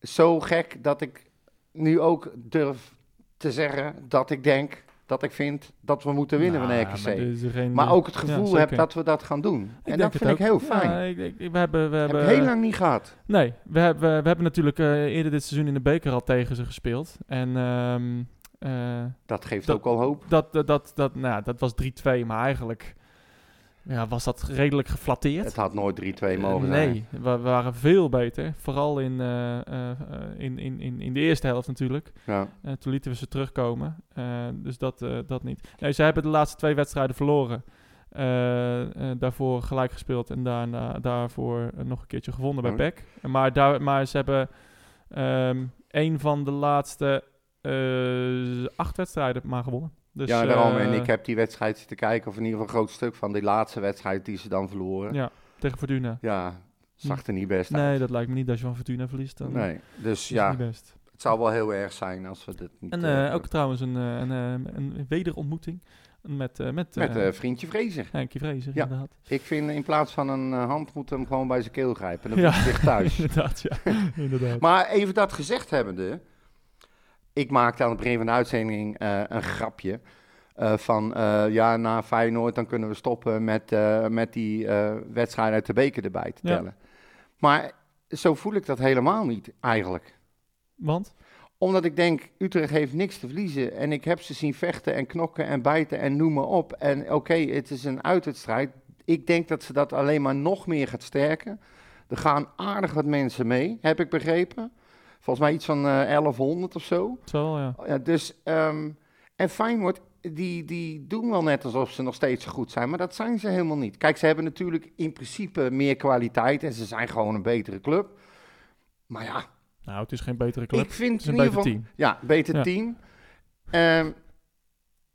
[SPEAKER 2] zo gek dat ik nu ook durf te zeggen dat ik denk, dat ik vind dat we moeten winnen
[SPEAKER 1] Nou,
[SPEAKER 2] van RKC.
[SPEAKER 1] Maar,
[SPEAKER 2] Maar,
[SPEAKER 1] er is er geen-
[SPEAKER 2] ook het
[SPEAKER 1] Ja,
[SPEAKER 2] gevoel
[SPEAKER 1] zeker.
[SPEAKER 2] heb dat we dat gaan doen. en
[SPEAKER 1] denk
[SPEAKER 2] dat
[SPEAKER 1] het
[SPEAKER 2] vind ik
[SPEAKER 1] ook.
[SPEAKER 2] heel
[SPEAKER 1] Ja, eh,
[SPEAKER 2] fijn.
[SPEAKER 1] ik- ik- ik- we hebben, we
[SPEAKER 2] heb
[SPEAKER 1] hebben,
[SPEAKER 2] ik heel lang niet gehad.
[SPEAKER 1] Nee, we hebben, we hebben natuurlijk eh, eerder dit seizoen in de beker al tegen ze gespeeld. En ehm, eh,
[SPEAKER 2] Dat geeft
[SPEAKER 1] dat-
[SPEAKER 2] ook al hoop.
[SPEAKER 1] dat, dat, dat, dat, nou, ja, dat was 3-2, maar eigenlijk ja, was dat redelijk geflatteerd.
[SPEAKER 2] Het had nooit 3-2 mogen
[SPEAKER 1] Eh,
[SPEAKER 2] zijn.
[SPEAKER 1] nee, we, we waren veel beter. Vooral in, eh, eh, eh, in, in, in, in de eerste helft natuurlijk.
[SPEAKER 2] Ja.
[SPEAKER 1] Eh, toen lieten we ze terugkomen. Eh, dus dat, eh, dat niet. Nee, zij hebben de laatste twee wedstrijden verloren. Eh, eh, daarvoor gelijk gespeeld en daarna, daarvoor eh, nog een keertje gewonnen bij
[SPEAKER 2] Oh.
[SPEAKER 1] PEC. Maar, daar, maar ze hebben ehm een van de laatste eh, acht wedstrijden maar gewonnen. Dus,
[SPEAKER 2] ja, daarom.
[SPEAKER 1] eh,
[SPEAKER 2] En ik heb die wedstrijd zitten kijken, of in ieder geval een groot stuk van die laatste wedstrijd die ze dan verloren. Ja,
[SPEAKER 1] Ja, tegen Fortuna.
[SPEAKER 2] zag er niet best uit.
[SPEAKER 1] Nee, dat lijkt me niet. Als je van Fortuna verliest, dan is
[SPEAKER 2] Nee. Dus
[SPEAKER 1] het
[SPEAKER 2] ja,
[SPEAKER 1] niet best.
[SPEAKER 2] het zou wel heel erg zijn als we dit niet...
[SPEAKER 1] En
[SPEAKER 2] eh,
[SPEAKER 1] eh, ook trouwens een, eh, een, eh, een wederontmoeting met, eh met,
[SPEAKER 2] Met
[SPEAKER 1] eh,
[SPEAKER 2] eh, vriendje Vrezer.
[SPEAKER 1] Henkie Vrezer,
[SPEAKER 2] Ja.
[SPEAKER 1] inderdaad.
[SPEAKER 2] Ik vind in plaats van een eh, hand moet hem gewoon bij zijn keel grijpen. Dan
[SPEAKER 1] Ja.
[SPEAKER 2] voelt hij zich
[SPEAKER 1] *laughs*
[SPEAKER 2] thuis.
[SPEAKER 1] inderdaad, ja.
[SPEAKER 2] *laughs*
[SPEAKER 1] inderdaad.
[SPEAKER 2] Maar even dat gezegd hebbende. Ik maakte aan het begin van de uitzending eh, een grapje. eh, van eh, ja, na Feyenoord dan kunnen we stoppen met, eh, met die eh wedstrijd uit de beker erbij te
[SPEAKER 1] Ja.
[SPEAKER 2] tellen. Maar zo voel ik dat helemaal niet eigenlijk.
[SPEAKER 1] Want?
[SPEAKER 2] Omdat ik denk, Utrecht heeft niks te verliezen. En ik heb ze zien vechten en knokken en bijten en noem maar op. En oké, het is een uitwedstrijd. Ik denk dat ze dat alleen maar nog meer gaat sterken. Er gaan aardig wat mensen mee, heb ik begrepen. Volgens mij iets van eh, 1100 of zo.
[SPEAKER 1] Zo wel, ja.
[SPEAKER 2] Ja, dus, ehm, en Feyenoord, die, die doen wel net alsof ze nog steeds goed zijn. Maar dat zijn ze helemaal niet. Kijk, ze hebben natuurlijk in principe meer kwaliteit. En ze zijn gewoon een betere club. Maar ja,
[SPEAKER 1] Nou, het is geen betere club.
[SPEAKER 2] ik vind
[SPEAKER 1] het is een
[SPEAKER 2] in ieder
[SPEAKER 1] beter
[SPEAKER 2] geval...
[SPEAKER 1] team.
[SPEAKER 2] Ja, beter
[SPEAKER 1] Ja.
[SPEAKER 2] team. Ehm,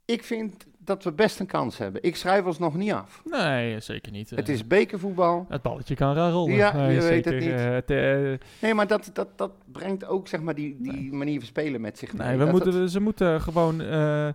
[SPEAKER 2] ik vind dat we best een kans hebben. Ik schrijf ons nog niet af.
[SPEAKER 1] Nee, zeker niet. eh.
[SPEAKER 2] Het is bekervoetbal.
[SPEAKER 1] Het balletje kan raar rollen.
[SPEAKER 2] Ja,
[SPEAKER 1] Nee,
[SPEAKER 2] je weet het
[SPEAKER 1] zeker,
[SPEAKER 2] niet.
[SPEAKER 1] eh, het, eh,
[SPEAKER 2] Nee, maar dat, dat, dat brengt ook zeg maar, die, die manier van spelen met zich mee.
[SPEAKER 1] nee, we
[SPEAKER 2] Dat
[SPEAKER 1] moeten,
[SPEAKER 2] het-
[SPEAKER 1] ze moeten gewoon eh, eh,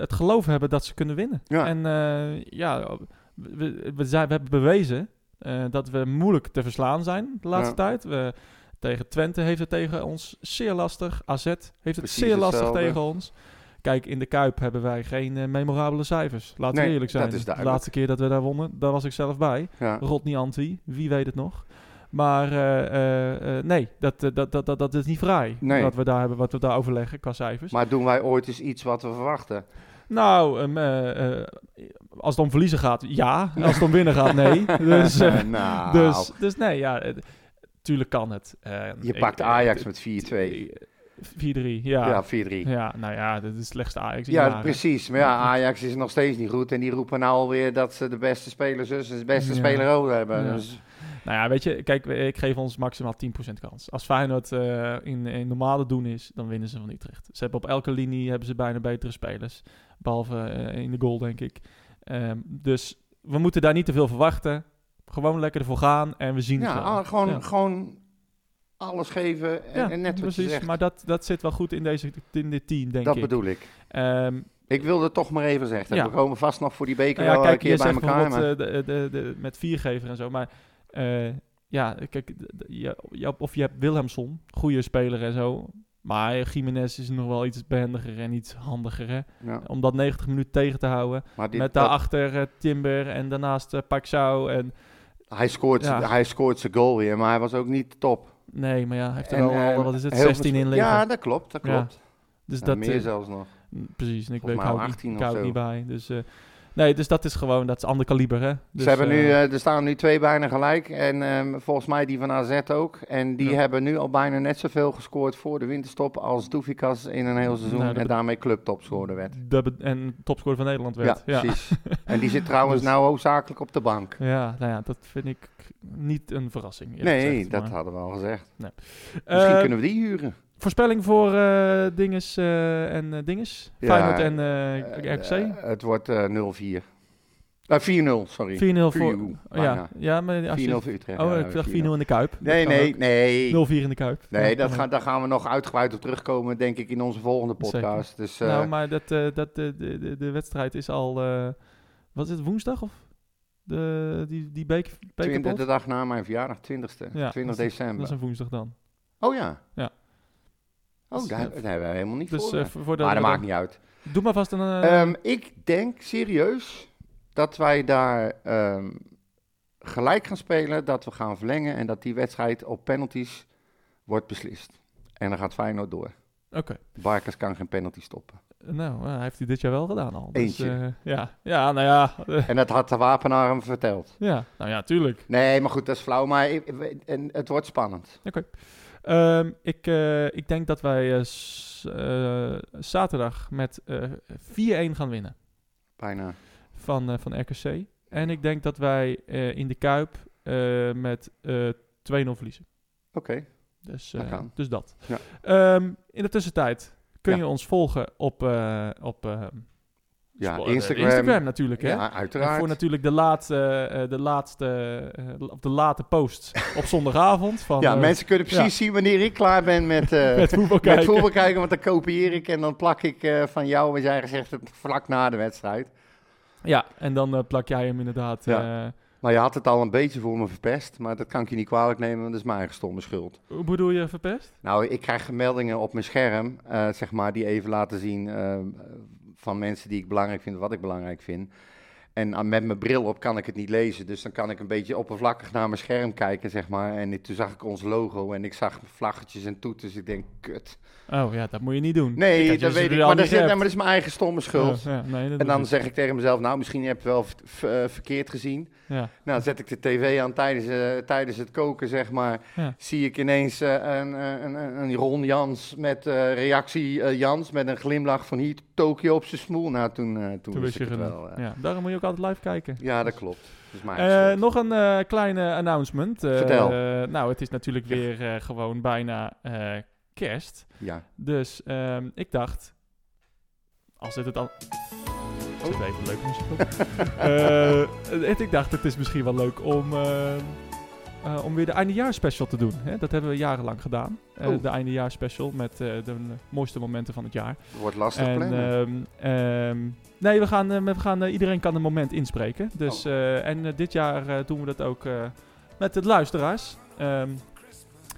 [SPEAKER 1] het geloof hebben dat ze kunnen winnen.
[SPEAKER 2] Ja.
[SPEAKER 1] En eh, ja, we, we, zijn, we hebben bewezen eh, dat we moeilijk te verslaan zijn de laatste tijd. We, tegen Twente heeft het tegen ons zeer lastig. AZ heeft het
[SPEAKER 2] Precies
[SPEAKER 1] zeer lastig
[SPEAKER 2] hetzelfde.
[SPEAKER 1] tegen ons. Kijk, in de Kuip hebben wij geen eh, memorabele cijfers. Laten
[SPEAKER 2] Nee,
[SPEAKER 1] we eerlijk
[SPEAKER 2] dat
[SPEAKER 1] zijn.
[SPEAKER 2] is
[SPEAKER 1] de
[SPEAKER 2] duidelijk.
[SPEAKER 1] laatste keer dat we daar wonnen, daar was ik zelf bij.
[SPEAKER 2] ja.
[SPEAKER 1] Rodney Anti, wie weet het nog. Maar eh, eh, eh, nee, dat, eh, dat, dat, dat, dat is niet vrij.
[SPEAKER 2] Nee.
[SPEAKER 1] Wat we daar hebben, wat we daar overleggen qua cijfers.
[SPEAKER 2] Maar doen wij ooit eens iets wat we verwachten?
[SPEAKER 1] Nou, ehm, eh, eh, als het om verliezen gaat, ja. Als het om winnen gaat,
[SPEAKER 2] *laughs*
[SPEAKER 1] nee. *laughs* Dus, eh,
[SPEAKER 2] nou,
[SPEAKER 1] dus, dus nee, ja. eh, Tuurlijk kan het. Eh,
[SPEAKER 2] je
[SPEAKER 1] ik-
[SPEAKER 2] pakt
[SPEAKER 1] eh,
[SPEAKER 2] Ajax
[SPEAKER 1] eh,
[SPEAKER 2] met 4-2.
[SPEAKER 1] 4-3, ja.
[SPEAKER 2] Ja,
[SPEAKER 1] ja.
[SPEAKER 2] 4-3.
[SPEAKER 1] nou ja, dat is de slechtste Ajax. in
[SPEAKER 2] Ja,
[SPEAKER 1] jaren.
[SPEAKER 2] precies. Maar ja, Ajax is nog steeds niet goed. En die roepen nou alweer dat ze de beste speler zus en de beste
[SPEAKER 1] Ja.
[SPEAKER 2] speler ook hebben.
[SPEAKER 1] Ja.
[SPEAKER 2] Dus,
[SPEAKER 1] Nou ja, weet je, kijk, we- ik geef ons maximaal 10% kans. Als Feyenoord eh, in, in normale doen is, dan winnen ze van Utrecht. Ze hebben op elke linie hebben ze bijna betere spelers. Behalve eh, in de goal, denk ik. Ehm, dus we moeten daar niet te veel verwachten. Gewoon lekker ervoor gaan en we zien
[SPEAKER 2] ja,
[SPEAKER 1] het wel.
[SPEAKER 2] al- gewoon,
[SPEAKER 1] Ja.
[SPEAKER 2] gewoon alles geven. En, en net wat je zegt.
[SPEAKER 1] Maar dat, dat zit wel goed in, deze, in dit team, denk
[SPEAKER 2] dat
[SPEAKER 1] ik.
[SPEAKER 2] bedoel ik.
[SPEAKER 1] Ehm,
[SPEAKER 2] Ik wilde het toch maar even zeggen.
[SPEAKER 1] Ja.
[SPEAKER 2] We komen vast nog voor die beker
[SPEAKER 1] nou ja,
[SPEAKER 2] wel
[SPEAKER 1] kijk,
[SPEAKER 2] een
[SPEAKER 1] je
[SPEAKER 2] keer bij
[SPEAKER 1] zegt
[SPEAKER 2] elkaar. Maar...
[SPEAKER 1] bijvoorbeeld eh, de, de, de- met viergever en zo, maar eh, ja, kijk, d- d- je, je- of je hebt Wilhelmson, goede speler en zo, maar Jiménez is nog wel iets behendiger en iets handiger, hè?
[SPEAKER 2] Ja,
[SPEAKER 1] Om dat 90 minuten tegen te houden,
[SPEAKER 2] maar dit-
[SPEAKER 1] eh, met
[SPEAKER 2] dat-
[SPEAKER 1] daarachter eh, Timber en daarnaast eh Paxau en...
[SPEAKER 2] hij, scoort,
[SPEAKER 1] Ja.
[SPEAKER 2] hij scoort zijn goal weer, maar hij was ook niet top.
[SPEAKER 1] Nee, maar ja, hij heeft er
[SPEAKER 2] En,
[SPEAKER 1] wel al,
[SPEAKER 2] eh,
[SPEAKER 1] wat is het,
[SPEAKER 2] heel
[SPEAKER 1] 16
[SPEAKER 2] vers-
[SPEAKER 1] in liggen.
[SPEAKER 2] Ja, dat klopt. Dat
[SPEAKER 1] Ja,
[SPEAKER 2] klopt.
[SPEAKER 1] dus
[SPEAKER 2] En
[SPEAKER 1] dat,
[SPEAKER 2] meer
[SPEAKER 1] eh,
[SPEAKER 2] zelfs nog.
[SPEAKER 1] Mm, Precies, en ik,
[SPEAKER 2] Volgens
[SPEAKER 1] weet, ik
[SPEAKER 2] mij
[SPEAKER 1] hou,
[SPEAKER 2] al
[SPEAKER 1] het
[SPEAKER 2] 18
[SPEAKER 1] niet, ik
[SPEAKER 2] of
[SPEAKER 1] hou het niet
[SPEAKER 2] zo.
[SPEAKER 1] bij. Dus, eh, nee, dus dat is gewoon, dat is ander kaliber, hè. Dus,
[SPEAKER 2] Ze hebben nu,
[SPEAKER 1] eh,
[SPEAKER 2] eh, er staan nu twee bijna gelijk. En ehm, volgens mij die van AZ ook. En die
[SPEAKER 1] Ja.
[SPEAKER 2] hebben nu al bijna net zoveel gescoord voor de winterstop als Doefikas in een heel seizoen.
[SPEAKER 1] Nou, dat
[SPEAKER 2] en
[SPEAKER 1] bet-
[SPEAKER 2] daarmee clubtopscorer werd.
[SPEAKER 1] de be- en topscorer van Nederland werd.
[SPEAKER 2] Ja,
[SPEAKER 1] Ja, ja. *laughs*
[SPEAKER 2] precies. en die zit trouwens
[SPEAKER 1] Dus-
[SPEAKER 2] nou ook zakelijk op de bank.
[SPEAKER 1] nou ja, dat vind ik niet een verrassing. eerlijk
[SPEAKER 2] Nee,
[SPEAKER 1] gezegd,
[SPEAKER 2] dat
[SPEAKER 1] maar-
[SPEAKER 2] hadden we al gezegd.
[SPEAKER 1] Eh,
[SPEAKER 2] Misschien kunnen we die huren.
[SPEAKER 1] Voorspelling voor eh, Dinges eh, en eh, Dinges?
[SPEAKER 2] Ja,
[SPEAKER 1] Feyenoord en
[SPEAKER 2] Eh,
[SPEAKER 1] eh RKC?
[SPEAKER 2] eh, het wordt eh, 0-4. Eh, 4-0, sorry.
[SPEAKER 1] 4-0
[SPEAKER 2] Puur,
[SPEAKER 1] voor... Ja,
[SPEAKER 2] bijna.
[SPEAKER 1] ja, maar
[SPEAKER 2] 4-0
[SPEAKER 1] als je...
[SPEAKER 2] voor Utrecht.
[SPEAKER 1] Oh,
[SPEAKER 2] Ja,
[SPEAKER 1] ik dacht 4-0
[SPEAKER 2] 4-0.
[SPEAKER 1] in de Kuip. Dat
[SPEAKER 2] Nee,
[SPEAKER 1] kan
[SPEAKER 2] nee,
[SPEAKER 1] ook.
[SPEAKER 2] nee.
[SPEAKER 1] 0-4 in de Kuip.
[SPEAKER 2] Nee,
[SPEAKER 1] Ja,
[SPEAKER 2] dat
[SPEAKER 1] kan
[SPEAKER 2] gaan,
[SPEAKER 1] ook.
[SPEAKER 2] daar gaan we nog uitgebreid op terugkomen, denk ik, in onze volgende podcast. Dus, eh,
[SPEAKER 1] Nou, maar dat, eh, dat, eh, de, de, de wedstrijd is al... eh, wat is het, woensdag of... De, die, die beker,
[SPEAKER 2] Twintig-
[SPEAKER 1] bekerpot?
[SPEAKER 2] de dag na mijn verjaardag, 20ste,
[SPEAKER 1] Ja,
[SPEAKER 2] 20
[SPEAKER 1] dat is- Dat
[SPEAKER 2] december.
[SPEAKER 1] is een woensdag dan.
[SPEAKER 2] Oh ja.
[SPEAKER 1] Ja.
[SPEAKER 2] Oh,
[SPEAKER 1] Dus,
[SPEAKER 2] daar,
[SPEAKER 1] eh,
[SPEAKER 2] daar hebben we helemaal niet
[SPEAKER 1] Dus
[SPEAKER 2] voor.
[SPEAKER 1] eh, voor, voor de,
[SPEAKER 2] maar dat
[SPEAKER 1] voor
[SPEAKER 2] maakt
[SPEAKER 1] de-
[SPEAKER 2] niet uit.
[SPEAKER 1] Doe maar vast een... eh,
[SPEAKER 2] Ehm, ik denk serieus dat wij daar ehm, gelijk gaan spelen, dat we gaan verlengen en dat die wedstrijd op penalties wordt beslist. En dan gaat Feyenoord door.
[SPEAKER 1] Oké.
[SPEAKER 2] Barkers kan geen penalty stoppen.
[SPEAKER 1] Nou, eh, hij heeft hij dit jaar wel gedaan al.
[SPEAKER 2] Eentje.
[SPEAKER 1] Dus, eh, ja. ja, nou ja. *laughs* eh,
[SPEAKER 2] En dat had de wapenaar hem verteld.
[SPEAKER 1] ja. Nou ja, tuurlijk.
[SPEAKER 2] Nee, maar goed, dat is flauw, maar ik- ik- en het wordt spannend.
[SPEAKER 1] Oké. Ehm, ik, eh, ik denk dat wij eh, s- eh, zaterdag met eh 4-1 gaan winnen
[SPEAKER 2] Bijna.
[SPEAKER 1] van, eh, van RKC. En ik denk dat wij eh, in de Kuip eh, met eh 2-0 verliezen.
[SPEAKER 2] Oké.
[SPEAKER 1] Dus,
[SPEAKER 2] Dat
[SPEAKER 1] eh,
[SPEAKER 2] kan.
[SPEAKER 1] dus dat.
[SPEAKER 2] Ja.
[SPEAKER 1] Ehm, in de tussentijd kun
[SPEAKER 2] Ja.
[SPEAKER 1] je ons volgen op, eh, op eh,
[SPEAKER 2] Ja,
[SPEAKER 1] spo- eh,
[SPEAKER 2] Instagram.
[SPEAKER 1] Instagram natuurlijk. Hè?
[SPEAKER 2] Ja,
[SPEAKER 1] En
[SPEAKER 2] uiteraard.
[SPEAKER 1] voor natuurlijk de laatste, eh, de laatste, eh, of de late
[SPEAKER 2] *laughs*
[SPEAKER 1] post op zondagavond. Van,
[SPEAKER 2] ja,
[SPEAKER 1] eh,
[SPEAKER 2] mensen kunnen precies
[SPEAKER 1] ja.
[SPEAKER 2] zien wanneer ik klaar ben met,
[SPEAKER 1] *laughs*
[SPEAKER 2] eh,
[SPEAKER 1] met voetbal kijken.
[SPEAKER 2] met voetbal kijken, want dan kopieer ik en dan plak ik eh, van jou, wat jij gezegd hebt, vlak na de wedstrijd.
[SPEAKER 1] Ja, en dan eh, plak jij hem inderdaad.
[SPEAKER 2] Ja.
[SPEAKER 1] eh,
[SPEAKER 2] Maar je had het al een beetje voor me verpest, maar dat kan ik je niet kwalijk nemen, want dat is mijn eigen stomme schuld.
[SPEAKER 1] hoe bedoel je verpest?
[SPEAKER 2] Nou, ik krijg meldingen op mijn scherm, eh, zeg maar, die even laten zien eh, van mensen die ik belangrijk vind, wat ik belangrijk vind. En ah, met mijn bril op kan ik het niet lezen, dus dan kan ik een beetje oppervlakkig naar mijn scherm kijken, zeg maar. En ik- toen zag ik ons logo en ik zag vlaggetjes en toeters, ik denk, kut.
[SPEAKER 1] Oh ja, dat moet je niet doen.
[SPEAKER 2] Nee,
[SPEAKER 1] Kijk, als je
[SPEAKER 2] dat
[SPEAKER 1] ze
[SPEAKER 2] weet
[SPEAKER 1] er
[SPEAKER 2] ik,
[SPEAKER 1] al
[SPEAKER 2] maar,
[SPEAKER 1] niet
[SPEAKER 2] dat is, nee,
[SPEAKER 1] hebt.
[SPEAKER 2] maar dat is mijn eigen stomme schuld.
[SPEAKER 1] Ja, ja, nee, dat
[SPEAKER 2] En
[SPEAKER 1] doe
[SPEAKER 2] dan zeg ik tegen mezelf, nou, misschien heb je wel v- eh, verkeerd gezien.
[SPEAKER 1] Ja.
[SPEAKER 2] Nou, zet ik de tv aan tijdens, eh, tijdens het koken, zeg maar.
[SPEAKER 1] Ja.
[SPEAKER 2] Zie ik ineens eh, een, een, een- een Ron Jans met eh, reactie eh, Jans met een glimlach van hier Tokio op zijn smoel. Nou, toen, eh toen,
[SPEAKER 1] Toen
[SPEAKER 2] wist
[SPEAKER 1] wist je
[SPEAKER 2] ik het
[SPEAKER 1] genoeg.
[SPEAKER 2] wel. eh. ja.
[SPEAKER 1] Ja, daarom moet je ook altijd live kijken.
[SPEAKER 2] dat klopt. Dat is mijn
[SPEAKER 1] Eh,
[SPEAKER 2] eigen schuld.
[SPEAKER 1] nog een eh, kleine announcement. Eh,
[SPEAKER 2] Vertel.
[SPEAKER 1] eh, nou, het is natuurlijk weer eh, gewoon bijna eh, kerst.
[SPEAKER 2] Ja.
[SPEAKER 1] Dus ehm, ik dacht, als dit het al... Ik
[SPEAKER 2] Oh.
[SPEAKER 1] zet even leuk muziek op. *laughs* Eh, het- ik dacht, het is misschien wel leuk om, eh, eh, om weer de eindejaarspecial te doen. Hè? Dat hebben we jarenlang gedaan. Eh,
[SPEAKER 2] Oh.
[SPEAKER 1] de eindejaarspecial met eh, de mooiste momenten van het jaar.
[SPEAKER 2] Wordt lastig
[SPEAKER 1] En,
[SPEAKER 2] plannen.
[SPEAKER 1] ehm, ehm, nee, we gaan, eh, we gaan, eh, iedereen kan een moment inspreken.
[SPEAKER 2] Oh.
[SPEAKER 1] Dus, eh, en eh, dit jaar eh, doen we dat ook eh, met de luisteraars. Ehm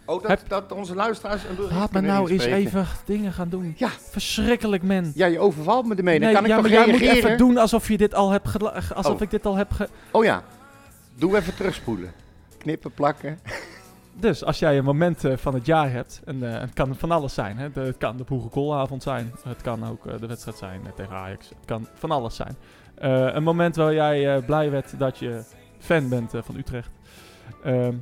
[SPEAKER 2] oh, dat,
[SPEAKER 1] heb-
[SPEAKER 2] dat onze luisteraars een bericht
[SPEAKER 1] laat me
[SPEAKER 2] kunnen
[SPEAKER 1] nou eens
[SPEAKER 2] inspreken.
[SPEAKER 1] even dingen gaan doen.
[SPEAKER 2] Ja.
[SPEAKER 1] Verschrikkelijk, man.
[SPEAKER 2] Ja, je overvalt me ermee. Dan kan ik
[SPEAKER 1] ja,
[SPEAKER 2] toch
[SPEAKER 1] maar jij moet
[SPEAKER 2] reageren?
[SPEAKER 1] even doen alsof, je dit al hebt gela- ge- alsof
[SPEAKER 2] Oh.
[SPEAKER 1] ik dit al heb ge...
[SPEAKER 2] Oh ja, doe even terugspoelen. Knippen, plakken.
[SPEAKER 1] Dus als jij een moment eh, van het jaar hebt, en eh, het kan van alles zijn. Hè? De- het kan de boerenkoolavond zijn, het kan ook eh, de wedstrijd zijn eh, tegen Ajax. Het kan van alles zijn. Eh, een moment waar jij eh, blij werd dat je fan bent eh, van Utrecht. Ehm,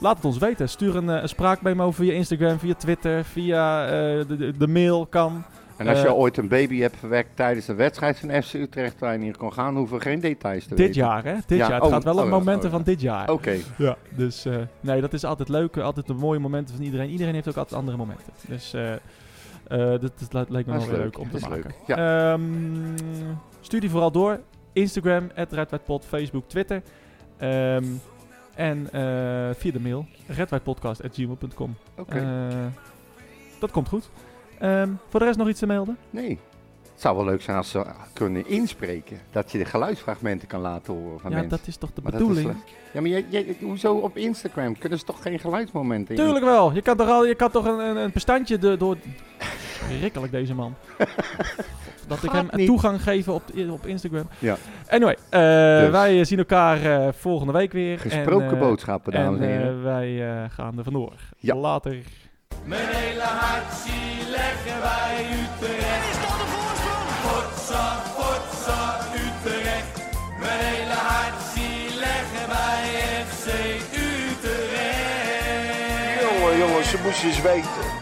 [SPEAKER 1] laat het ons weten. Stuur een, eh, een spraakmemo via Instagram, via Twitter, via eh, de, de, de mail kan.
[SPEAKER 2] En als je
[SPEAKER 1] Eh,
[SPEAKER 2] ooit een baby hebt verwekt tijdens een wedstrijd van FC Utrecht waar je niet kon gaan, hoeven we geen details te weten.
[SPEAKER 1] Dit jaar, hè? Dit
[SPEAKER 2] Ja,
[SPEAKER 1] jaar. Het
[SPEAKER 2] oh,
[SPEAKER 1] gaat wel om
[SPEAKER 2] oh ja,
[SPEAKER 1] momenten
[SPEAKER 2] oh ja.
[SPEAKER 1] van dit jaar.
[SPEAKER 2] Oké,
[SPEAKER 1] Ja, dus eh, nee, dat is altijd leuk. eh, Altijd de mooie momenten van iedereen. Iedereen heeft ook altijd andere momenten. Dus eh, eh, dat, dat li- lijkt me
[SPEAKER 2] dat
[SPEAKER 1] wel
[SPEAKER 2] is
[SPEAKER 1] weer
[SPEAKER 2] leuk.
[SPEAKER 1] leuk om te
[SPEAKER 2] dat is
[SPEAKER 1] maken.
[SPEAKER 2] leuk. Ja.
[SPEAKER 1] Ehm, stuur die vooral door. Instagram, redwijdpod, Facebook, Twitter. Ehm, en eh, via de mail, redwijdpodcast.gmail.com.
[SPEAKER 2] Oké,
[SPEAKER 1] Eh, dat komt goed. Ehm, voor de rest nog iets te melden?
[SPEAKER 2] nee. Het zou wel leuk zijn als ze kunnen inspreken. Dat je de geluidsfragmenten kan laten horen van
[SPEAKER 1] ja,
[SPEAKER 2] mensen.
[SPEAKER 1] dat is toch de
[SPEAKER 2] Maar dat is
[SPEAKER 1] bedoeling?
[SPEAKER 2] leuk. ja, maar jij, jij- hoezo op Instagram? Kunnen ze toch geen geluidsmomenten in?
[SPEAKER 1] Tuurlijk wel. Je kan toch, al, je kan toch een, een, een bestandje de- door... Schrikkelijk deze
[SPEAKER 2] *laughs*
[SPEAKER 1] man. dat ik
[SPEAKER 2] Gaat
[SPEAKER 1] hem
[SPEAKER 2] niet.
[SPEAKER 1] toegang geef op, op Instagram.
[SPEAKER 2] Ja.
[SPEAKER 1] Anyway, eh,
[SPEAKER 2] Dus.
[SPEAKER 1] wij zien elkaar eh, volgende week weer.
[SPEAKER 2] Gesproken
[SPEAKER 1] en, eh,
[SPEAKER 2] boodschappen, dames en,
[SPEAKER 1] En
[SPEAKER 2] heren.
[SPEAKER 1] eh, wij eh, gaan er vandoor.
[SPEAKER 2] Ja.
[SPEAKER 1] Later.
[SPEAKER 3] Mijn hele hart zie leggen wij Utrecht. Is dat de voorsprong? Potsa, potsa, Utrecht. Mijn hele hart zie leggen wij FC Utrecht.
[SPEAKER 5] Jongen, jongens, ze moesten eens weten.